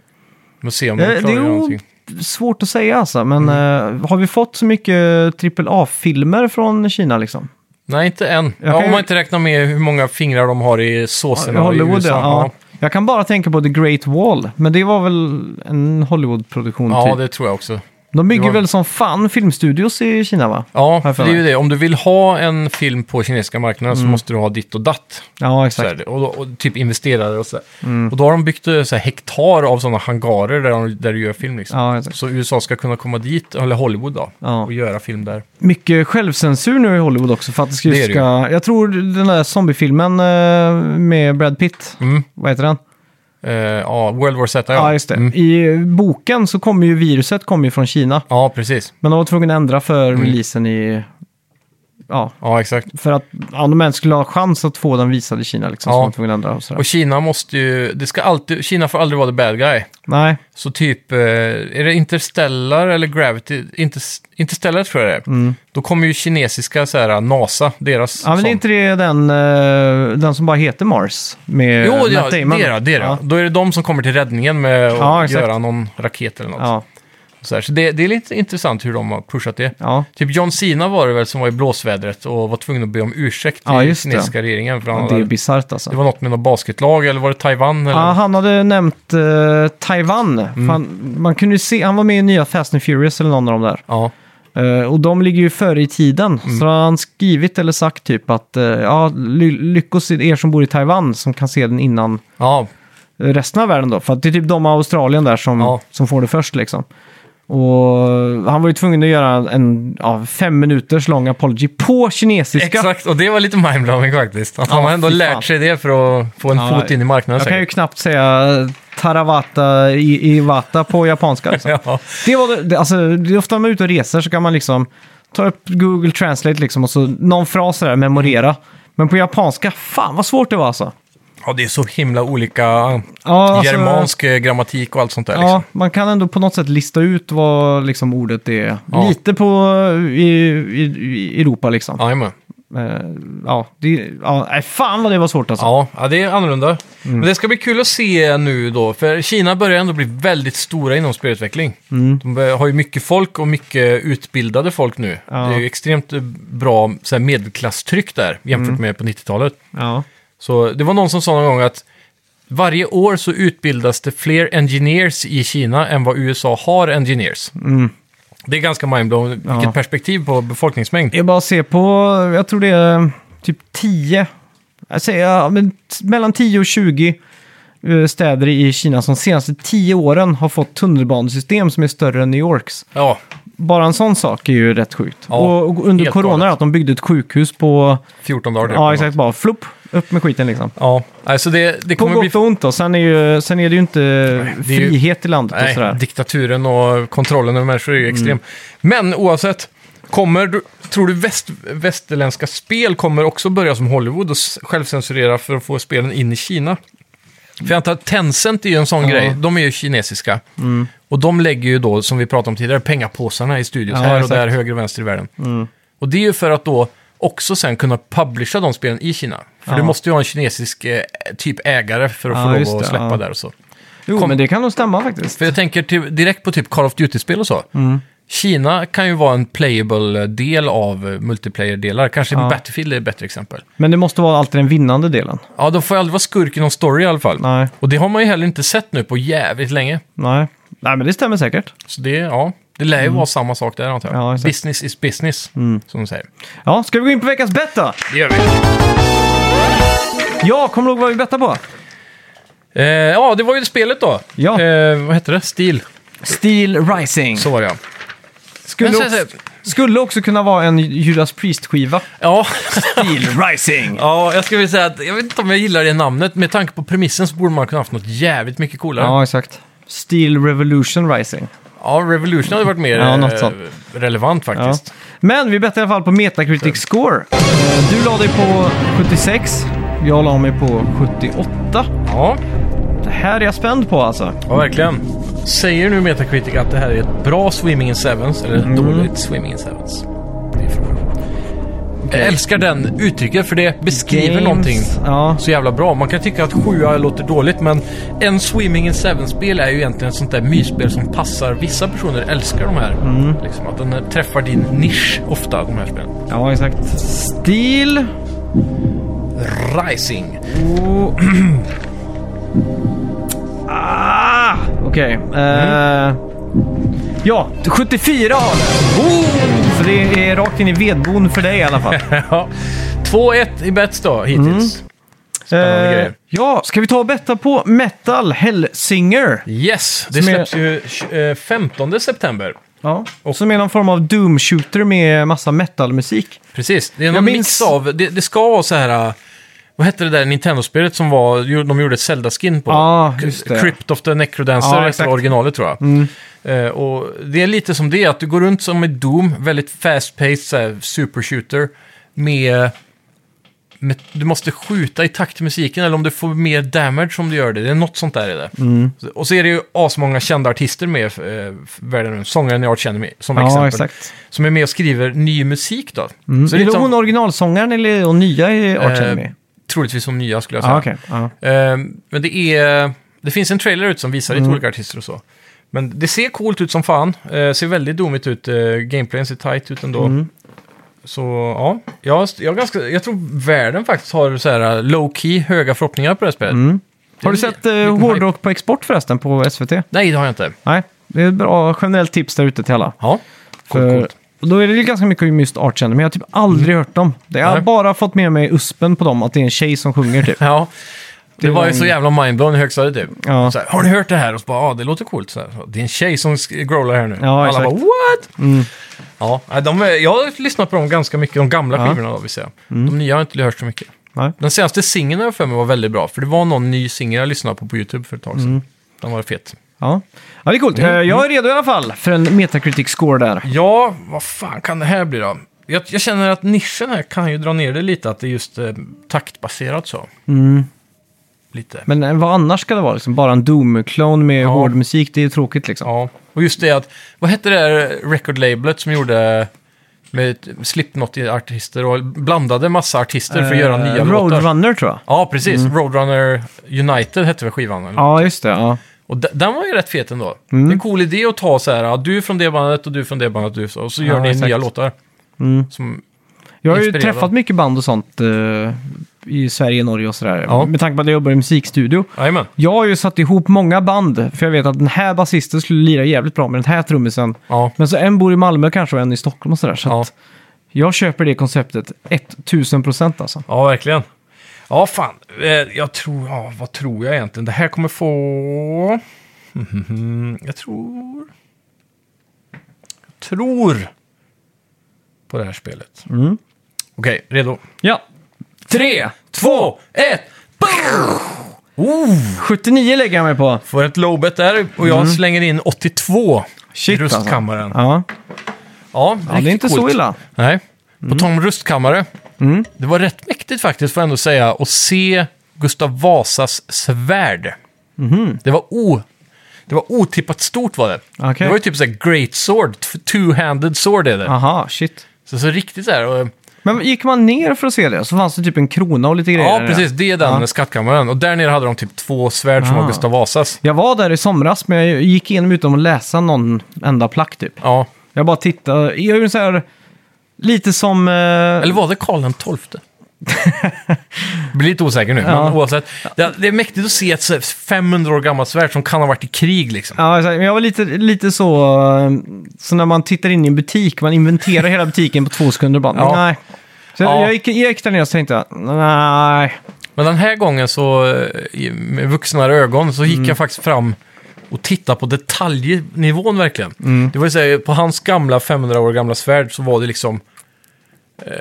[SPEAKER 1] Men se om
[SPEAKER 2] Eh,
[SPEAKER 1] de
[SPEAKER 2] det är
[SPEAKER 1] klarar
[SPEAKER 2] ju
[SPEAKER 1] någonting.
[SPEAKER 2] svårt att säga alltså, men
[SPEAKER 1] Mm.
[SPEAKER 2] eh, har vi fått så mycket AAA-filmer från Kina liksom?
[SPEAKER 1] Nej, inte än.
[SPEAKER 2] kan
[SPEAKER 1] Ja, om
[SPEAKER 2] ju-
[SPEAKER 1] man inte räknar med hur många fingrar de har i såserna i
[SPEAKER 2] Hollywood,
[SPEAKER 1] USA.
[SPEAKER 2] ja. ja. Jag kan bara tänka på The Great Wall, men det var väl en Hollywood-produktion
[SPEAKER 1] Ja. ja,
[SPEAKER 2] typ.
[SPEAKER 1] det tror jag också.
[SPEAKER 2] De
[SPEAKER 1] det
[SPEAKER 2] bygger
[SPEAKER 1] var-
[SPEAKER 2] väl som fan filmstudios i Kina va?
[SPEAKER 1] Ja,
[SPEAKER 2] Här
[SPEAKER 1] för
[SPEAKER 2] för
[SPEAKER 1] det är ju
[SPEAKER 2] mig. Mm.
[SPEAKER 1] det. Om du vill ha en film på kinesiska marknaden så måste du ha ditt och datt.
[SPEAKER 2] Ja,
[SPEAKER 1] Så är
[SPEAKER 2] exakt.
[SPEAKER 1] det. Och, och typ investerare och så. där. Och då har de byggt eh, så här, hektar av sådana hangarer där, de, där du gör film. Liksom.
[SPEAKER 2] Ja, exakt.
[SPEAKER 1] så USA ska kunna komma dit, eller Hollywood då,
[SPEAKER 2] Ja.
[SPEAKER 1] och göra film där.
[SPEAKER 2] Mycket självcensur nu i Hollywood också för att det ska...
[SPEAKER 1] Det är det ju.
[SPEAKER 2] ska jag tror den där zombiefilmen eh, med Brad Pitt,
[SPEAKER 1] Mm.
[SPEAKER 2] vad heter den?
[SPEAKER 1] Eh, ja, World War Z, ja.
[SPEAKER 2] Ja, just det.
[SPEAKER 1] Mm.
[SPEAKER 2] I boken så kommer ju viruset kommer ju från Kina.
[SPEAKER 1] Ja, precis.
[SPEAKER 2] Men de var tvungna att ändra för
[SPEAKER 1] Mm.
[SPEAKER 2] releasen i... Ja,
[SPEAKER 1] Ja, exakt.
[SPEAKER 2] för att ja, de ens skulle ha chans att få den visad i Kina liksom.
[SPEAKER 1] Ja.
[SPEAKER 2] Så var de tvungna att ändra och sådär.
[SPEAKER 1] Och Kina måste ju, det ska alltid, Kina får aldrig vara the bad guy.
[SPEAKER 2] Nej,
[SPEAKER 1] Så typ, eh, är det Interstellar eller Gravity? Inte, Interstellar tror jag det
[SPEAKER 2] Mm.
[SPEAKER 1] är. Då kommer ju kinesiska så här, NASA, deras...
[SPEAKER 2] ja, men det
[SPEAKER 1] sån.
[SPEAKER 2] är inte det den, eh, den som bara heter Mars? Med
[SPEAKER 1] Jo,
[SPEAKER 2] Matt
[SPEAKER 1] ja, det
[SPEAKER 2] Damon.
[SPEAKER 1] är det. det, är det.
[SPEAKER 2] Eh, Ja.
[SPEAKER 1] Då är det de som kommer till räddningen med att
[SPEAKER 2] Ja, exakt.
[SPEAKER 1] göra någon raket eller något.
[SPEAKER 2] Ja,
[SPEAKER 1] Så, här. så det, det är lite intressant hur de har pushat det.
[SPEAKER 2] ja.
[SPEAKER 1] Typ John Cena var det väl som var i blåsvädret och var tvungen att be om ursäkt till
[SPEAKER 2] Ja, just det.
[SPEAKER 1] kinesiska regeringen. För han
[SPEAKER 2] det är
[SPEAKER 1] hade,
[SPEAKER 2] bisarrt alltså.
[SPEAKER 1] det var något med något basketlag eller var det Taiwan? Eller?
[SPEAKER 2] Ja, han hade nämnt eh, Taiwan.
[SPEAKER 1] Mm.
[SPEAKER 2] Fan, man kunde ju se, han var med i nya Fast and Furious eller någon av dem där.
[SPEAKER 1] Ja.
[SPEAKER 2] Eh, och de ligger ju före i tiden.
[SPEAKER 1] Mm.
[SPEAKER 2] Så har han skrivit eller sagt typ att eh, ja, ly- lyckos er som bor i Taiwan som kan se den innan
[SPEAKER 1] ja,
[SPEAKER 2] resten av världen då. För att det är typ de av Australien där som,
[SPEAKER 1] Ja.
[SPEAKER 2] som får det först liksom. Och han var ju tvungen att göra en ja, fem minuters lång apology på kinesiska.
[SPEAKER 1] exakt. Och det var lite mindblowing faktiskt. Att han har ändå
[SPEAKER 2] fy
[SPEAKER 1] lärt
[SPEAKER 2] fan.
[SPEAKER 1] sig det för att få en
[SPEAKER 2] Ja,
[SPEAKER 1] fot in i marknaden
[SPEAKER 2] Jag kan ju
[SPEAKER 1] säkert.
[SPEAKER 2] knappt säga Tarawata i- Iwata på japanska. Liksom.
[SPEAKER 1] *laughs* Ja.
[SPEAKER 2] Det var det- det, alltså, det är ofta när man är ute och reser så kan man liksom ta upp Google Translate liksom och så någon fras där, memorera. Men på japanska, fan vad svårt det var alltså.
[SPEAKER 1] Ja, det är så himla olika
[SPEAKER 2] Ja, alltså-
[SPEAKER 1] germansk eh, grammatik och allt sånt där.
[SPEAKER 2] Ja,
[SPEAKER 1] Liksom.
[SPEAKER 2] man kan ändå på något sätt lista ut vad liksom ordet är.
[SPEAKER 1] Ja.
[SPEAKER 2] Lite på eh, i, i, i Europa liksom. Ja,
[SPEAKER 1] Jajamän.
[SPEAKER 2] ja, det, ja nej, fan vad det var svårt alltså.
[SPEAKER 1] Ja, ja, det är annorlunda.
[SPEAKER 2] Mm.
[SPEAKER 1] Men det ska bli kul att se nu då, för Kina börjar ändå bli väldigt stora inom spelutveckling.
[SPEAKER 2] Mm.
[SPEAKER 1] De bör- har ju mycket folk och mycket utbildade folk nu.
[SPEAKER 2] Ja.
[SPEAKER 1] Det är ju extremt eh, bra så här, medelklasstryck där jämfört
[SPEAKER 2] Mm.
[SPEAKER 1] med på 90-talet.
[SPEAKER 2] Ja,
[SPEAKER 1] Så det var någon som sa någon gång att varje år så utbildas det fler engineers i Kina än vad USA har engineers. Det är ganska mindblowing, vilket
[SPEAKER 2] Mm. Ja.
[SPEAKER 1] perspektiv på befolkningsmängd.
[SPEAKER 2] Jag bara ser på, jag tror det är typ 10, jag säger, ja, men t- mellan 10 och 20 eh, städer i Kina som senaste 10 åren har fått tunnelbanesystem som är större än New Yorks.
[SPEAKER 1] Ja,
[SPEAKER 2] Bara en sån sak är ju rätt sjukt.
[SPEAKER 1] Ja,
[SPEAKER 2] och, och under
[SPEAKER 1] helt
[SPEAKER 2] corona
[SPEAKER 1] galet.
[SPEAKER 2] att de byggde ett sjukhus på,
[SPEAKER 1] 14 dagar. typ.
[SPEAKER 2] ja exakt, bara flopp, upp med skiten liksom.
[SPEAKER 1] Ja, alltså det, det
[SPEAKER 2] På
[SPEAKER 1] kommer bli
[SPEAKER 2] gott och ont då, sen är, ju, sen är det ju inte
[SPEAKER 1] det är ju-
[SPEAKER 2] frihet i landet och
[SPEAKER 1] Nej,
[SPEAKER 2] sådär. Mm.
[SPEAKER 1] diktaturen och kontrollen över människor är ju extrem. Men oavsett, Kommer, du- tror du väst, västerländska spel kommer också börja som Hollywood och s- självcensurera för att få spelen in i Kina? För jag antar att Tencent är ju en sån
[SPEAKER 2] Ja. Mm.
[SPEAKER 1] grej. De är ju kinesiska. Och de lägger ju då, som vi pratade om tidigare, pengapåsarna i studios
[SPEAKER 2] Ja,
[SPEAKER 1] här och
[SPEAKER 2] exakt. Mm.
[SPEAKER 1] där, höger och vänster i världen. Och det är ju för att då också sen kunna publisha de spelen i Kina. För
[SPEAKER 2] Ja.
[SPEAKER 1] du måste ju ha en kinesisk eh, typ ägare för att
[SPEAKER 2] Ja,
[SPEAKER 1] få
[SPEAKER 2] just
[SPEAKER 1] lov att
[SPEAKER 2] det,
[SPEAKER 1] släppa
[SPEAKER 2] ja.
[SPEAKER 1] där och så.
[SPEAKER 2] Jo,
[SPEAKER 1] Kom-
[SPEAKER 2] men det kan nog stämma faktiskt.
[SPEAKER 1] För jag tänker till, direkt på typ Call of Duty-spel och så.
[SPEAKER 2] Mm.
[SPEAKER 1] Kina kan ju vara en playable-del av eh, multiplayer-delar. Kanske
[SPEAKER 2] Ja.
[SPEAKER 1] Battlefield är ett bättre exempel.
[SPEAKER 2] Men det måste vara alltid den vinnande delen.
[SPEAKER 1] Ja, de får ju aldrig vara skurk i någon story i alla fall.
[SPEAKER 2] Nej,
[SPEAKER 1] Och det har man ju heller inte sett nu på jävligt länge.
[SPEAKER 2] nej. Nej, men det stämmer säkert.
[SPEAKER 1] Så det, ja, det lär ju vara samma sak där antar jag.
[SPEAKER 2] Mm. Ja, exakt. Mm.
[SPEAKER 1] business is business, som de säger.
[SPEAKER 2] Ja, ska vi gå in på veckans bett då?
[SPEAKER 1] Det gör vi.
[SPEAKER 2] Ja, kommer du ihåg vad vi bettade på?
[SPEAKER 1] Eh, ja, det var ju spelet då.
[SPEAKER 2] Ja.
[SPEAKER 1] Eh, vad hette det? Steel.
[SPEAKER 2] Steel Rising.
[SPEAKER 1] Så var det ja.
[SPEAKER 2] Skulle,
[SPEAKER 1] Men så-
[SPEAKER 2] också, skulle också kunna vara en Judas Priest-skiva.
[SPEAKER 1] Ja. *laughs*
[SPEAKER 2] Steel Rising!
[SPEAKER 1] ja, jag skulle vilja säga att jag vet inte om jag gillar det namnet. Med tanke på premissen så borde man kunna haft något jävligt mycket coolare.
[SPEAKER 2] Ja, exakt. Steel Revolution Rising.
[SPEAKER 1] Ja, Revolution hade varit mer
[SPEAKER 2] Ja, något
[SPEAKER 1] eh,
[SPEAKER 2] sånt.
[SPEAKER 1] relevant
[SPEAKER 2] Ja.
[SPEAKER 1] faktiskt.
[SPEAKER 2] Men vi bettade i alla fall på Metacritic Score. Eh, Du la dig på 76. Jag la mig på 78.
[SPEAKER 1] Ja,
[SPEAKER 2] Det här är jag spänd på alltså.
[SPEAKER 1] ja verkligen. Säger nu Metacritic att det här är ett bra Swimming in Sevens eller ett
[SPEAKER 2] Mm.
[SPEAKER 1] dåligt Swimming in Sevens? Det är frågan. Jag älskar den uttrycket för det beskriver
[SPEAKER 2] Games,
[SPEAKER 1] någonting
[SPEAKER 2] Ja,
[SPEAKER 1] så jävla bra. Man kan tycka att 7 låter dåligt men en Swimming in Sevens-spel är ju egentligen ett sånt där mysspel som passar. Vissa personer älskar de här.
[SPEAKER 2] Mm.
[SPEAKER 1] Liksom, att den eh, träffar din nisch ofta, de här spelen.
[SPEAKER 2] ja exakt. Steel...
[SPEAKER 1] Rising. *laughs*
[SPEAKER 2] Och... *clears throat* ah, Okej. Eh, ja, 74 har det. Så det är rakt in i vedbon för dig i alla *laughs* fall.
[SPEAKER 1] Ja. 2-1 i bets då,
[SPEAKER 2] Mm.
[SPEAKER 1] hittills. Spännande
[SPEAKER 2] Eh,
[SPEAKER 1] grejer.
[SPEAKER 2] ja, ska vi ta och betta på Metal Hellsinger?
[SPEAKER 1] Yes, det
[SPEAKER 2] Som är-
[SPEAKER 1] släpps ju tj- eh, 15 september.
[SPEAKER 2] Ja. Och som är någon form av Doom Shooter med massa metalmusik.
[SPEAKER 1] Precis, det är någon
[SPEAKER 2] minns-
[SPEAKER 1] mix av... Det, det ska vara så här... äh, Vad hette det där Nintendo-spelet som var, ju- de gjorde ett Zelda-skin på?
[SPEAKER 2] Ja, just det.
[SPEAKER 1] Crypt of the Necrodancer
[SPEAKER 2] Ja,
[SPEAKER 1] hette
[SPEAKER 2] exakt.
[SPEAKER 1] originalet tror jag. Eh, och det är lite som det, är, att du går runt som i Doom, väldigt fast-paced så här, supershooter. Med, med, du måste skjuta i takt till musiken eller om du får mer damage om du gör det. Det är något sånt där i det.
[SPEAKER 2] Mm.
[SPEAKER 1] Så- Och så är det ju asmånga kända artister med eh, världen runt. Sångaren jag känner med, som exempel. Som är med och skriver ny musik då.
[SPEAKER 2] Mm.
[SPEAKER 1] Så
[SPEAKER 2] är det
[SPEAKER 1] det är liksom,
[SPEAKER 2] hon originalsångaren eller är hon nya i Arch
[SPEAKER 1] Eh,
[SPEAKER 2] Enemy?
[SPEAKER 1] troligtvis som nya skulle jag säga.
[SPEAKER 2] Ja, Ah, okej. Ja.
[SPEAKER 1] Eh, men det är... Det finns en trailer ut som visar
[SPEAKER 2] Mm.
[SPEAKER 1] lite olika artister och så. Men det ser coolt ut som fan. Eh, ser väldigt domigt ut. Eh, gameplayen ser tight ut ändå.
[SPEAKER 2] Mm.
[SPEAKER 1] Så ja, jag, jag, har ganska, jag tror världen faktiskt har så här low key höga förhoppningar på det här spelet.
[SPEAKER 2] Mm. Har du
[SPEAKER 1] Det är
[SPEAKER 2] sett eh,
[SPEAKER 1] liten
[SPEAKER 2] hårdrock på export förresten på SVT?
[SPEAKER 1] Nej, det har jag inte.
[SPEAKER 2] Nej, det är ett bra generellt tips där ute till alla.
[SPEAKER 1] Ja, coolt,
[SPEAKER 2] För
[SPEAKER 1] coolt. Mm.
[SPEAKER 2] Då är det ju ganska mycket om just Arch Enemy. Jag har typ aldrig hört dem. Det- Jag har
[SPEAKER 1] Nej.
[SPEAKER 2] bara fått med mig uspen på dem, att det är en tjej som sjunger typ.
[SPEAKER 1] Ja. Det
[SPEAKER 2] Det
[SPEAKER 1] var
[SPEAKER 2] var
[SPEAKER 1] ju så
[SPEAKER 2] en-
[SPEAKER 1] jävla mindblown i högstadiet typ.
[SPEAKER 2] Ja.
[SPEAKER 1] Så här, har ni hört det här? Och så bara, ja ah, det låter coolt. Så här, det är en tjej som sk- growlar här nu.
[SPEAKER 2] Ja,
[SPEAKER 1] Alla
[SPEAKER 2] exakt. Mm.
[SPEAKER 1] bara, what? Ja, nej, de, är- jag har lyssnat på dem ganska mycket, de gamla skivorna då vill säga. De nya har jag inte hört så mycket.
[SPEAKER 2] Mm. Nej.
[SPEAKER 1] Den senaste singeln har jag för mig var väldigt bra, för det var någon ny singel jag lyssnade på på YouTube för ett tag
[SPEAKER 2] Mm.
[SPEAKER 1] sedan. Den var fet.
[SPEAKER 2] Ja. ja, det är
[SPEAKER 1] Mm.
[SPEAKER 2] coolt. Eh, Jag är redo i alla fall för en Metacritic score där.
[SPEAKER 1] Ja, vad fan kan det här bli då? Jag, jag känner att nischen här kan ju dra ner det lite, att det är just eh, taktbaserat så.
[SPEAKER 2] Mm.
[SPEAKER 1] Lite.
[SPEAKER 2] Men eh, vad annars ska det vara? Liksom bara en Doom-klon med
[SPEAKER 1] Ja.
[SPEAKER 2] hård musik, det är ju tråkigt liksom.
[SPEAKER 1] Ja, och just det att, vad hette det där recordlabelet som gjorde med Slipknot-artister och blandade massa artister för att göra
[SPEAKER 2] Eh,
[SPEAKER 1] nya låtar?
[SPEAKER 2] Roadrunner tror jag.
[SPEAKER 1] Ja, precis. Roadrunner United hette väl skivan? Eller?
[SPEAKER 2] Ja, Mm. just det. Ja.
[SPEAKER 1] Och de- den var ju rätt fet ändå. Det är en cool idé att ta så här, ja, du är från det bandet och du är från det bandet och du, är så- och så gör
[SPEAKER 2] Ja,
[SPEAKER 1] ni
[SPEAKER 2] exakt.
[SPEAKER 1] nya låtar.
[SPEAKER 2] Mm.
[SPEAKER 1] Som,
[SPEAKER 2] Jag har ju
[SPEAKER 1] Inspirerad.
[SPEAKER 2] träffat mycket band och sånt eh, i Sverige, Norge och sådär.
[SPEAKER 1] Ja.
[SPEAKER 2] Med tanke på att jag jobbar i musikstudio.
[SPEAKER 1] jajamän.
[SPEAKER 2] Jag har ju satt ihop många band, för jag vet att den här basisten skulle lira jävligt bra med den här trummisen.
[SPEAKER 1] Ja.
[SPEAKER 2] Men så en bor i Malmö kanske och en i Stockholm och sådär. Så
[SPEAKER 1] Ja.
[SPEAKER 2] att jag köper det konceptet 1000% alltså.
[SPEAKER 1] ja, verkligen. Ja, fan. Eh, Jag tror, ja, vad tror jag egentligen? Det här kommer få... Mhm. Jag tror... Jag tror på det här spelet.
[SPEAKER 2] Mm.
[SPEAKER 1] Okej, redo?
[SPEAKER 2] Ja.
[SPEAKER 1] Tre, två, ett! boom! Oh,
[SPEAKER 2] 79 lägger jag mig på.
[SPEAKER 1] Får ett lowbet där och jag slänger in 82 i
[SPEAKER 2] Mm. Shit, alltså.
[SPEAKER 1] rustkammaren.
[SPEAKER 2] Ja.
[SPEAKER 1] Ja,
[SPEAKER 2] Ja, det är inte så illa.
[SPEAKER 1] Nej. På tal om rustkammare. Det var rätt mäktigt faktiskt, får jag ändå säga, att se Gustav Vasas svärd. Det, var o, det var otippat stort var det.
[SPEAKER 2] Okej.
[SPEAKER 1] Det var ju typ såhär great sword, t- two-handed sword är det.
[SPEAKER 2] Aha, shit.
[SPEAKER 1] Så, så riktigt såhär. Och,
[SPEAKER 2] Men gick man ner för att se det så fanns det typ en krona och lite grejer.
[SPEAKER 1] ja,
[SPEAKER 2] där.
[SPEAKER 1] precis. Det är den skattkammaren. Och där nere hade de typ två svärd som
[SPEAKER 2] Ah.
[SPEAKER 1] var Gustav Vasas.
[SPEAKER 2] Jag var där i somras, men jag gick igenom utan att läsa någon enda plack typ.
[SPEAKER 1] Ja.
[SPEAKER 2] Jag bara tittade. Jag gjorde så här, lite som... eh,
[SPEAKER 1] Eller var det Karl XII? *laughs* Jag blir lite osäker nu,
[SPEAKER 2] Ja.
[SPEAKER 1] men oavsett. Det, det är mäktigt att se ett så här 500 år gammalt svärd som kan ha varit i krig liksom.
[SPEAKER 2] Ja, exakt. Men jag var lite, lite så, eh, så när man tittar in i en butik, man inventerar hela butiken på två sekunder bara,
[SPEAKER 1] Ja.
[SPEAKER 2] nej. Så jag,
[SPEAKER 1] Ja.
[SPEAKER 2] jag, gick, jag gick där ner och tänkte, nej.
[SPEAKER 1] Men den här gången så, eh, i- med vuxnare ögon, så gick jag faktiskt fram och tittade på detaljnivån verkligen. Det var ju så här, på hans gamla 500 år gamla svärd så var det liksom eh,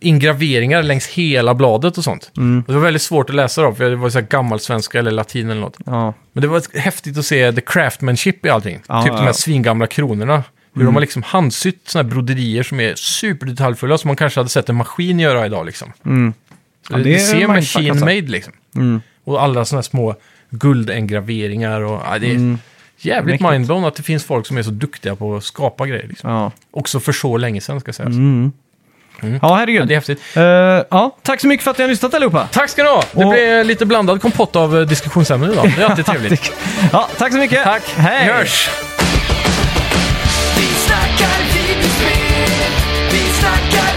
[SPEAKER 1] ingraveringar längs hela bladet och sånt. Och det var väldigt svårt att läsa då, för det var så här gammalsvenska eller latin eller något.
[SPEAKER 2] Ja.
[SPEAKER 1] Men det var häftigt att se the craftsmanship i allting.
[SPEAKER 2] Ja, Mm.
[SPEAKER 1] typ de
[SPEAKER 2] ja.
[SPEAKER 1] här svingamla kronorna. Hur de har liksom handsytt sådana här broderier som är superdetaljfulla som man kanske hade sett en maskin göra idag liksom. Så
[SPEAKER 2] Mm. Ja,
[SPEAKER 1] det,
[SPEAKER 2] det
[SPEAKER 1] det
[SPEAKER 2] är
[SPEAKER 1] ser
[SPEAKER 2] mindfuck,
[SPEAKER 1] machine
[SPEAKER 2] alltså.
[SPEAKER 1] made liksom. Och alla sådana här små guldengraveringar och ja, det är jävligt
[SPEAKER 2] Mm. Mäktigt.
[SPEAKER 1] mindblown att det finns folk som är så duktiga på att skapa grejer liksom.
[SPEAKER 2] Ja, Mm.
[SPEAKER 1] Också för så länge sedan ska sägas.
[SPEAKER 2] ja
[SPEAKER 1] Mm. Ja,
[SPEAKER 2] herregud.
[SPEAKER 1] det är häftigt.
[SPEAKER 2] Eh, ja, tack så mycket för att ni har lyssnat allihopa.
[SPEAKER 1] Tack ska ni ha! Det
[SPEAKER 2] Och-
[SPEAKER 1] blev lite blandad kompott av eh, diskussionsämnen idag. Det är alltid
[SPEAKER 2] *laughs*
[SPEAKER 1] trevligt.
[SPEAKER 2] Ja, tack så mycket.
[SPEAKER 1] Tack!
[SPEAKER 2] Hej.
[SPEAKER 1] Vi hörs!
[SPEAKER 3] Vi snackar videospel, vi snackar